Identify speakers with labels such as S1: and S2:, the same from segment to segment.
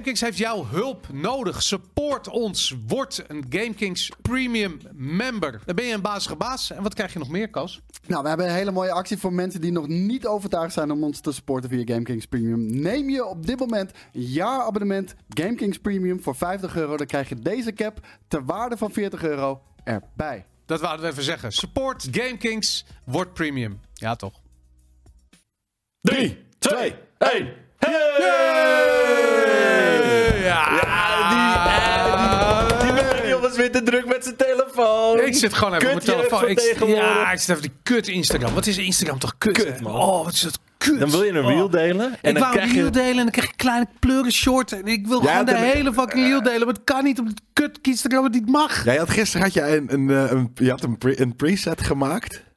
S1: GameKings heeft jouw hulp nodig. Support ons. Word een GameKings Premium member. Dan ben je een bazige baas. En wat krijg je nog meer, Kas?
S2: Nou, we hebben een hele mooie actie voor mensen die nog niet overtuigd zijn om ons te supporten via GameKings Premium. Neem je op dit moment een jaarabonnement GameKings Premium voor 50 euro. Dan krijg je deze cap ter waarde van 40 euro erbij.
S1: Dat wouden we even zeggen. Support GameKings. Word Premium. Ja, toch?
S3: 3, 2, 1. Hey!
S1: Ja,
S3: Ah. die- eh, die- die millennial was weer te druk met zijn telefoon.
S1: Ik zit gewoon even op mijn
S3: Kut jeugd
S1: telefoon.
S3: van
S1: Ik, ja,
S3: tegenwoordig.
S1: ik zit even die kut Instagram. Wat is Instagram toch kut?
S3: Kut,
S1: hè?
S3: man.
S1: Oh, wat is dat kut. Oh.
S3: Dan wil je een reel delen. En
S1: ik
S3: dan
S1: wou een
S3: krijg je...
S1: reel delen en dan krijg ik kleine kleuren short. En ik wil
S4: Ja,
S1: gewoon de
S4: dat-
S1: hele fucking reel delen. Maar het kan niet, omdat het kut Instagram het niet mag.
S4: Ja, je had gisteren had je een, een, eh, een- je had een, pre- een preset gemaakt.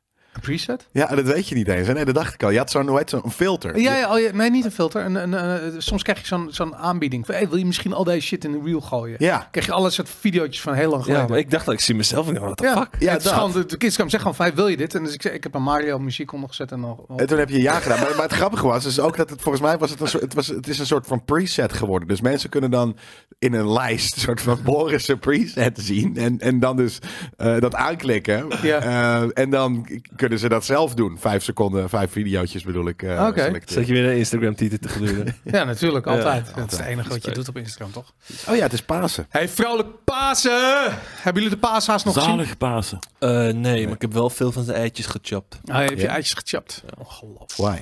S1: preset?
S4: Ja, dat weet je niet eens. hè? Nee, dat dacht ik al. Je had zo'n, hoe heet zo'n filter.
S1: Ja, ja, oh ja, nee, niet een filter. Een, een, eh, soms krijg je zo'n zo'n aanbieding. Van, hey, wil je misschien al deze shit in de reel gooien?
S4: Ja.
S1: Krijg je alles soort video's van heel lang
S3: Ja,
S1: geleden.
S3: maar ik dacht dat ik zie mezelf en ik dacht, what the
S1: Ja,
S3: fuck?
S1: ja, het is
S4: dat.
S1: gewoon, de, de kids zeggen gewoon van, hey, wil je dit? En dus ik, zei, ik heb een Mario muziek ondergezet en dan...
S4: En toen heb je ja gedaan. Maar, maar het grappige was dus ook dat het volgens mij was het een soort, het was, het is een soort van preset geworden. Dus mensen kunnen dan in een lijst een soort van Boris een preset zien. En, en dan dus eh, dat aanklikken.
S1: Ja.
S4: Eh, en dan k- kunnen ze dat zelf doen. Vijf seconden, vijf videootjes bedoel ik. eh,
S1: Oké.
S4: selecteren.
S3: Zet je weer een Instagram-titel te gluren.
S1: Ja, natuurlijk, altijd. Dat is
S4: altijd.
S1: het enige wat je doet op Instagram, toch?
S4: Oh ja, het is Pasen.
S1: Hey, vrolijk Pasen! Hebben jullie de paashaas nog gezien?
S5: Zalig Pasen.
S3: Eh, nee, maar ik heb wel veel van zijn eitjes gechapt.
S1: Ah, je hebt je
S4: Ja.
S1: eitjes gechapt. Ongelooflijk.
S4: Why?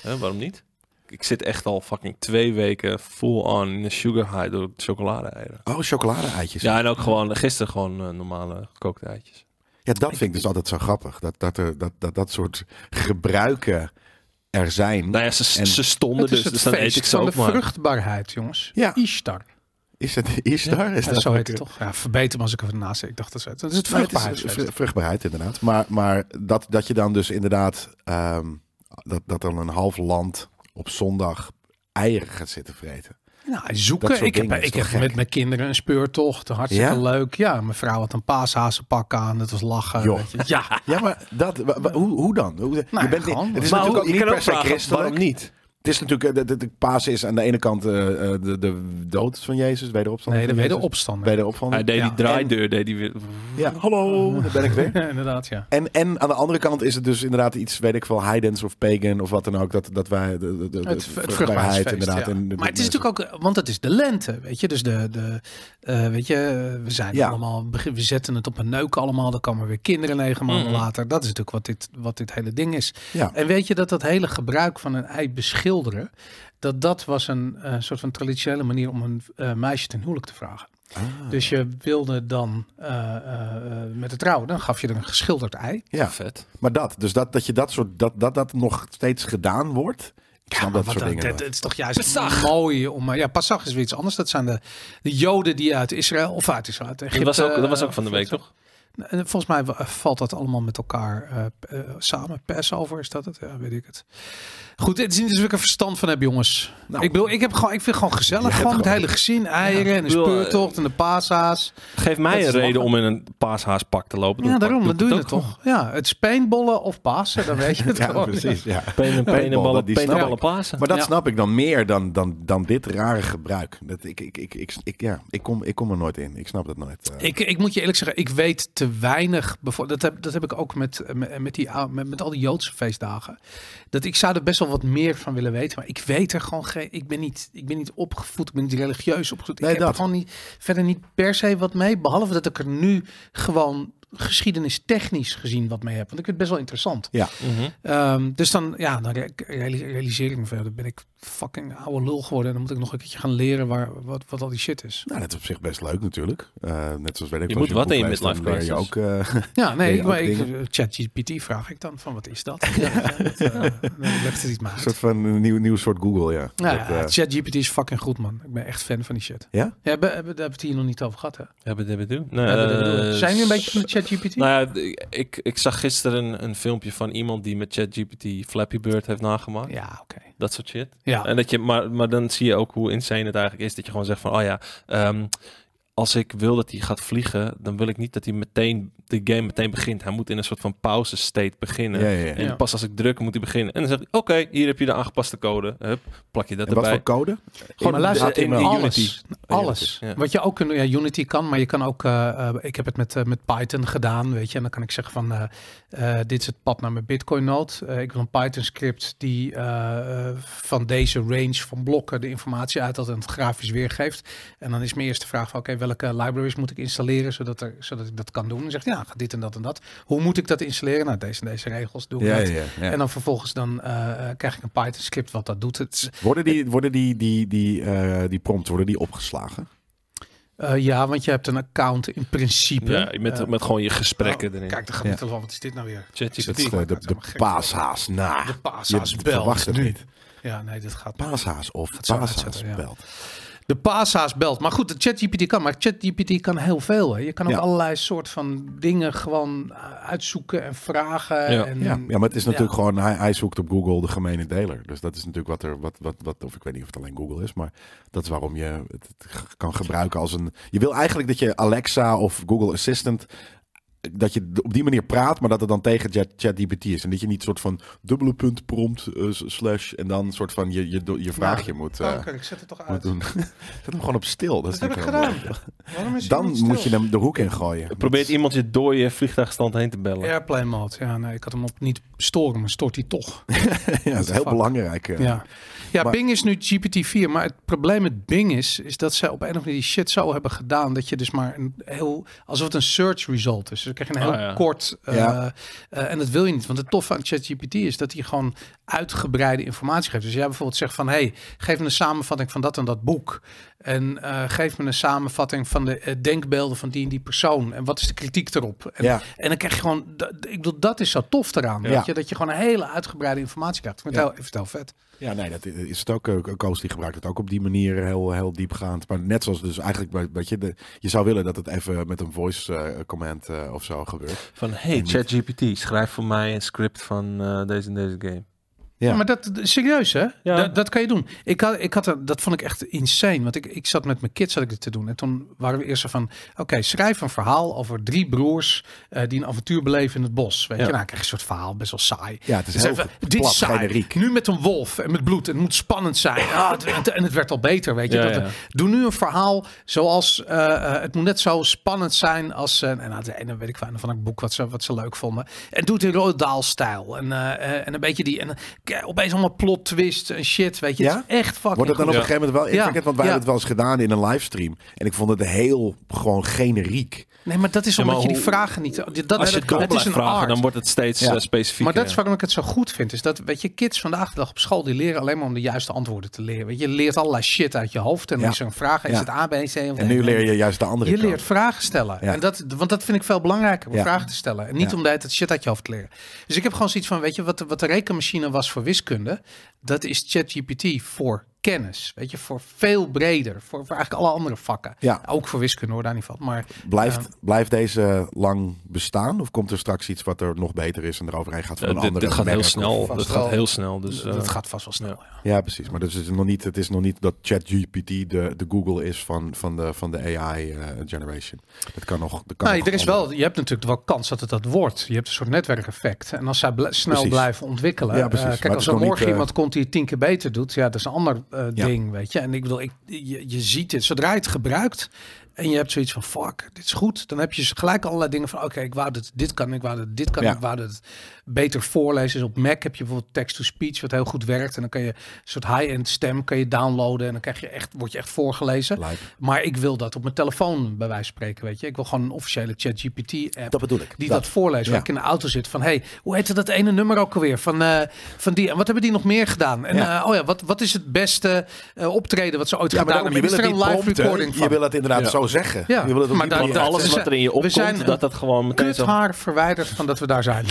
S3: Hè, waarom niet? Ik zit echt al fucking twee weken full on in een sugar high door chocolade-eieren.
S4: Oh, chocolade-eitjes. Ja,
S3: Ja, en ook gewoon gisteren gewoon eh, normale gekookte eitjes.
S4: dat vind ik dus altijd zo grappig. Dat dat, er, dat, dat dat soort gebruiken er zijn.
S3: Nou ja, ze,
S4: En-
S3: ze stonden
S1: Het
S3: dus,
S1: is het
S3: dus dan eet
S1: feest
S3: ik ze
S1: van de
S3: ook maar.
S1: vruchtbaarheid, jongens.
S4: Ja.
S1: Ishtar.
S4: Is dat Istar? Is
S1: Ja,
S4: dat
S1: zo heet het toch? Ja, verbeter me als ik ernaast zit. Ik dacht dat ze het. Dat is het
S4: Nee, het is
S1: vruchtbaarheidsfeest.
S4: vru- vruchtbaarheid inderdaad. Maar, maar dat, dat je dan dus inderdaad... ehm, dat, dat dan een half land op zondag eieren gaat zitten vreten.
S1: Nou,
S4: Dat
S1: zoeken.
S4: soort
S1: Ik heb,
S4: dingen is
S1: ik
S4: toch
S1: heb
S4: gek?
S1: met mijn kinderen een speurtocht. Hartstikke
S4: Ja?
S1: leuk. Ja, mijn vrouw had een paashazenpak aan. Dat was lachen.
S4: Joh.
S1: weet je. Ja,
S4: Ja, maar dat, wa- wa- hoe, hoe dan? Hoe,
S1: Nou,
S4: je bent niet,
S1: gewoon.
S4: het is
S1: Maar
S4: natuurlijk
S3: hoe-
S4: ook niet per se
S3: waarom
S4: christelijk.
S3: niet?
S4: Het is natuurlijk... eh, De, de, de paas is aan de ene kant eh, eh, de, de dood van Jezus, wederopstanding
S1: nee, de
S4: van Jezus.
S1: wederopstanding.
S3: Hij
S4: Wederopstanding.
S3: deed
S1: Ja.
S3: die draaideur, deed die weer...
S4: Ja, hallo, daar ben ik weer.
S1: Ja, inderdaad, ja.
S4: En, en aan de andere kant is het dus inderdaad iets, weet ik veel, heidens of pagan of wat dan ook. Dat, dat wij de, de, de, de
S1: Het, het vruchtbaarheidsfeest,
S4: inderdaad.
S1: ja.
S4: en de-
S1: maar het is
S4: mensen-
S1: natuurlijk ook, want het is de lente, weet je. Dus de, de eh, weet je, eh, we zijn
S4: Ja.
S1: allemaal, begin- we zetten het op een neuk allemaal. Dan komen weer kinderen negen maanden later. Dat is natuurlijk wat dit, wat dit hele ding is.
S4: Ja.
S1: En weet je dat dat hele gebruik van een ei beschilderen, dat dat was een eh, soort van traditionele manier om een eh, meisje ten huwelijk te vragen.
S4: Ah,
S3: Ah,
S1: Dus je wilde dan eh, eh, eh, met de trouw, dan gaf je er een geschilderd ei.
S4: Ja,
S3: Vet.
S4: maar dat. Dus dat, dat je dat soort, dat, dat, dat nog steeds gedaan wordt. Ik snap dat
S1: Maar
S4: soort
S1: Ah, wat
S4: dingen.
S1: dan?
S4: wel.
S1: dat, het is toch juist mooi om. eh, Ja, Passag is weer iets anders. Dat zijn de, de Joden die uit Israël of uit Israël. Uit
S3: Dat
S1: Egypte,
S3: was, ook, dat was ook
S1: eh,
S3: van de week, toch?
S1: En volgens mij wa- valt dat allemaal met elkaar eh, p- eh, samen. Passover is dat het? Ja, weet ik het. Goed, het is niet dat ik er verstand van heb, jongens.
S4: Nou.
S1: ik, bedoel, ik, heb gewoon, ik vind gewoon gezellig.
S4: hebt
S1: Gewoon het
S4: gewoon-
S1: hele gezin, eieren en de
S3: Ik bedoel, eh,
S1: speurtocht en de paashaas.
S3: Geef mij
S1: is
S3: een reden
S1: lachen.
S3: om in een paashaaspak te lopen.
S1: Ja,
S3: Dan
S1: daarom.
S3: doe
S1: Dan
S3: ik
S1: doe je
S3: ook
S1: het toch. Ja, het speenbollen of Pasen, dan weet je het
S4: Ja,
S1: gewoon.
S4: precies. Ja.
S3: gewoon. Penen, penen,
S4: Paintballen,
S3: ballen,
S4: die snap
S3: penen, ballen,
S4: ik.
S3: pasen.
S4: Maar dat
S1: Ja.
S4: snap ik dan meer dan, dan, dan dit rare gebruik. Dat ik, ik, ik, ik, ik- ja, ik, kom, ik kom er nooit in. Ik snap dat nooit. eh.
S1: Ik, ik moet je eerlijk zeggen, ik weet te weinig. bevo- Dat heb, dat heb ik ook met, eh, met, met, die, ou- met, met al die Joodse feestdagen. Dat ik zou er best wel wat meer van willen weten. Maar ik weet er gewoon geen. Ik ben niet, ik ben niet opgevoed. Ik ben niet religieus opgevoed.
S4: Nee,
S1: ik heb
S4: dat.
S1: er gewoon niet, verder niet per se wat mee. Behalve dat ik er nu gewoon geschiedenistechnisch gezien wat mee heb. Want ik vind het best wel interessant.
S4: Ja.
S3: Mhm.
S1: Ehm, dus dan, ja, dan re- reali- realiseer ik me verder. Dan ben ik fucking oude lul geworden. En dan moet ik nog een keertje gaan leren waar, wat, wat al die shit is.
S4: Nou, dat is op zich best leuk natuurlijk. Eh, net zoals weet ik
S3: Je
S4: als
S3: moet wat
S4: boek
S3: in je
S4: leest, dan
S3: midlife
S4: leer je
S3: crisis.
S4: ook. eh,
S1: Ja, nee,
S4: je
S1: ik,
S4: ook
S1: maar ik,
S4: dingen?
S1: ChatGPT vraag ik dan van wat is dat? Ja, dat, eh, dan legt het iets maar
S4: een
S1: uit.
S4: soort van een nieuw, nieuw soort Google, ja.
S1: Nou
S4: Dat,
S1: ja,
S4: eh,
S1: ChatGPT is fucking goed, man. Ik ben echt fan van die shit.
S4: ja?
S1: Ja, we, we, daar hebben we het hier nog niet over gehad, hè?
S3: Hebben we dit
S1: Hebben we het er bedoeld? Zijn we een beetje van de ChatGPT?
S3: Eh, Nou ja, d- ik, ik zag gisteren een, een filmpje van iemand die met ChatGPT Flappy Bird heeft nagemaakt.
S1: ja, oké.
S3: Dat soort shit.
S1: Ja.
S3: En dat je, maar, maar dan zie je ook hoe insane het eigenlijk is. Dat je gewoon zegt van, oh ja, ehm, als ik wil dat hij gaat vliegen, dan wil ik niet dat hij meteen de game meteen begint. Hij moet in een soort van pauze state beginnen.
S4: Ja, ja, ja.
S3: En
S1: Ja.
S3: pas als ik druk moet hij beginnen. En dan zegt hij, oké, hier heb je de aangepaste code. Hup, plak je dat
S4: En wat
S3: erbij.
S4: voor code?
S1: Gewoon
S3: de-
S1: luister,
S3: in- in
S1: alles.
S3: Unity.
S1: Alles.
S3: Ja.
S1: Wat je ook in ja, Unity kan, maar je kan ook. eh, eh, ik heb het met, eh, met Python gedaan, weet je. En dan kan ik zeggen van, eh, eh, dit is het pad naar mijn Bitcoin node. Eh, ik wil een Python script die eh, eh, van deze range van blokken de informatie uithaalt en het grafisch weergeeft. En dan is mijn eerste vraag van, oké, welke libraries moet ik installeren zodat, er, zodat ik dat kan doen? En zegt, ja, dit en dat en dat. Hoe moet ik dat installeren? Nou, deze en deze regels doe ik
S4: Ja,
S1: dat.
S4: ja, ja.
S1: En dan vervolgens dan eh, eh, krijg ik een Python script wat dat doet. Het is-
S4: Worden die, worden die, die, die, eh, die prompts worden die opgeslagen?
S1: Eh, ja, want je hebt een account in principe.
S3: Ja, met,
S1: Eh,
S3: met gewoon je gesprekken
S4: Oh,
S1: nou,
S3: erin.
S1: Kijk, daar gaat
S4: Ja.
S1: het van. Wat is dit nou weer?
S4: Is het
S3: ChatGPT.
S4: eh, de, de paashaas na?
S1: De paashaas
S4: Je
S1: belt.
S4: verwacht het niet.
S1: Ja, nee, dit gaat
S4: Paashaas of
S1: zo
S4: paashaas
S1: uitzetten, ja.
S4: belt.
S1: De paashaas belt. Maar goed, de ChatGPT kan. Maar ChatGPT kan heel veel. Hè. Je kan ook
S4: Ja.
S1: allerlei soort van dingen gewoon eh, uitzoeken en vragen.
S3: Ja.
S1: En,
S4: Ja, ja, maar het is natuurlijk gewoon, hij, hij zoekt op Google de gemene deler. Dus dat is natuurlijk wat er, wat, wat, wat, of ik weet niet of het alleen Google is, maar dat is waarom je het het g- kan gebruiken als een. Je wil eigenlijk dat je Alexa of Google Assistant, dat je d- op die manier praat, maar dat het dan tegen Chat- ChatGPT is. En dat je niet soort van dubbele punt prompt eh, s- slash en dan soort van je, je, do- je vraagje moet, eh,
S1: Oh, kijk, ik zet het toch
S4: moet
S1: uit.
S4: doen. Zet hem gewoon op stil. Dat is
S1: Dat heb ik
S4: natuurlijk heel
S1: gedaan. Waarom is hij
S4: mooi. Dan
S1: niet stil?
S4: moet je hem de hoek in gooien.
S3: Probeert iemand je door je vliegtuigstand heen te bellen.
S1: Airplane mode. Ja, nee, ik had hem op niet storen, maar stort hij toch.
S4: ja, dat is heel
S1: fuck?
S4: belangrijk. eh.
S1: Ja, ja
S4: Maar-
S1: Bing is nu GPT-4. Maar het probleem met Bing is, is dat zij op een of andere manier die shit zo hebben gedaan. Dat je dus maar een heel. alsof het een search result is. Dus dan krijg je een heel
S3: Ah, ja.
S1: kort. eh,
S4: Ja.
S1: eh, en dat wil je niet. Want het toffe aan ChatGPT is dat hij gewoon uitgebreide informatie geeft. Dus jij bijvoorbeeld zegt van hey, geef me een samenvatting van dat en dat boek. En eh, geef me een samenvatting van de eh, denkbeelden van die en die persoon. En wat is de kritiek erop? En,
S4: Ja.
S1: en dan krijg je gewoon. dat- Ik bedoel, dat is zo tof eraan.
S4: Ja.
S1: Weet je? Dat je gewoon een hele uitgebreide informatie krijgt. Ik vind het heel, ik vind het heel vet.
S4: Ja, nee, dat is het ook. eh, Koos die gebruikt het ook op die manier heel, heel diepgaand. Maar net zoals dus eigenlijk, bij- weet je, de, je zou willen dat het even met een voice eh, comment eh, of zo gebeurt.
S3: Van, hey ChatGPT, schrijf voor mij een script van eh, deze en deze game.
S4: Ja.
S1: Ja. maar dat serieus hè? Dat, dat kan je doen. Ik had, ik had een- dat vond ik echt insane, want ik, ik zat met mijn kids zat ik dit te doen en toen waren we eerst zo van, oké, schrijf een verhaal over drie broers eh, die een avontuur beleven in het bos. Weet
S3: Ja.
S1: je, nou ik krijg een soort verhaal, best wel saai.
S4: Ja, het is
S1: Dus
S4: heel
S1: even,
S4: plat,
S1: dit is saai.
S4: generiek.
S1: Nu met een wolf en met bloed. En het moet spannend zijn. Ah, het- het- en het werd al beter, weet je.
S3: Ja,
S1: dat,
S3: ja.
S1: Doe nu een verhaal zoals... eh, eh, het moet net zo spannend zijn als... eh, en nou, de ene weet ik wel, een van een boek wat ze, wat ze leuk vonden. En doe het in Rodaal-stijl. En, eh, eh, en een beetje die... En, k- opeens allemaal plot twist en shit, weet je.
S4: Ja?
S1: Het is echt fucking
S4: Wordt het dan op
S1: goed.
S4: een gegeven moment wel
S1: Ja.
S4: ingewikkeld? Want wij
S1: Ja.
S4: hebben het wel eens gedaan in een livestream. En ik vond het heel gewoon generiek.
S1: Nee, maar dat is
S3: Ja, maar
S1: omdat je die
S3: hoe- eh,
S1: vragen niet... Dat, dat,
S3: Als je het door
S1: is
S3: blijft
S1: een
S3: vragen,
S1: art.
S3: dan wordt het steeds
S4: Ja.
S3: eh, specifieker.
S1: Maar dat
S3: ja.
S1: is waarom ik het zo goed vind. Is dat, weet je, kids vandaag de dag op school die leren alleen maar om de juiste antwoorden te leren. Weet je, je leert allerlei shit uit je hoofd. En
S4: Ja.
S1: dan is er een vraag, is
S4: Ja.
S1: het A, B, C? Of
S4: En nu leer je juist de andere
S1: Je
S4: kant.
S1: leert vragen stellen.
S4: eh, Ja.
S1: En dat, want dat vind ik veel belangrijker, om
S4: Ja.
S1: vragen te stellen. En niet
S4: Ja.
S1: om de hele tijd shit uit je hoofd te leren. Dus ik heb gewoon zoiets van, weet je, wat, de- wat de rekenmachine was voor wiskunde, dat is ChatGPT voor kennis. Weet je, voor veel breder. Voor, voor eigenlijk alle andere vakken.
S4: Ja.
S1: Ook voor wiskunde hoor, daar niet van. Maar
S4: Blijft, blijft deze lang bestaan? Of komt er straks iets wat er nog beter is en eroverheen gaat van
S3: Eh,
S4: een
S3: dit,
S4: andere
S3: dit gaat heel
S4: merk of-
S3: snel.
S1: vast
S3: Dit
S1: wel.
S3: gaat heel snel. Dus, eh,
S1: dat gaat vast wel snel.
S3: ja.
S1: ja.
S4: Ja, precies. Maar dus het, is nog niet, het is nog niet dat ChatGPT de, de Google is van, van, de, van de AI eh, generation. Dat kan nog. Dat kan
S1: Nee,
S4: nog
S1: er is
S4: andere-
S1: wel, je hebt natuurlijk wel kans dat het dat wordt. Je hebt een soort netwerkeffect. En als zij bl- snel
S4: Precies.
S1: blijven ontwikkelen.
S4: Ja, precies.
S1: eh,
S4: Maar
S1: kijk,
S4: het
S1: als
S4: is
S1: er
S4: nog niet,
S1: morgen
S4: eh,
S1: iemand komt die het tien keer beter doet. Ja, dat is een ander eh,
S4: Ja.
S1: ding, weet je. En ik bedoel, ik, je, je ziet het. Zodra je het gebruikt en je hebt zoiets van, fuck, dit is goed. Dan heb je gelijk allerlei dingen van, oké, ik wou dat dit kan. Ik wou dat dit kan.
S4: Ja.
S1: Ik wou dat het beter voorlezen is. Op Mac heb je bijvoorbeeld text-to-speech, wat heel goed werkt. En dan kan je een soort high-end stem kan je downloaden. En dan krijg je echt, word je echt voorgelezen.
S4: Lijp.
S1: Maar ik wil dat op mijn telefoon bij wijze van spreken, weet je. Ik wil gewoon een officiële ChatGPT-app
S4: Dat bedoel ik.
S1: die
S4: Dat.
S1: dat, voorleest. Waar
S4: Ja.
S1: ik in de auto zit van, hey, hoe heette dat ene nummer ook alweer? Van, eh, van die, en wat hebben die nog meer gedaan? En
S4: Ja.
S1: eh, oh ja, wat, wat is het beste eh, optreden wat ze ooit
S4: Ja, maar
S1: gedaan
S4: daarom, je
S1: hebben? Is
S4: wil het
S1: er
S4: niet
S1: een live
S4: prompten.
S1: recording
S4: Je
S1: van?
S4: wil het inderdaad
S3: Ja.
S4: zo zeggen.
S1: Ja.
S4: Je wil het op
S1: Maar
S4: die
S1: daar-
S3: Want
S4: manier-
S1: dat-
S3: alles
S1: we
S3: wat
S1: zijn-
S3: er in je opkomt,
S1: zijn een
S3: dat dat gewoon meteen
S1: Kut
S3: zo...
S1: haar verwijderd van dat we daar zijn.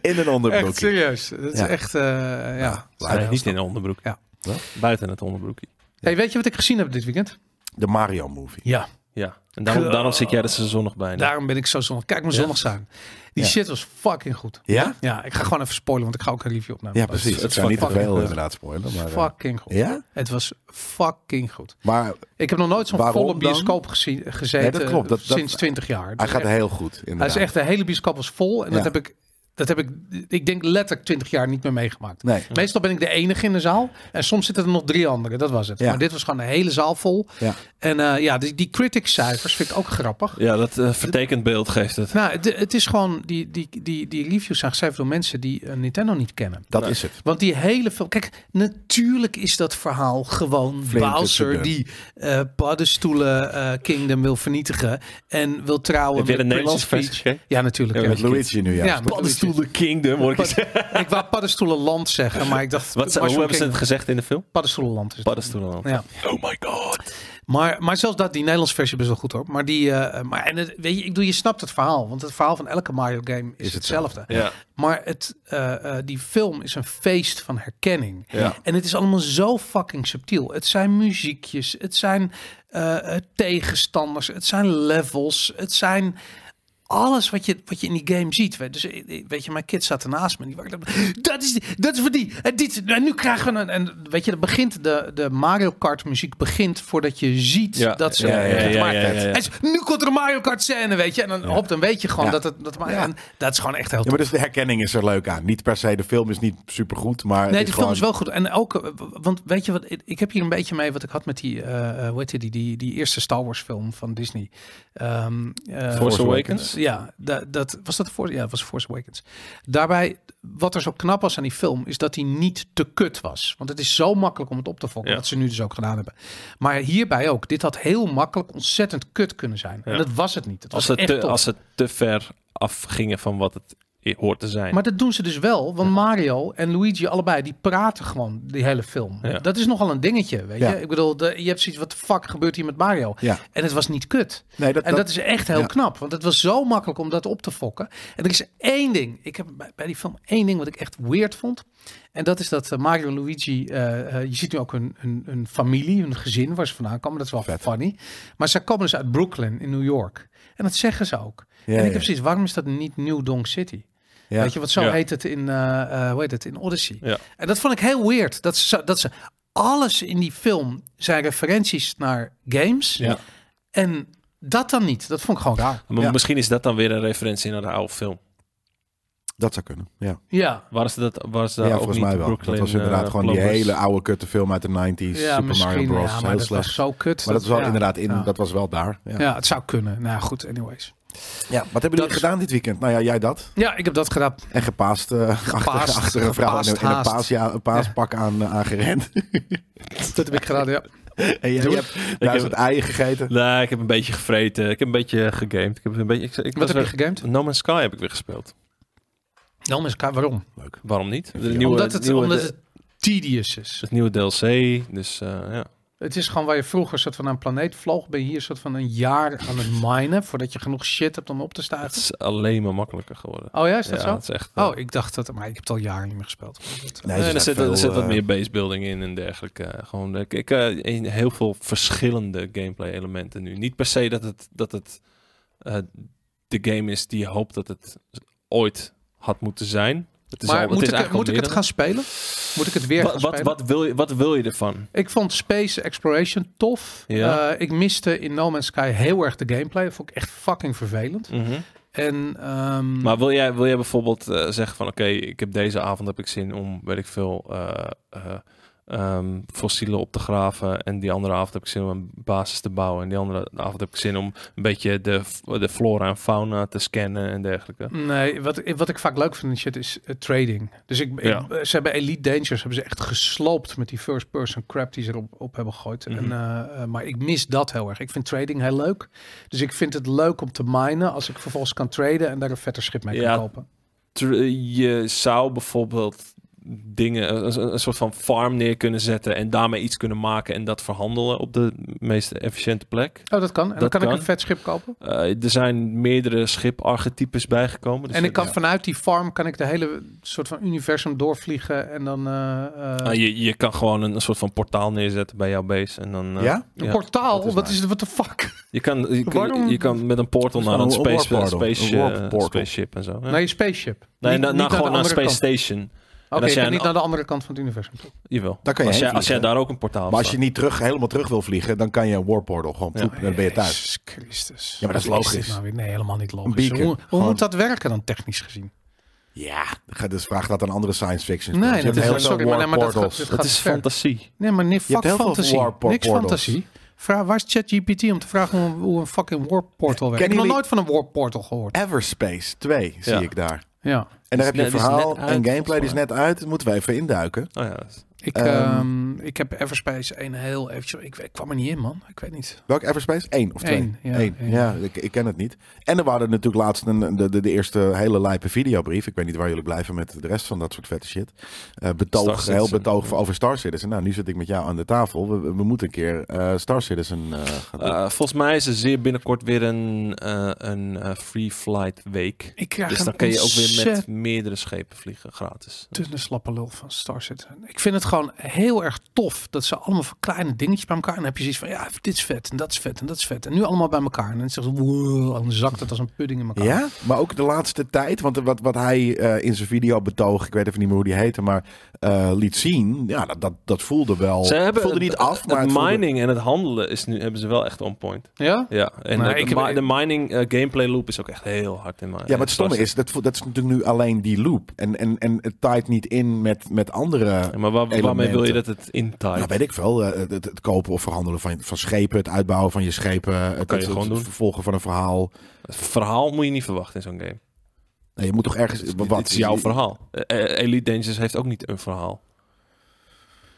S4: in een ander
S1: Echt
S4: broekje.
S1: serieus. Dat is
S4: Ja.
S1: echt, eh, ja.
S4: Ja.
S3: Nee, niet in een onderbroek.
S1: Ja.
S4: Wel?
S3: Buiten het onderbroekje.
S1: Hey, weet je wat ik gezien heb dit weekend?
S4: De Mario movie.
S1: Ja.
S3: Ja. En daarom, daarom zit jij er zo zonnig bij.
S1: Daarom ben ik zo zonnig. Kijk maar
S3: Ja.
S1: zonnig zijn. Die
S4: Ja.
S1: shit was fucking goed.
S4: Ja?
S1: Ja, ik ga gewoon even spoilen, want ik ga ook een review opnemen.
S4: Ja, precies. Het
S1: Het
S4: zijn
S1: was
S4: niet te veel
S1: fucking,
S4: inderdaad spoilen. Maar, eh,
S1: fucking goed.
S4: Ja?
S1: Het was fucking goed.
S4: Maar
S1: Ik heb nog nooit zo'n
S4: Waarom
S1: volle
S4: dan?
S1: bioscoop gezien, gezeten
S4: Nee, dat klopt. Dat- dat-
S1: sinds 20 jaar.
S4: hij
S1: Dus
S4: gaat
S1: echt-
S4: heel goed,
S1: hij
S4: inderdaad.
S1: is echt, de hele bioscoop was vol. En dat
S4: Ja.
S1: heb ik, dat heb ik, ik denk letterlijk 20 jaar niet meer meegemaakt.
S4: Nee.
S1: Meestal ben ik de enige in de zaal. En soms zitten er nog drie anderen. Dat was het.
S4: Ja.
S1: Maar dit was gewoon de hele zaal vol.
S4: Ja.
S1: En eh, ja, die, die critics cijfers vind ik ook grappig.
S3: Ja, dat eh, vertekend beeld geeft het.
S1: Nou, het, het is gewoon, die, die, die, die reviews zijn geschreven door mensen die eh, Nintendo niet kennen.
S4: Dat is het.
S1: Want die hele film. Kijk, natuurlijk is dat verhaal gewoon
S4: Flink is
S1: Bowser
S4: het, ja.
S1: die eh paddenstoelen eh, Kingdom wil vernietigen en wil trouwen
S3: Heb je
S1: met
S3: de Nederlandse
S1: Princess
S3: versie
S1: Peach.
S3: gekeken?
S1: Ja, natuurlijk. Ja,
S4: Met Luigi nu, ja.
S1: Ja,
S3: Paddenstoel de Kingdom, hoor ik
S1: Pad-
S3: zeggen.
S1: ik wou paddenstoelenland zeggen, maar ik dacht
S3: Wat, ze-
S1: Mushroom
S3: hoe hebben ze het
S1: Kingdom.
S3: gezegd in de film?
S1: Paddenstoelenland is het.
S3: Paddenstoelen.
S1: Ja.
S3: Oh my god.
S1: Maar, maar zelfs dat, die Nederlandse versie best wel goed hoor. Maar die, eh, maar, en het, weet je, ik doe, je snapt het verhaal. Want het verhaal van elke Mario game is,
S4: Is hetzelfde.
S1: hetzelfde.
S3: Ja.
S1: Maar het, eh, eh, die film is een feest van herkenning.
S4: Ja.
S1: En het is allemaal zo fucking subtiel. Het zijn muziekjes, het zijn eh, eh, tegenstanders, het zijn levels, het zijn alles wat je, wat je in die game ziet. We- Dus eh, eh, weet je, mijn kind zat ernaast me. en Die waren, dat, is, die- dat is voor die. En, dit, en nu krijgen we een. En weet je, dat begint, de, de Mario Kart muziek begint voordat je ziet
S3: Ja.
S1: Dus dat ze.
S4: Ja, ja, ja,
S1: het
S3: ja,
S1: maken.
S3: ja, ja, ja.
S1: En ze- nu komt er een Mario Kart scène, weet je. En dan, hop, dan weet je gewoon
S4: Ja.
S1: dat het. Dat, maar,
S4: Ja.
S1: en dat is gewoon echt heel
S4: Ja, maar dus de herkenning is er leuk aan. Niet per se, de film is niet supergoed, maar het
S1: Nee,
S4: is
S1: die film
S4: gewoon-
S1: is wel goed. En ook, eh, w- want weet je wat, ik ik heb hier een beetje mee wat ik had met die, eh eh, hoe heet die, die, die, die eerste Star Wars film van Disney. Ehm, eh,
S3: Force Awakens?
S1: Ja, da- dat, was dat de Force? Ja, dat was Force Awakens. Daarbij, wat er zo knap was aan die film, is dat hij niet te kut was. Want het is zo makkelijk om het op te fokken,
S3: Ja.
S1: wat ze nu dus ook gedaan hebben. Maar hierbij ook, dit had heel makkelijk ontzettend kut kunnen zijn.
S3: Ja.
S1: En dat was het niet. Het was
S3: Als ze,
S1: echt
S3: te,
S1: top.
S3: als ze te ver afgingen van wat het i- hoort te zijn.
S1: Maar dat doen ze dus wel, want Mario en Luigi allebei, die praten gewoon die hele film.
S3: Ja.
S1: Dat is nogal een dingetje, weet
S4: Ja.
S1: je. Ik bedoel, de- je hebt zoiets, wat de fuck gebeurt hier met Mario?
S4: Ja.
S1: En het was niet kut.
S4: Nee, dat,
S1: En dat is echt heel
S4: ja.
S1: knap, want het was zo makkelijk om dat op te fokken. En er is één ding, ik heb bij, bij die film één ding wat ik echt weird vond. En dat is dat eh, Mario en Luigi, eh, eh, je ziet nu ook hun, hun, hun familie, hun gezin waar ze vandaan komen. Dat is wel
S4: Vet.
S1: funny. Maar ze komen dus uit Brooklyn in New York. En dat zeggen ze ook.
S4: Ja,
S1: en ik
S4: ja.
S1: heb zoiets, waarom is dat niet New Donk City?
S4: Ja.
S1: Weet je, wat zo
S3: Ja.
S1: heet het in, eh, eh, hoe heet het, in Odyssey.
S3: Ja.
S1: En dat vond ik heel weird. Dat ze, zo- dat ze alles in die film zijn referenties naar games.
S4: Ja.
S1: En dat dan niet. Dat vond ik gewoon raar.
S3: Maar
S4: Ja.
S3: misschien is dat dan weer een referentie naar de oude film.
S4: dat zou kunnen, ja.
S1: Ja.
S3: Waar is dat? Waar ze daar
S4: ja,
S3: ook
S4: volgens
S3: niet
S4: mij
S3: de
S4: wel.
S3: Brooklyn,
S4: dat was inderdaad
S3: eh,
S4: gewoon die
S3: Blobbers?
S4: hele oude kutte film uit de 90s,
S1: Ja,
S4: Super Mario
S1: misschien.
S4: Bros.
S1: ja, maar
S4: heel
S1: dat was
S4: slecht.
S1: zo kut.
S4: Maar dat was wel
S1: ja,
S4: inderdaad, in,
S1: ja.
S4: dat was wel daar. Ja.
S1: Ja, het zou kunnen. Nou goed, anyways.
S4: Ja, Wat hebben jullie
S1: is-
S4: gedaan dit weekend? Nou ja, jij dat.
S1: Ja, ik heb dat gedaan.
S4: En gepaast, eh, achter, achter een vrouw in
S1: gepaast
S4: een- in een,
S1: haast.
S4: paas, ja, een paaspak aan, eh, aangerend.
S1: Dat heb ik gedaan, ja.
S4: en jij
S3: Doe
S4: hebt duizend eieren gegeten.
S3: Nee, ik heb een beetje gevreten. Ik heb een beetje gegamed. Ik heb een beetje, ik, ik
S1: Wat
S3: was
S1: heb je
S3: weer-
S1: gegamed?
S3: No Man's Sky heb ik weer gespeeld.
S1: Nou, maar Sky, waarom?
S3: Waarom niet? De
S4: Omdat
S3: nieuwe,
S1: omdat het,
S3: nieuwe,
S1: omdat
S3: de-
S1: het tedious is.
S3: het nieuwe DLC. Dus eh, ja.
S1: Het is gewoon waar je vroeger soort van naar een planeet vloog. Ben je hier soort van een jaar aan het minen. Voordat je genoeg shit hebt om op te
S3: Het
S1: stijgen.
S3: is alleen maar makkelijker geworden.
S1: Oh ja, is dat
S3: ja,
S1: zo?
S3: Het is echt, eh,
S1: Oh, ik dacht dat, maar ik heb het al jaren niet meer gespeeld.
S4: Nee,
S3: Nee,
S4: ze
S3: er
S4: zijn
S3: zit,
S4: veel,
S3: er zit wat
S4: eh,
S3: meer basebuilding in en dergelijke. Gewoon, eh, ik, eh, in heel veel verschillende gameplay elementen nu. Niet per se dat het, dat het eh, de game is die je hoopt dat het ooit had moeten zijn. Het is
S1: maar
S3: al-
S1: moet,
S3: het is
S1: ik,
S3: eigenlijk al
S1: moet ik het
S3: meer
S1: gaan spelen? Moet ik het weer
S3: dan-
S1: gaan
S3: wat, wat,
S1: spelen?
S3: wat, wil je, wat wil je ervan?
S1: Ik vond Space Exploration tof.
S3: Ja.
S1: Eh, ik miste in No Man's Sky heel erg de gameplay. Dat vond ik echt fucking vervelend.
S3: Mhm.
S1: En, ehm,
S3: Maar wil jij, wil jij bijvoorbeeld eh, zeggen van... oké, ik heb deze avond heb ik zin om, weet ik veel... eh, eh, ehm, fossielen op te graven en die andere avond heb ik zin om een basis te bouwen en die andere avond heb ik zin om een beetje de, de flora en fauna te scannen en dergelijke.
S1: Nee, wat, ik- wat ik vaak leuk vind in shit is eh, trading. Dus ik, ik-
S3: Ja.
S1: eh, ze hebben Elite Dangerous hebben ze echt gesloopt met die first person crap die ze erop op hebben gegooid. En,
S3: Mhm.
S1: eh, eh, maar ik mis dat heel erg. Ik vind trading heel leuk. Dus ik vind het leuk om te minen als ik vervolgens kan traden en daar een vetter schip mee
S3: Ja.
S1: kan kopen.
S3: Tr- Je zou bijvoorbeeld dingen, een- een, een soort van farm neer kunnen zetten en daarmee iets kunnen maken en dat verhandelen op de meest efficiënte plek.
S1: Oh, dat kan. En dan
S3: Dat
S1: kan, ik
S3: kan.
S1: een vet schip kopen.
S3: Eh, er zijn meerdere schiparchetypes bijgekomen. dus
S1: en ik
S3: dat-
S1: kan vanuit die farm kan ik de hele soort van universum doorvliegen en dan eh, eh,
S3: Ah, je, je kan gewoon een, een soort van portaal neerzetten bij jouw base. En dan, eh,
S4: Ja?
S1: een portaal.
S3: dat is
S1: wat
S3: nice.
S1: is het? Wat de fuck?
S3: Je kan, je, kun-
S1: Waarom?
S3: je kan met een portal
S4: Dat is
S3: naar een,
S4: gewoon een
S3: space,
S4: warp portal.
S3: space,
S4: Een warp
S3: eh,
S4: portal.
S3: spaceship en zo. Ja.
S1: Naar je spaceship.
S3: nee,
S1: Niet-
S3: na-
S1: niet
S3: na, gewoon naar
S1: de
S3: een
S1: andere
S3: space
S1: kant.
S3: station.
S1: Oké,
S3: als
S1: je
S3: jij
S1: kan
S3: een-
S1: niet naar de andere kant van het universum. toe.
S3: Jawel.
S4: Daar kan je
S3: als,
S4: heen
S3: jij, als jij
S4: vliegen.
S3: daar ook een portaal
S4: Maar als
S3: staat.
S4: je niet terug, helemaal terug wil vliegen, dan kan je een warportal gewoon
S3: Ja.
S4: ploep, en dan ben je thuis.
S1: Jezus Christus.
S4: Ja, maar dat is
S1: Wat dit
S4: logisch.
S1: nou weer? nee, helemaal niet
S4: Een
S1: logisch.
S4: beacon.
S1: Hoe, hoe
S4: Gewoon-
S1: moet dat werken dan technisch gezien?
S4: Ja, ga- dus vraag dat aan andere science fiction.
S1: Nee,
S4: films.
S1: dat
S4: je
S1: is-
S4: hebt heel
S1: sorry,
S4: veel
S1: maar- nee, maar dat
S4: warportals.
S1: gaat-
S3: Dat is
S1: ver.
S3: fantasie.
S1: Nee, maar nee,
S4: hebt
S1: fuck
S4: heel veel
S1: fantasie.
S4: warp por-
S1: Niks
S4: portals.
S1: fantasie. Vraag, waar is ChatGPT om te vragen hoe, hoe een fucking warp portal werkt? Ik
S4: Kennen
S1: heb nog
S4: jullie-
S1: nooit van een warp portal gehoord.
S4: Everspace 2 zie
S3: Ja.
S4: ik daar.
S1: Ja,
S4: En daar heb je
S3: Dus net-
S4: een
S3: die is
S4: verhaal
S3: net uit,
S4: en gameplay
S3: volgens
S4: die is net uit. Dat moeten wij even induiken.
S3: Oh ja, dat is-
S1: ik,
S4: Ehm.
S1: ehm, ik heb Everspace 1 heel eventjes... Ik, ik kwam er niet in, man. Ik weet niet.
S4: Welk Everspace? Eén of twee?
S1: Eén, ja,
S4: Eén.
S1: één.
S4: Ja, ik, ik ken het niet. En er waren natuurlijk laatst een, de, de, de eerste hele lijpe videobrief. Ik weet niet waar jullie blijven met de rest van dat soort vette shit. Eh,
S3: Star
S4: betoog,
S3: Citizen.
S4: heel betoog voor over Star Citizen. Nou, nu zit ik met jou aan de tafel. We, we- we moeten een keer eh, Star Citizen eh, gaan doen.
S3: Eh, volgens mij is er zeer binnenkort weer een, eh, een eh, free flight week.
S1: Ik krijg
S3: Dus
S1: een Dus-
S3: dan kun je ook weer
S1: ontzettend
S3: met meerdere schepen vliegen, gratis.
S1: te een slappe lul van Star Citizen. Ik vind het gewoon heel erg tof dat ze allemaal van kleine dingetjes bij elkaar. En dan heb je zoiets van, ja, dit is vet en dat is vet en dat is vet. En nu allemaal bij elkaar. En dan, zegt, ze, wow, en dan zakt het als een pudding in elkaar.
S4: Ja, maar ook de laatste tijd. Want wat, wat hij eh, in zijn video betoog, ik weet even niet meer hoe die heette, maar eh, liet zien. Ja, dat, dat, dat voelde wel.
S3: Ze hebben
S4: voelde niet
S3: het-
S4: af, maar
S3: het
S4: het voelde-
S3: mining en het handelen is nu, hebben ze wel echt on point.
S1: Ja?
S3: Ja, en
S1: Nou,
S3: de,
S1: ik
S3: de
S1: heb-
S3: mi- de mining eh, gameplay loop is ook echt heel hard in mijn.
S4: Ja, maar het stomme is, dat, vo- dat is natuurlijk nu alleen die loop. En, en, en het taait niet in met, met andere...
S3: maar waar- waarmee wil je
S4: elementen.
S3: dat het intied?
S4: Nou, weet ik veel. eh, Het, het kopen of verhandelen van, van schepen, het uitbouwen van je schepen, het,
S3: kan je
S4: het-
S3: gewoon
S4: het
S3: doen.
S4: vervolgen van een verhaal.
S3: Het verhaal moet je niet verwachten in zo'n game.
S4: Nee, je moet toch ergens. Wat
S3: Wat is jouw verhaal? Eh, eh, Elite Dangerous heeft ook niet een verhaal.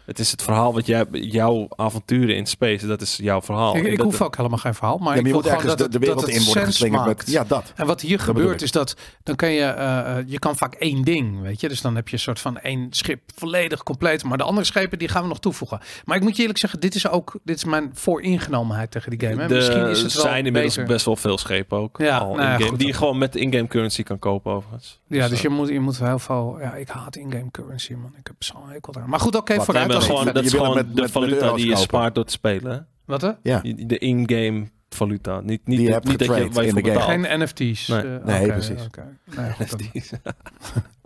S3: Het is het verhaal wat jij, jouw avonturen in space, dat is jouw
S4: Oh,
S3: verhaal.
S1: Ik,
S3: En
S1: ik
S3: dat-
S1: hoef ook helemaal geen verhaal, maar
S4: Ja, maar
S1: ik
S4: je
S1: wil
S4: moet
S1: gewoon
S4: ergens
S1: dat
S4: de,
S1: het,
S4: de wereld
S1: dat het
S4: in worden
S1: sens
S4: geslingerd
S1: maakt.
S4: met. Ja, dat.
S1: En wat hier
S4: bedoel
S1: gebeurt
S4: ik.
S1: is dat dan kan je, eh, eh, je kan vaak één ding, weet je. Dus dan heb je een soort van één schip volledig compleet. Maar de andere schepen die gaan we nog toevoegen. Maar ik moet je eerlijk zeggen, dit is ook dit is mijn vooringenomenheid tegen die game. Hè?
S3: De-
S1: Misschien is het
S3: er
S1: wel
S3: zijn inmiddels
S1: beter.
S3: best wel veel schepen ook.
S1: Ja,
S3: al
S1: nou ja,
S3: in-game,
S1: goed
S3: die
S1: dan.
S3: je gewoon met in-game currency kan kopen overigens.
S1: Ja, dus
S3: Zo.
S1: je moet, je moet heel veel... Ja, ik haat in-game currency, man. Ik heb zo'n hekel daar. Maar goed, oké,
S4: Wat,
S1: vooruit.
S3: Nee, maar
S1: dan.
S3: gewoon,
S4: Je
S3: dat is
S4: wil
S3: gewoon
S4: met-
S3: de
S4: met- met
S3: valuta
S4: euro's
S3: die je
S4: kopen.
S3: spaart door te spelen. hè?
S1: Wat hè?
S4: Ja.
S3: De in-game valuta. Niet, niet,
S4: Die je
S3: niet,
S4: hebt
S3: dat je
S4: getrade
S3: waar je
S4: in de
S3: voor
S4: game.
S3: betaalt.
S1: Geen NFT's.
S3: Nee.
S1: Eh,
S4: Nee,
S1: oké,
S4: precies.
S1: oké. Nee, goed, dan.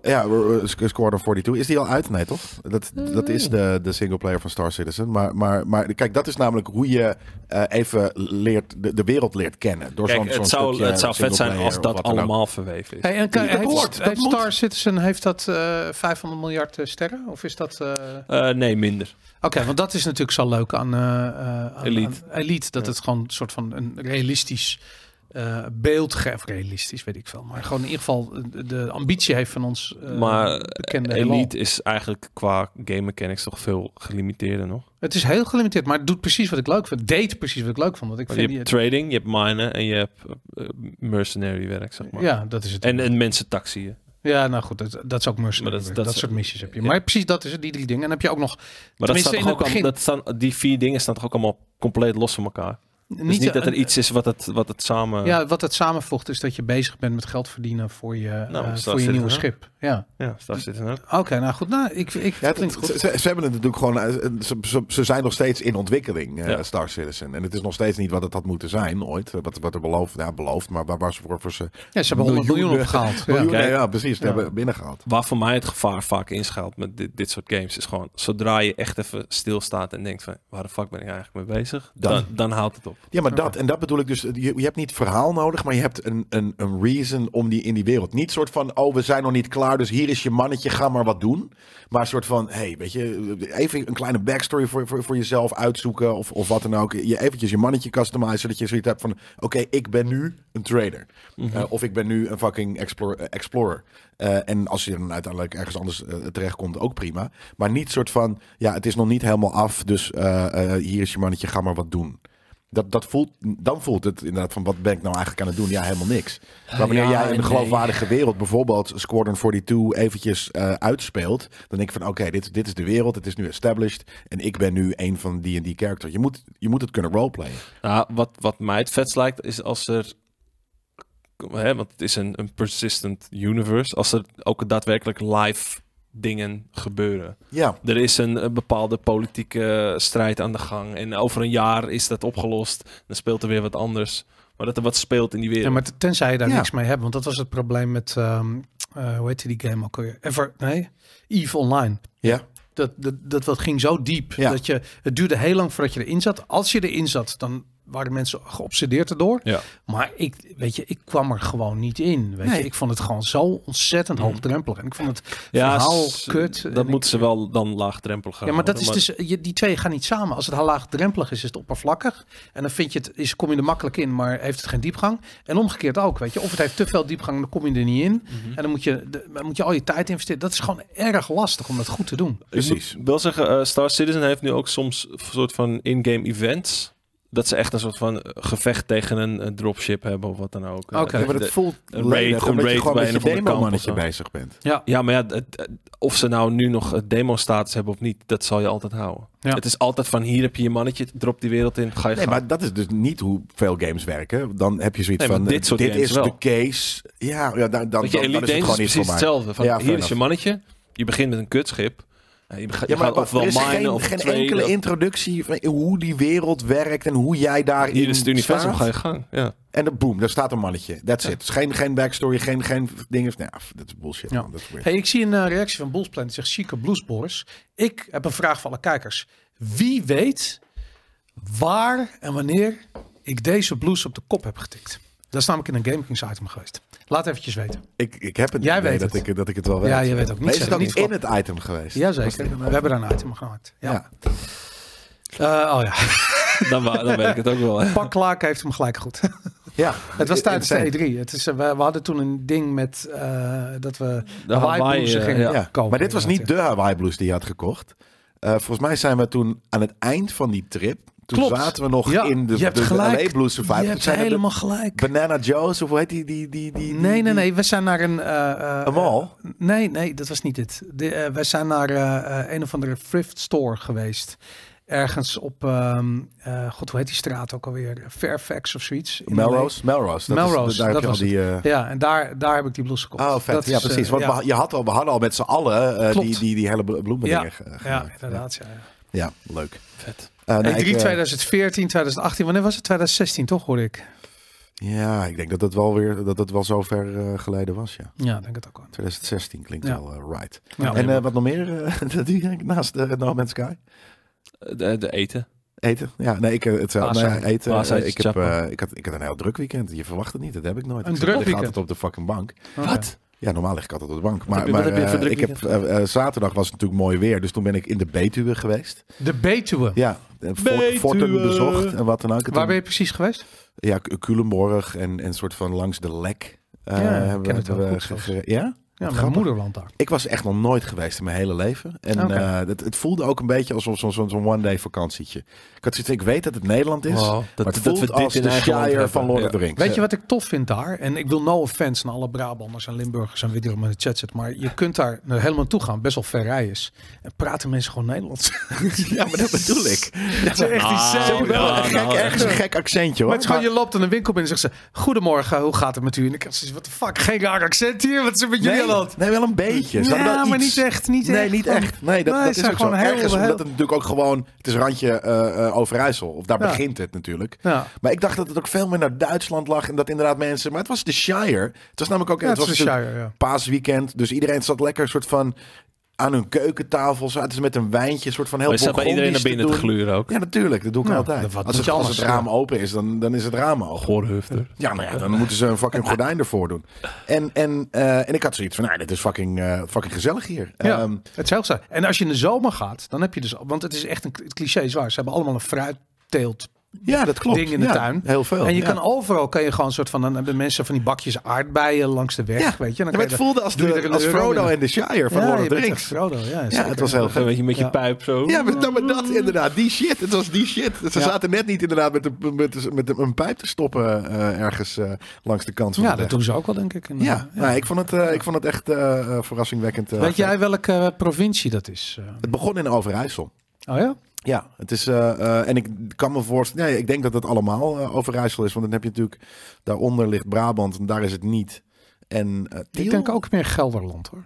S4: Ja, eh, eh, Squadron 42. Is die al uit? Nee, toch? Dat, dat is de, de singleplayer van Star Citizen. Maar, maar, maar kijk, dat is namelijk hoe je eh, even leert, de, de wereld leert kennen. Door
S3: Kijk,
S4: zo'n-
S3: het
S4: zo'n
S3: zou,
S4: stukje
S3: het zou vet zijn
S4: singleplayer
S3: als
S4: of
S3: dat
S4: wat dan ook.
S3: allemaal verweven is.
S1: Hey, en kan,
S4: Dat
S1: heeft,
S4: hoort, dat
S1: heeft
S4: moet.
S1: Star Citizen heeft dat eh, 500 miljard eh, sterren? Of is dat... eh,
S3: Eh, nee, minder.
S1: Oké, want dat is natuurlijk zo leuk aan, eh, eh, aan-
S3: Elite.
S1: aan Elite. Dat
S3: Ja.
S1: het gewoon een soort van een realistisch eh, beeld geeft. Realistisch, weet ik veel. Maar gewoon in ieder geval eh, de ambitie heeft van ons eh,
S3: maar
S1: bekende heelal.
S3: Elite is eigenlijk qua game mechanics toch veel gelimiteerder nog.
S1: Het is heel gelimiteerd, maar het doet precies wat ik leuk vind. Het deed precies wat ik leuk vond. Want ik
S3: Want je
S1: vind
S3: hebt
S1: die-
S3: trading, je hebt minen en je hebt eh, mercenary werk, zeg maar.
S1: ja, dat is het.
S3: En, en mensen taxiën.
S1: ja, nou goed, dat, dat is ook mercenary.
S3: Maar dat-
S1: Dat,
S3: dat-
S1: dat, soort missies heb je.
S3: ja. Dus
S1: Maar precies dat is het, die drie dingen. En dan heb je ook nog
S3: Maar dat
S1: Tenminste,
S3: staat
S1: in
S3: toch
S1: het
S3: ook al-
S1: begin.
S3: dat staan, die vier dingen staan toch ook allemaal compleet los van elkaar.
S1: niet,
S3: Dus niet, dat er
S1: een-
S3: iets is wat het, wat het samen...
S1: Ja, wat het samenvoegt is dat je bezig bent met geld verdienen voor je, eh,
S3: Nou, dat
S1: voor
S3: zit
S1: je
S3: er,
S1: nieuwe
S3: hè?
S1: schip. Ja.
S3: ja daar zit het ook.
S1: Oké, nou goed. Nou, ik, ik
S4: Ja, het-
S1: klinkt goed.
S4: ze, ze- ze hebben het natuurlijk gewoon. eh, Ze, ze, ze zijn nog steeds in ontwikkeling, eh,
S3: Ja.
S4: Star Citizen. En het is nog steeds niet wat het had moeten zijn ooit. eh, Wat, wat er beloofd, ja, beloofd maar waar, waar ze voor, voor ze.
S1: Ja, ze hebben 100 miljoen
S4: miljoenen-
S1: opgehaald.
S4: Ja,
S1: Ja.
S3: kijk.
S4: ja, precies. Ze
S1: Ja.
S4: hebben binnengehaald.
S3: Waar voor mij het gevaar vaak inschuilt met dit, dit soort games is gewoon zodra je echt even stilstaat en denkt van waar de fuck ben ik eigenlijk mee bezig, dan,
S4: Dan.
S3: dan, houdt het op.
S4: Ja, maar dat. En dat bedoel ik dus. Je, je hebt niet verhaal nodig, maar je hebt een, een, een reason om die in die wereld. Niet soort van. Oh, we zijn nog niet klaar. Dus hier is je mannetje. Ga maar wat doen. Maar soort van. hey, weet je. eh, Even een kleine backstory voor, voor, voor jezelf uitzoeken. Of, of wat dan ook. Je eventjes je mannetje customizen. Zodat je zoiets hebt van. Oké, ik ben nu een trader. Eh, of ik ben nu een fucking explore- eh, explorer. Eh, en als je dan uiteindelijk ergens anders terecht terechtkomt, ook prima. Maar niet soort van. Ja, het is nog niet helemaal af. Dus eh, eh, hier is je mannetje. Ga maar wat doen. Dat, dat voelt, dan voelt het inderdaad van wat ben ik nou eigenlijk aan het doen? Ja, helemaal niks. Maar wanneer
S3: ja
S4: jij in
S3: en
S4: een geloofwaardige wereld bijvoorbeeld Squadron 42 eventjes eh, uitspeelt, dan denk ik van oké, dit, dit is de wereld, het is nu established en ik ben nu een van die en die character. Je moet, je moet het kunnen roleplayen.
S3: Nou, wat, wat mij het vetst lijkt is als er, hè, want het is een, een persistent universe, als er ook daadwerkelijk live dingen gebeuren.
S4: Ja.
S3: Er is een, eh, bepaalde politieke strijd aan de gang. En over een jaar is dat opgelost. Dan speelt er weer wat anders. Maar dat er wat speelt in die wereld.
S1: Ja, maar t- tenzij je daar
S4: Ja.
S1: niks mee hebt. Want dat was het probleem met, ehm, eh, hoe heette die game ook alweer? Ever, nee, EVE Online.
S4: Ja.
S1: Dat, dat, dat, dat ging zo diep.
S4: Ja.
S1: Dat je, het duurde heel lang voordat je erin zat. Als je erin zat, dan waren mensen geobsedeerd erdoor.
S3: Ja.
S1: Maar ik, weet je, ik kwam er gewoon niet in. Weet
S4: Nee.
S1: je? Ik vond het gewoon zo ontzettend hoogdrempelig. En ik vond het verhaal
S3: s-
S1: kut. En
S3: Dat
S1: ik-
S3: moeten ze wel dan laagdrempelig gaan
S1: ja, maar dat is
S3: houden.
S1: dus, je, die twee gaan niet samen. Als het laagdrempelig is, is het oppervlakkig. En dan vind je het, is, kom je er makkelijk in, maar heeft het geen diepgang. En omgekeerd ook, weet je. Of het heeft te veel diepgang, dan kom je er niet in. En dan moet je, de- dan moet je al je tijd investeren. Dat is gewoon erg lastig om dat goed te doen.
S4: Precies.
S3: Ik moet wel zeggen, eh, Star Citizen heeft nu ook soms een soort van in-game events. Dat ze echt een soort van eh, gevecht tegen een eh, dropship hebben of wat dan ook. Eh,
S1: Oké.
S4: Ja, maar
S3: de-
S4: het voelt
S3: een raid,
S4: lelijk,
S3: een
S4: omdat je
S3: raid
S4: gewoon
S3: bij
S4: met je
S3: een of ander kamp
S4: demo-mannetje
S3: of zo.
S4: bezig bent.
S1: Ja,
S3: ja, maar ja, het- het- of ze nou nu nog eh, demo-status hebben of niet, dat zal je altijd houden.
S1: Ja.
S3: Het is altijd van hier heb je je mannetje, drop die wereld in, ga je
S4: Nee,
S3: gang.
S4: maar dat is dus niet hoe veel games werken. Dan heb je zoiets
S3: Nee, maar
S4: van,
S3: dit
S4: eh,
S3: soort games
S4: is de
S3: wel.
S4: case. Ja, ja dan, dan, dan,
S3: Want je
S4: dan is
S3: Elite
S4: het
S3: Dangerous
S4: gewoon
S3: is
S4: niet voor
S3: precies
S4: mij.
S3: hetzelfde. Van,
S4: Ja, fair
S3: hier is je
S4: enough.
S3: mannetje, je begint met een kutschip. Eh, Je, bega- je
S4: Ja, maar
S3: gaat ofwel
S4: er is
S3: minen
S4: geen,
S3: of
S4: geen
S3: traden
S4: enkele
S3: of-
S4: introductie van hoe die wereld werkt en hoe jij daarin
S3: Hier is het universum,
S4: staat.
S3: ga je gang. Ja.
S4: En dan boem, daar staat een mannetje. That's it. Dus geen, geen backstory, geen, geen dingen. Nee, af, dat is bullshit.
S1: Ja.
S4: man. Dat is weird.
S1: Hey, ik zie een eh, reactie van Boelsplan. Die zegt, chique bluesboris. Ik heb een vraag voor alle kijkers. Wie weet waar en wanneer ik deze blues op de kop heb getikt? Dat is namelijk in een Game Kings item geweest. Laat eventjes weten.
S4: Ik, ik heb het
S1: Jij
S4: idee
S1: weet
S4: dat,
S1: het.
S4: Ik, dat ik het wel weet.
S1: Ja, je weet ook niet
S4: Maar is het
S1: zeker,
S4: ook
S1: niet
S4: in het item geweest?
S1: Jazeker. We hebben daar een item gemaakt. Ja.
S4: Ja.
S1: Eh, oh ja.
S3: Dan, wa- dan weet ik het ook wel. hè.
S1: Pak Clark heeft hem gelijk goed.
S4: Ja.
S1: Het was tijdens
S4: Insane.
S1: de E3. Het is, eh, we, we hadden toen een ding met eh, dat we de
S3: Hawaii,
S1: Hawaii-bluesen
S3: eh,
S1: gingen
S3: ja.
S4: Ja.
S1: kopen.
S4: Maar dit was niet
S1: inderdaad,
S4: de Hawaii Blues die je had gekocht. Eh, volgens mij zijn we toen aan het eind van die trip. Toen
S1: Klopt.
S4: zaten we nog
S1: Ja,
S4: in de,
S1: je hebt
S4: de, de
S1: gelijk.
S4: LA Blues
S1: ja.
S4: Survivor.
S1: Je
S4: Toen
S1: hebt
S4: zijn we de
S1: helemaal gelijk.
S4: Banana Joe's of hoe heet die? die, die, die, die
S1: Nee, nee,
S4: die-
S1: nee. We zijn naar een... eh, eh,
S4: Een mall?
S1: Nee, nee. Dat was niet dit. De, eh, we zijn naar eh, eh, een of andere thrift store geweest. Ergens op... ehm, eh, God, hoe heet die straat ook alweer? Fairfax of zoiets. in LA.
S4: Melrose? Melrose. Dat
S1: Melrose,
S4: Is, daar heb
S1: dat
S4: je al
S1: was
S4: die... eh,
S1: Ja, en daar, daar heb ik die blouse gekocht.
S4: Oh, vet.
S1: Dat
S4: ja,
S1: is, eh,
S4: precies. Want
S1: ja.
S4: We, je had al, we hadden al met z'n allen eh,
S1: Klopt.
S4: die, die, die hele bloemen
S1: Ja.
S4: dingen ge-
S1: Ja,
S4: gemaakt.
S1: inderdaad. Ja, ja.
S4: Ja, leuk.
S3: Vet.
S4: Eh, nee,
S1: E3
S4: ik, eh,
S1: 2014, 2018. Wanneer was het? 2016, toch hoor ik.
S4: Ja, ik denk dat dat wel weer dat dat wel zo ver eh, geleden was, ja.
S1: Ja, denk het ook wel.
S4: 2016 klinkt
S1: Ja.
S4: wel eh, right.
S1: Ja.
S4: en eh, wat nog meer eh, dat doe je naast de No Man's Sky?
S3: De, de eten.
S4: Eten? Ja, nee, ik, eh, het, eh, nou ja,
S3: Paasei.
S4: eten. eh,
S3: Paaseitje
S4: ik, heb,
S3: chappen.
S4: eh, ik, had, ik had een heel druk weekend. Je verwacht het niet, dat heb ik nooit.
S1: Een
S4: Ik
S1: druk
S4: lig
S1: weekend?
S4: altijd op de fucking bank.
S1: Wat?
S4: Ja, normaal lig ik altijd op de bank.
S3: heb
S4: Maar,
S3: je- wat
S4: maar
S3: heb je voor
S4: eh,
S3: druk
S4: ik heb, eh, eh, zaterdag was het natuurlijk mooi weer. Dus toen ben ik in de Betuwe geweest.
S1: De Betuwe.
S4: Ja, eh, Fort-
S3: Betuwe.
S4: Fortum bezocht en wat dan ook. En
S1: Waar
S4: toen-
S1: ben je precies geweest?
S4: Ja, K- Culemborg en en soort van langs de lek. eh,
S1: Ja, ik
S4: hebben
S1: ken het wel
S4: hebben
S1: goed
S4: ge-
S1: zelfs.
S4: ge- Ja?
S1: Ja, mijn
S4: grappig.
S1: moeder woont daar.
S4: Ik was echt nog nooit geweest in mijn hele leven. En
S1: Oké.
S4: eh, het, het voelde ook een beetje alsof zo'n zo'n zo'n one-day vakantietje. Ik had zoiets, ik weet dat het Nederland is.
S3: Wow,
S4: maar het voelt als de
S3: eigen land
S4: Shire
S3: hebben.
S4: van Lord
S3: Ja.
S4: of the Rings.
S1: Weet je wat ik tof vind daar? En ik wil no offense naar alle Brabanders en Limburgers en wie er allemaal in de chat zit. Maar je kunt daar naar helemaal toe gaan. Best wel ver rij is. En praten mensen gewoon Nederlands.
S4: Ja, maar dat bedoel ik. Dat is echt
S3: Ah,
S4: Ze hebben wel
S1: Oh,
S3: nou,
S4: een gek,
S3: nou,
S4: ergens een gek accentje hoor.
S1: Maar het is gewoon,
S4: Maar-
S1: je loopt in een winkel binnen en zegt ze... Goedemorgen, hoe gaat het met u? En ik heb zoiets wat de fuck, geen raar accent hier? Wat is er met jullie aan de
S4: nee,
S1: hand?
S4: nee, wel een beetje. Ze
S1: Ja,
S4: hadden wel
S1: maar
S4: iets.
S1: niet echt, niet
S4: nee,
S1: echt.
S4: niet
S1: Gewoon-
S4: echt. Nee, dat,
S1: Nee,
S4: dat
S1: ze
S4: is
S1: zijn
S4: ook
S1: gewoon
S4: zo.
S1: heel-
S4: Ergens, omdat
S1: heel-
S4: het natuurlijk ook gewoon... Het is randje eh, eh, Overijssel. Of daar
S1: Ja.
S4: begint het natuurlijk.
S1: Ja.
S4: Maar ik dacht dat het ook veel meer naar Duitsland lag. En dat inderdaad mensen... Maar het was de Shire. Het was namelijk ook...
S1: Ja, het is de
S4: was
S1: Shire, ja.
S4: paasweekend. Dus iedereen zat lekker een soort van... Aan hun keukentafel zaten ze met een wijntje. Een soort van heel
S3: Maar je staat bij iedereen naar
S4: Bourgondisch
S3: binnen te
S4: doen.
S3: gluren ook.
S4: Ja, natuurlijk. Dat doe ik
S1: Ja, dat-
S4: altijd.
S1: wat
S4: Als
S1: moet
S4: het,
S1: je
S4: als het
S1: anders
S4: raam open is, dan, dan is het raam open.
S3: Goorhufter.
S4: Ja, nou ja, dan moeten ze een fucking gordijn ervoor doen. En, en, eh, en ik had zoiets van, nou, dit is fucking, eh, fucking gezellig hier.
S1: Ja,
S4: Ehm,
S1: het is heel saai. En als je in de zomer gaat, dan heb je dus... Want het is echt een het cliché is waar. Ze hebben allemaal een fruitteelt
S4: ja dat klopt.
S1: ding in de
S4: Ja,
S1: tuin.
S4: Heel veel.
S1: En je
S4: ja.
S1: kan overal kan je gewoon een soort van dan hebben mensen van die bakjes aardbeien langs de weg,
S4: Ja,
S1: weet je. En
S4: Ja,
S1: Dan
S4: maar
S1: kan
S4: het
S1: je
S4: voelde als,
S1: doe je
S4: de-
S1: er een
S4: als
S1: euro
S4: Frodo
S1: in.
S4: en de Shire van
S1: Ja,
S4: Lord
S1: je
S4: of the
S1: bent
S4: Rings.
S1: echt Frodo, ja,
S4: Ja,
S1: zeker.
S4: het was heel
S3: Een
S4: gek.
S3: beetje met je
S1: Ja.
S3: pijp zo.
S4: Ja, maar, nou, maar dat inderdaad, die shit. Het was die shit. Ze
S1: Ja.
S4: zaten net niet inderdaad met, de, met, met een pijp te stoppen eh, ergens eh, langs de kant van
S1: Ja,
S4: de weg.
S1: dat doen ze ook wel denk ik. En,
S4: Ja,
S1: eh,
S4: nou, ik, vond het, eh, ik vond het echt eh, eh, verrassingwekkend. eh,
S1: Weet jij welke eh, provincie dat is? Eh,
S4: Het begon in Overijssel.
S1: Oh ja?
S4: Ja, het is. eh, eh, en ik kan me voorstellen. Nee, ik denk dat het allemaal eh, Overijssel is. Want dan heb je natuurlijk. Daaronder ligt Brabant en daar is het niet. En eh, Tiel?
S1: Ik denk ook meer Gelderland hoor.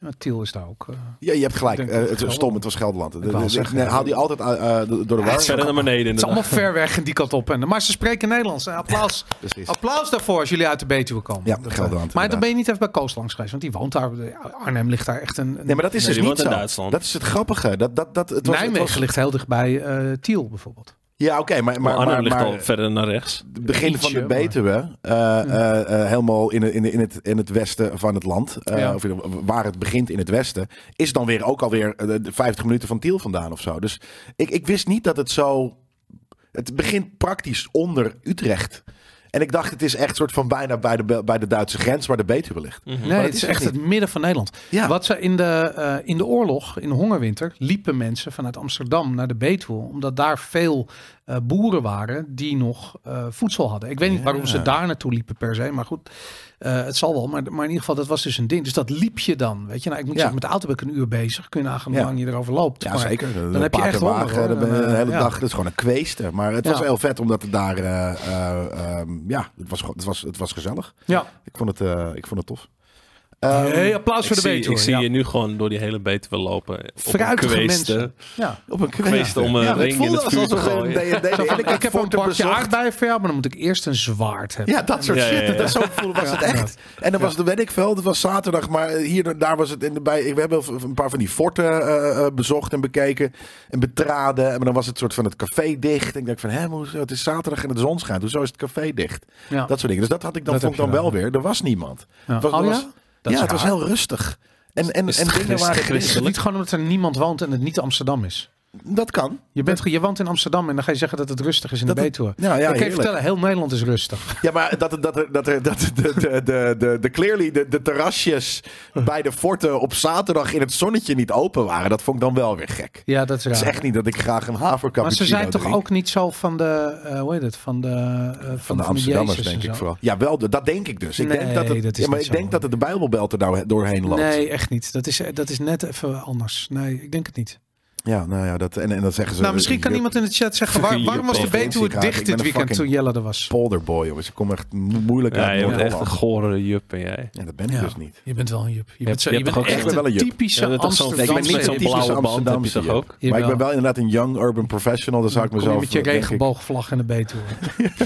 S1: Ja, Tiel is daar ook. eh,
S4: Ja, je hebt gelijk.
S1: Ik denk
S4: Eh,
S1: dat
S4: het
S1: het
S4: was stom, het was Gelderland. De-
S1: wou
S4: de- de-
S1: zeggen,
S4: nee,
S1: ja.
S4: haal die altijd eh, eh, door de war.
S3: Verder naar beneden
S1: het is allemaal
S3: inderdaad.
S1: ver weg en die kant op. En, maar ze spreken Nederlands. Eh, Applaus,
S4: Precies.
S1: applaus daarvoor als jullie uit de Betuwe komen.
S4: Ja,
S1: Dat, eh,
S4: Gelderland.
S1: Maar dan ben je niet even bij Koos langs geweest, want die woont daar. Arnhem ligt daar echt een. een
S4: Nee, maar dat is
S3: Nee, die
S4: dus niet
S3: woont in
S4: zo.
S3: Duitsland.
S4: Dat is het grappige. Dat, dat, dat, het was, het
S1: Nijmegen
S4: was-
S1: ligt heel dichtbij eh Tiel bijvoorbeeld.
S4: ja, oké,
S3: Maar
S4: maar, maar,
S3: Oh, Arnhem
S4: maar,
S3: ligt
S4: maar
S3: al verder naar rechts.
S4: het begin van
S1: ietsje,
S4: de
S1: maar- Hmm.
S4: Betuwe, eh, eh, eh, helemaal in, in, in, het, in het westen van het land, eh,
S1: Ja.
S4: of in- waar het begint in het westen, is dan weer ook alweer eh, de 50 minuten van Tiel vandaan of zo. Dus ik, ik wist niet dat het zo... Het begint praktisch onder Utrecht. En ik dacht, het is echt soort van bijna bij de, bij de Duitse grens waar de Betuwe ligt.
S1: Nee,
S4: dat
S1: het is
S4: is
S1: echt
S4: het
S1: het midden van Nederland.
S4: Ja.
S1: Wat ze in de, eh, in de oorlog, in de hongerwinter, liepen mensen vanuit Amsterdam naar de Betuwe. Omdat daar veel eh, boeren waren die nog eh, voedsel hadden. Ik weet niet waarom ze daar naartoe liepen per se. Maar goed, eh, het zal wel. Maar, maar in ieder geval, dat was dus een ding. Dus dat liep je dan. Weet je, nou, ik moet
S4: Ja.
S1: zeggen, met de auto ben ik een uur bezig. Kun je nagaan hoe
S4: Ja.
S1: lang je erover loopt.
S4: Ja,
S1: Maar
S4: zeker.
S1: Oh Dan heb je echt honger. hoor.
S4: Dan ben je
S1: Dan,
S4: een
S1: eh,
S4: hele
S1: ja.
S4: dag. Het is gewoon een kweester. Maar het
S1: Ja.
S4: was heel vet, omdat het daar. eh, eh, ehm, ja, het was, gewoon- het, was, het was gezellig.
S1: Ja.
S4: Ik vond het, eh, ik vond het tof. Ehm,
S1: hey, applaus
S3: Ik
S1: voor de
S3: zie,
S1: Betuwe.
S3: ik zie
S1: ja.
S3: je nu gewoon door die hele betuwe lopen. Op een
S1: Fruitige
S3: kweeste.
S1: mensen. Ja.
S4: op een
S3: kweest om een ring in het vuur te gooien.
S1: Ik, heb een bakje aardbeien voor jou, maar dan moet ik eerst een zwaard hebben.
S4: Ja, dat soort
S3: Ja, ja,
S4: shit.
S3: ja.
S4: Dat, zo voelde was het echt. En dan was het, weet ik veel, dat was zaterdag. Maar hier, daar was het in de, bij. We hebben een paar van die forten eh, eh, bezocht en bekeken. En betraden. En dan was het soort van het café dicht. En ik dacht van, hè, hoezo? het is zaterdag en de zon schijnt. Hoezo is het café dicht?
S1: Ja.
S4: Dat soort dingen. Dus dat had ik dan,
S1: Dat
S4: vond ik
S1: heb
S4: dan
S1: je
S4: wel weer. Er was niemand.
S1: Ja.
S4: Het was, er
S1: Oh ja?
S4: was-
S1: Dat is
S4: ja, het was
S1: raar.
S4: heel rustig. En, en,
S3: Is
S4: en
S3: het
S4: dingen
S3: christ-
S4: waren
S1: Is het
S3: christelijk?
S1: niet gewoon omdat er niemand woont en het niet Amsterdam is?
S4: Dat kan.
S1: Je, bent, ge- je woont in Amsterdam en dan ga je zeggen dat het rustig is in
S4: Dat
S1: de
S4: het-
S1: Betuwe.
S4: Ja, ja,
S1: ik kan je
S4: heerlijk.
S1: vertellen, heel Nederland is rustig.
S4: Ja, maar dat, er- dat, er- dat, er- dat er- de, de, de, de, de clearly de, de terrasjes bij de forten op zaterdag in het zonnetje niet open waren, dat vond ik dan wel weer gek.
S1: Ja, dat is raar.
S4: Het is echt niet dat ik graag een haverkapje
S1: maar ze zijn toch ook niet zo van de, eh, hoe heet het, van de, eh, van,
S4: van de Amsterdammers, denk ik
S1: wel.
S4: vooral. Ja, wel, dat denk ik dus. Ik
S1: Nee,
S4: denk dat het,
S1: dat is
S4: ja, maar
S1: niet
S4: ik
S1: zo.
S4: denk dat het de Bijbelbelt er nou doorheen loopt.
S1: Nee, echt niet. Dat is, dat is net even anders. Nee, ik denk het niet.
S4: Ja, nou ja, dat, en, en dan zeggen ze.
S1: nou, misschien kan
S4: je-
S1: iemand in de chat zeggen, waar,
S3: Fucking
S1: waarom was de
S4: Europees
S1: Betuwe
S4: Inzicht, ik
S1: dicht
S4: ben
S1: dit
S4: een
S1: weekend toen
S4: fucking-
S1: Jelle er was?
S4: Polderboy, jongens. Ik kom echt mo- moeilijk
S3: Ja,
S4: uit
S3: je bent echt een
S4: Noord-Holland.
S3: gore jup ben jij.
S4: Ja, dat ben ik
S1: Ja.
S4: dus niet.
S1: Je bent wel een jup. Je
S3: hebt-
S1: bent, zo,
S3: je
S1: je
S3: hebt
S1: bent
S3: toch ook
S1: echt
S4: echt wel
S1: een
S4: een jup?
S1: typische
S3: Ja, dat is zo'n-
S4: Nee, ik ben niet
S1: Amsterdamse
S4: zo'n
S3: Amsterdamse
S4: blauwe
S3: typische
S4: band, heb je
S3: Amsterdamse
S4: toch
S3: ook?
S4: ook? Maar ik ben
S1: Jawel.
S4: wel inderdaad een young urban professional. Dan zou ik
S1: Kom je
S4: mezelf eh,
S1: met je
S4: denk ik,
S1: regenboogvlag en de Betuwe.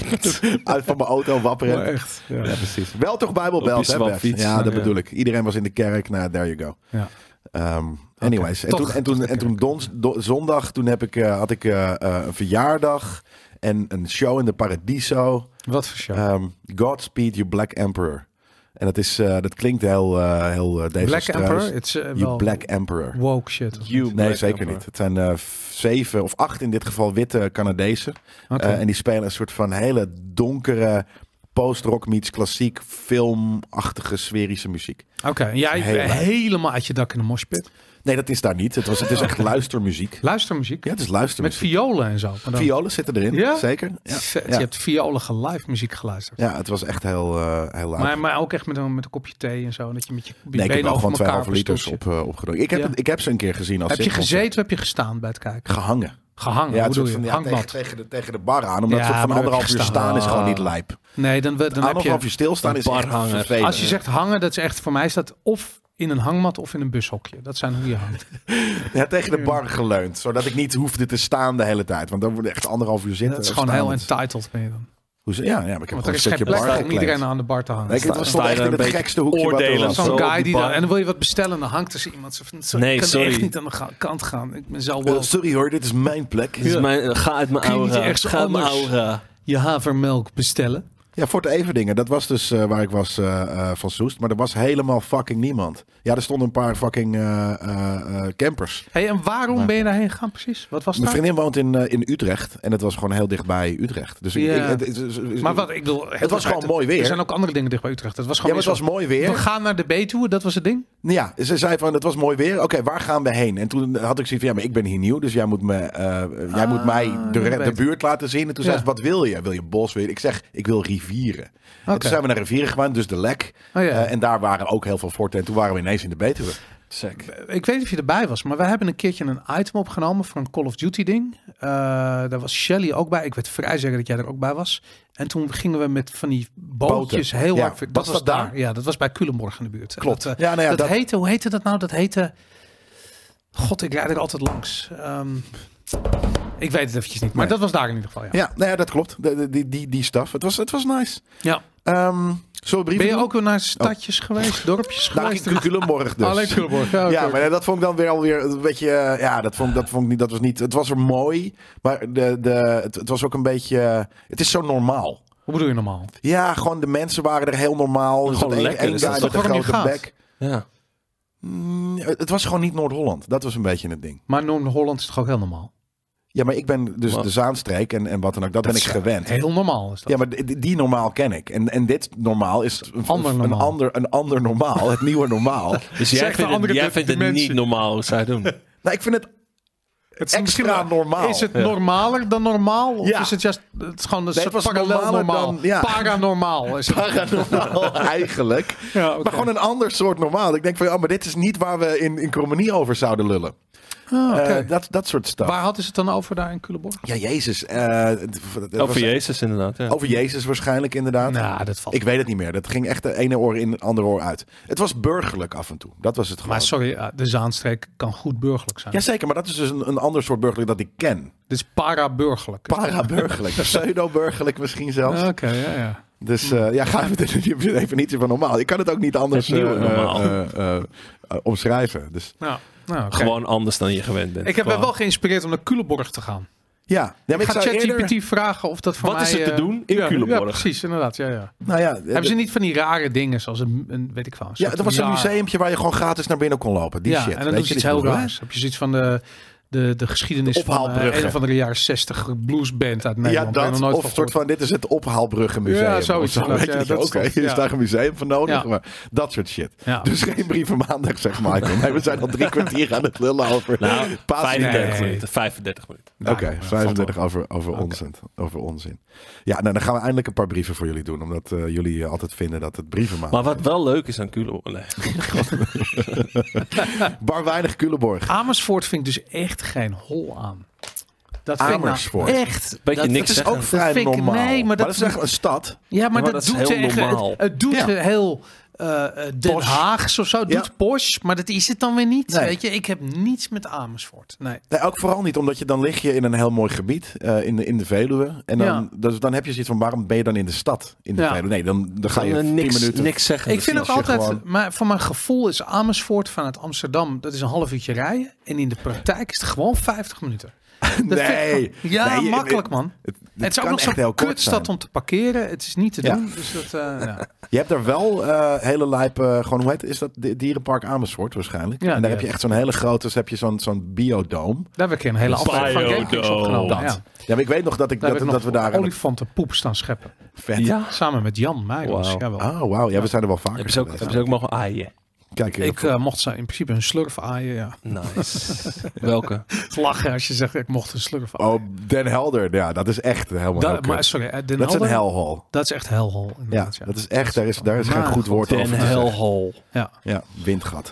S4: uit van mijn auto wapperen.
S1: Maar echt. Ja.
S4: Ja, precies. Wel toch
S3: Op
S4: Bijbelbelt,
S3: je
S4: hè, Bert?
S3: zwapfiets.
S4: Ja, dat
S3: Ja.
S4: bedoel ik. Iedereen was in de kerk. Nou, there you go.
S1: Ja.
S4: Ehm, anyways.
S1: Toch-
S4: en toen, en toen, en toen dons- do- zondag toen heb ik, eh, had ik eh, eh, een verjaardag en een show in de Paradiso.
S1: Wat voor show.
S4: Ehm, Godspeed You Black Emperor. En dat, is, eh, dat klinkt heel, eh heel eh,
S1: Black
S4: desastreus.
S1: Emperor? Het is eh,
S4: You
S1: wel
S4: Black Emperor.
S1: woke shit. of
S3: You
S1: niet?
S4: Nee,
S3: Black
S4: zeker
S3: Emperor.
S4: niet. Het zijn eh, f- zeven of acht in dit geval witte Canadezen.
S1: Oké.
S4: Eh, en die spelen een soort van hele donkere post-rock meets klassiek filmachtige sferische muziek.
S1: Oké, en jij
S4: Heel leuk.
S1: helemaal uit je dak in de moshpit.
S4: Nee, dat is daar niet. Het, was, het is echt luistermuziek.
S1: Luistermuziek.
S4: Ja, het is
S1: Met
S4: luistermuziek.
S1: violen en zo. Maar dan-
S4: Violen zitten erin,
S1: Ja?
S4: zeker. Ja.
S1: Vet,
S4: Ja.
S1: Je hebt violige live muziek geluisterd.
S4: ja, het was echt heel, eh heel laat.
S1: Maar, maar ook echt met een, met een kopje thee en zo. en Dat je met je
S4: nee, ik heb
S1: benen
S4: wel
S1: over
S4: gewoon twee
S1: elkaar
S4: halve
S1: op een
S4: liters
S1: stoeltje.
S4: op, eh, opgedronken. Ik heb,
S1: Ja.
S4: het- ik heb ze een keer gezien als
S1: Heb je
S4: zitconcert.
S1: gezeten of heb je gestaan bij het kijken?
S4: Gehangen.
S1: Gehangen,
S4: Ja,
S1: hoe
S4: het soort
S1: bedoel
S4: van,
S1: je?
S4: ja, tegen,
S1: Hangmat.
S4: tegen, de, tegen de bar aan. Omdat
S1: Ja,
S4: het soort
S1: maar
S4: van
S1: dan heb
S4: anderhalf
S1: je Ah.
S4: uur staan is
S1: gestaan.
S4: gewoon niet lijp.
S1: Nee, dan, we- dan heb
S4: Anderhalf uur
S1: je...
S4: stilstaan is echt
S3: barhanger.
S4: vervelend.
S1: Als je zegt hangen, dat is echt... Voor mij is dat of in een hangmat of in een bushokje. Dat zijn hoe je hangt.
S4: Ja, tegen de bar geleund. Zodat ik niet hoefde te staan de hele tijd. Want dan wordt echt anderhalf uur zitten.
S1: Dat is
S4: eh,
S1: gewoon heel
S4: staand.
S1: entitled ben je dan.
S4: Hoezo? Ja, ja, maar ik heb
S1: Want
S4: gewoon
S1: er
S4: een
S1: is geen
S4: stukje bar
S1: plek om
S4: gekleed.
S1: iedereen aan de bar te hangen.
S4: Nee, ik, het
S3: Sta-
S4: was
S3: sta
S4: stond
S3: je
S4: echt
S3: daar
S4: in
S3: een
S4: het
S3: beetje
S4: gekste hoekje. wat er
S3: oordelen
S4: was.
S3: of zo?
S1: Zo'n
S3: op
S1: guy
S3: de
S1: die dan,
S3: bar.
S1: en dan wil je wat bestellen en dan hangt er iemand zo van, sorry,
S3: Nee,
S1: ik kan
S3: sorry.
S1: echt niet aan de ga- kant gaan. Ik ben zo
S4: Eh,
S1: wel.
S4: sorry hoor, dit is mijn plek.
S3: Dit is mijn, ga uit mijn
S1: Kun je niet
S3: aura.
S1: ergens
S3: Ga uit mijn
S1: anders?
S3: aura.
S1: Je havermelk bestellen.
S4: Ja, Fort Everdingen. Dat was dus eh, waar ik was eh, eh, van Soest. Maar er was helemaal fucking niemand. Ja, er stonden een paar fucking eh, eh, eh, campers.
S1: Hey, en waarom ben je daarheen gegaan precies? Wat was
S4: Mijn
S1: dat?
S4: vriendin woont in, eh, in Utrecht. En het was gewoon heel dichtbij Utrecht. Dus ik-
S1: Ja.
S4: ik, het, het- het- het-
S1: Maar wat, ik bedoel,
S4: Het was gewoon mooi weer.
S1: Er zijn ook andere dingen dicht bij Utrecht. Het was
S4: ja, maar
S1: gewoon
S4: het was
S1: weer zo-
S4: mooi weer.
S1: we gaan naar de Betuwe, dat was het ding.
S4: Ja, ze zei van het was mooi weer. Oké, waar gaan we heen? En toen had ik zoiets van ja, maar ik ben hier nieuw, dus jij moet, me, eh, jij
S1: Ah,
S4: moet mij de,
S1: dat
S4: re-
S1: weet
S4: de
S1: ik.
S4: buurt laten zien. En toen
S1: Ja.
S4: zei ze, wat wil je? Wil je bos? Wil je- Ik zeg, ik wil rivieren. En
S1: Oké.
S4: toen zijn we naar rivieren gegaan, dus de Lek.
S1: Oh ja.
S4: Eh, en daar waren ook heel veel forten. En toen waren we ineens in de Betuwe.
S3: Sec.
S1: Ik weet niet of je erbij was, maar wij hebben een keertje een item opgenomen voor een Call of Duty ding. Eh, daar was Shelly ook bij. Ik weet vrij zeker dat jij er ook bij was. En toen gingen we met van die bootjes
S4: Boten.
S1: heel
S4: Ja,
S1: hard.
S4: was dat daar?
S1: Ja, dat was bij Culemborg in de buurt. En
S4: Klopt.
S1: Dat, eh,
S4: ja, nou ja,
S1: dat,
S4: dat,
S1: heette, hoe heette dat nou? Dat heette. God, ik rijd er altijd langs. Ehm, ik weet het eventjes niet, maar
S4: Nee.
S1: dat was daar in ieder geval. Ja.
S4: ja, nou ja, dat klopt. De- de- die, die, die staf. Het was, het was nice.
S1: Ja.
S4: Ehm zullen we brieven
S1: Ben je
S4: doen?
S1: ook weer naar stadjes geweest, dorpjes
S4: Nou,
S1: geweest?
S4: in Oh. Culemborg dus.
S1: Alleen Culemborg. Ja,
S4: Ja,
S1: oké.
S4: maar dat vond ik dan weer alweer een beetje... eh, Ja, dat vond, ik- dat vond ik niet... Dat was niet... Het was er mooi, maar de, de, het, het was ook een beetje... eh, Het is zo normaal.
S1: Hoe bedoel je normaal?
S4: Ja, gewoon de mensen waren er heel normaal. Er
S3: Gewoon
S4: zat één-
S3: lekker,
S4: één
S3: dus
S4: guy
S3: dat is
S4: met
S1: toch
S4: een
S1: waarom je
S4: grote
S1: gaat?
S4: bek.
S3: Ja.
S4: Mm, het was gewoon niet Noord-Holland. Dat was een beetje het ding.
S1: Maar Noord-Holland is toch ook heel normaal?
S4: Ja, maar ik ben dus
S3: Wat?
S4: de Zaanstreek en, en wat dan ook. Dat, ben ik
S1: is
S4: gewend.
S1: Heel normaal is dat.
S4: Ja, maar die, die normaal ken ik. En, en dit normaal is een,
S1: Ander
S4: Een,
S1: normaal.
S4: ander, een ander normaal. Het nieuwe normaal.
S3: Dus
S1: Zeg
S3: jij
S1: de
S3: vindt, het,
S1: andere
S3: jij
S1: dim-
S3: vindt het niet
S1: dimensie.
S3: normaal hoe zij doen.
S4: nou, ik vind het
S1: het is misschien
S4: extra
S1: wel-
S4: normaal.
S1: Is het
S3: Ja.
S1: normaler dan normaal? Of
S4: Ja.
S1: is het, juist, het is gewoon een
S4: het
S1: soort
S4: was
S1: parallel
S4: normaler
S1: normaal?
S4: dan- ja. Eh,
S1: Paranormaal is het.
S4: paranormaal eigenlijk?
S1: Ja, oké.
S4: Maar gewoon een ander soort normaal. Ik denk van, ja, maar dit is niet waar we in, in Cromenie over zouden lullen.
S1: Ah, oké.
S4: Eh, dat, dat soort stuff.
S1: Waar hadden ze het dan over daar in Culemborg?
S4: Ja, Jezus. eh, het- het was-
S3: Over Jezus inderdaad. Ja.
S4: over Jezus waarschijnlijk inderdaad.
S1: Nou, dat valt.
S4: Ik weet het niet meer. Dat ging echt de ene oor in, het andere oor uit. Het was burgerlijk af en toe. Dat was het gewoon.
S1: maar sorry, eh, de Zaanstreek kan goed burgerlijk zijn.
S4: Jazeker, maar dat is dus een, een ander soort burgerlijk dat ik ken.
S1: Dit is para-burgerlijk.
S4: Para-burgerlijk. Pseudo-burgerlijk misschien zelfs.
S1: Ah, Oké, ja, ja.
S4: Dus eh, ja, ga even de definitie van normaal. Ik kan het ook niet anders
S3: Het nieuwe
S4: eh, eh,
S3: normaal.
S4: eh, eh, eh, omschrijven. Dus
S1: Nou, nou, oké.
S3: Gewoon anders dan je gewend bent.
S1: Ik heb mij
S3: Qua-
S1: wel geïnspireerd om naar Culemborg te gaan.
S4: ja, ja maar
S1: ik
S4: ik
S1: ga
S4: zou
S1: ChatGPT
S4: eerder...
S1: vragen of dat voor
S3: Wat
S1: mij...
S3: is er te
S1: eh,
S3: doen in
S1: ja,
S3: Culemborg?
S1: Ja, precies, inderdaad. Ja, ja.
S4: Nou ja,
S1: Hebben ze niet van die rare dingen zoals een, een weet ik wel.
S4: ja, er was een
S1: museum.
S4: museumpje waar je gewoon gratis naar binnen kon lopen. Die
S1: ja,
S4: shit.
S1: en
S4: weet
S1: dan doe
S4: je
S1: je iets
S4: die
S1: heel
S4: bedoel, hè?
S1: raars. Heb je zoiets van de, de, de geschiedenis
S4: De
S1: van eh,
S4: ophaalbruggen.
S1: een of andere jaren 60 bluesband uit Nederland.
S4: Ja,
S1: Daar heb
S4: dat.
S1: ik nog nooit
S4: Of een soort
S1: gehoord.
S4: van, dit is het ophaalbruggenmuseum.
S1: Ja,
S4: of
S1: zoiets
S4: zo,
S1: inderdaad.
S4: weet je,
S1: Ja,
S4: dat
S1: dat
S4: je,
S1: is
S4: Oké,
S1: tof.
S4: hier is
S1: Ja.
S4: daar een museum voor nodig.
S1: Ja.
S4: Maar dat soort shit.
S1: Ja.
S4: Dus geen brieven maandag, zeg Michael. Nee, we zijn al drie kwartier aan het lullen over
S3: Nou,
S4: Pasen.
S3: 35
S1: Nee.
S3: minuten. 35 minuten.
S4: Oké,
S1: nou,
S4: 35 over, over, onzin, over onzin. Ja, nou, dan gaan we eindelijk een paar brieven voor jullie doen. Omdat eh, jullie eh, altijd vinden dat het brieven
S3: Maar
S4: maakt.
S3: wat wel leuk is aan Culemborg... Nee.
S4: Bar weinig Culemborg.
S1: Amersfoort vind ik dus echt geen hol aan. Dat vind ik nou
S4: Amersfoort.
S1: echt.
S3: Beetje
S1: dat,
S3: niks
S4: Dat is
S3: zeggen.
S4: ook vrij
S1: vind ik-
S4: normaal.
S1: nee, maar
S4: maar dat,
S1: dat-
S4: is echt een stad.
S1: Ja, maar,
S3: maar
S1: dat,
S3: dat is
S1: doet
S3: heel
S1: echt,
S3: normaal.
S1: het, het doet
S4: Ja.
S1: heel eh, eh, Den
S4: Posh.
S1: Haag of zo. Doet
S4: Ja.
S1: Porsche, maar dat is het dan weer niet.
S4: Nee.
S1: Weet je, ik heb niets met Amersfoort. Nee.
S4: Nee, ook vooral niet, omdat je dan lig je in een heel mooi gebied, eh, in, de, in de Veluwe. En dan,
S1: Ja.
S4: dus dan heb je zoiets van, waarom ben je dan in de stad? In de
S1: Ja.
S4: Veluwe? Nee, dan, dan ga
S3: Kan
S4: je
S3: je
S4: tien
S3: eh, niks,
S4: minuten...
S3: niks zeggen.
S1: Ik vind
S4: als
S1: het
S4: je
S1: altijd,
S4: gewoon-
S1: maar voor mijn gevoel is Amersfoort vanuit Amsterdam, dat is een half uurtje rijden. En in de praktijk is het gewoon 50 minuten. Dat
S4: Nee.
S1: vind ik- ja,
S4: Nee, je-
S1: makkelijk man.
S4: Het,
S1: Het, is ook
S4: kan
S1: nog
S4: echt heel
S1: zo'n
S4: kort
S1: kutstad
S4: zijn.
S1: om te parkeren. Het is niet te
S4: Ja.
S1: doen. Dus dat, eh, ja.
S4: Je hebt daar wel eh, hele lijpe, gewoon hoe heet is dat? Di- Dierenpark Amersfoort waarschijnlijk.
S1: Ja,
S4: en daar
S1: die
S4: heb je
S1: heb
S4: echt zo'n hele grote, dus heb je zo'n zo'n biodoom.
S1: Daar heb ik een hele aflevering van
S3: Biodome.
S1: Gamekings opgenomen. Ja.
S4: Dat. Ja. maar ik weet nog dat, ik,
S1: Daar
S4: dat,
S1: heb ik
S4: dat,
S1: nog
S4: we daar...
S1: olifantenpoep staan scheppen.
S4: Vet.
S3: Ja.
S1: Samen met Jan Meijers.
S3: Wauw.
S1: Jawel.
S4: Oh, wauw. Ja, we zijn er wel vaker
S3: Hebben ze ook,
S4: geweest.
S3: hebben ze ook mogen aaien.
S4: Kijk, eh,
S1: Ik eh, mocht ze in principe een slurf aaien. Ja.
S3: Nice. Welke?
S1: Het lachen als je zegt ik mocht een slurf aaien.
S4: Oh, Den Helder. Ja, dat is echt helemaal
S1: eh, Da-
S4: heel kut.
S1: maar sorry, eh, Den
S4: Dat is
S1: Helder-
S4: een helhol.
S1: Dat is echt helhol.
S4: Ja,
S1: inderdaad,
S4: dat is echt, daar is, daar is geen
S1: Maar
S4: goed woord over.
S3: Den
S4: te zeggen.
S3: Helhol.
S1: ja.
S4: Ja, windgat.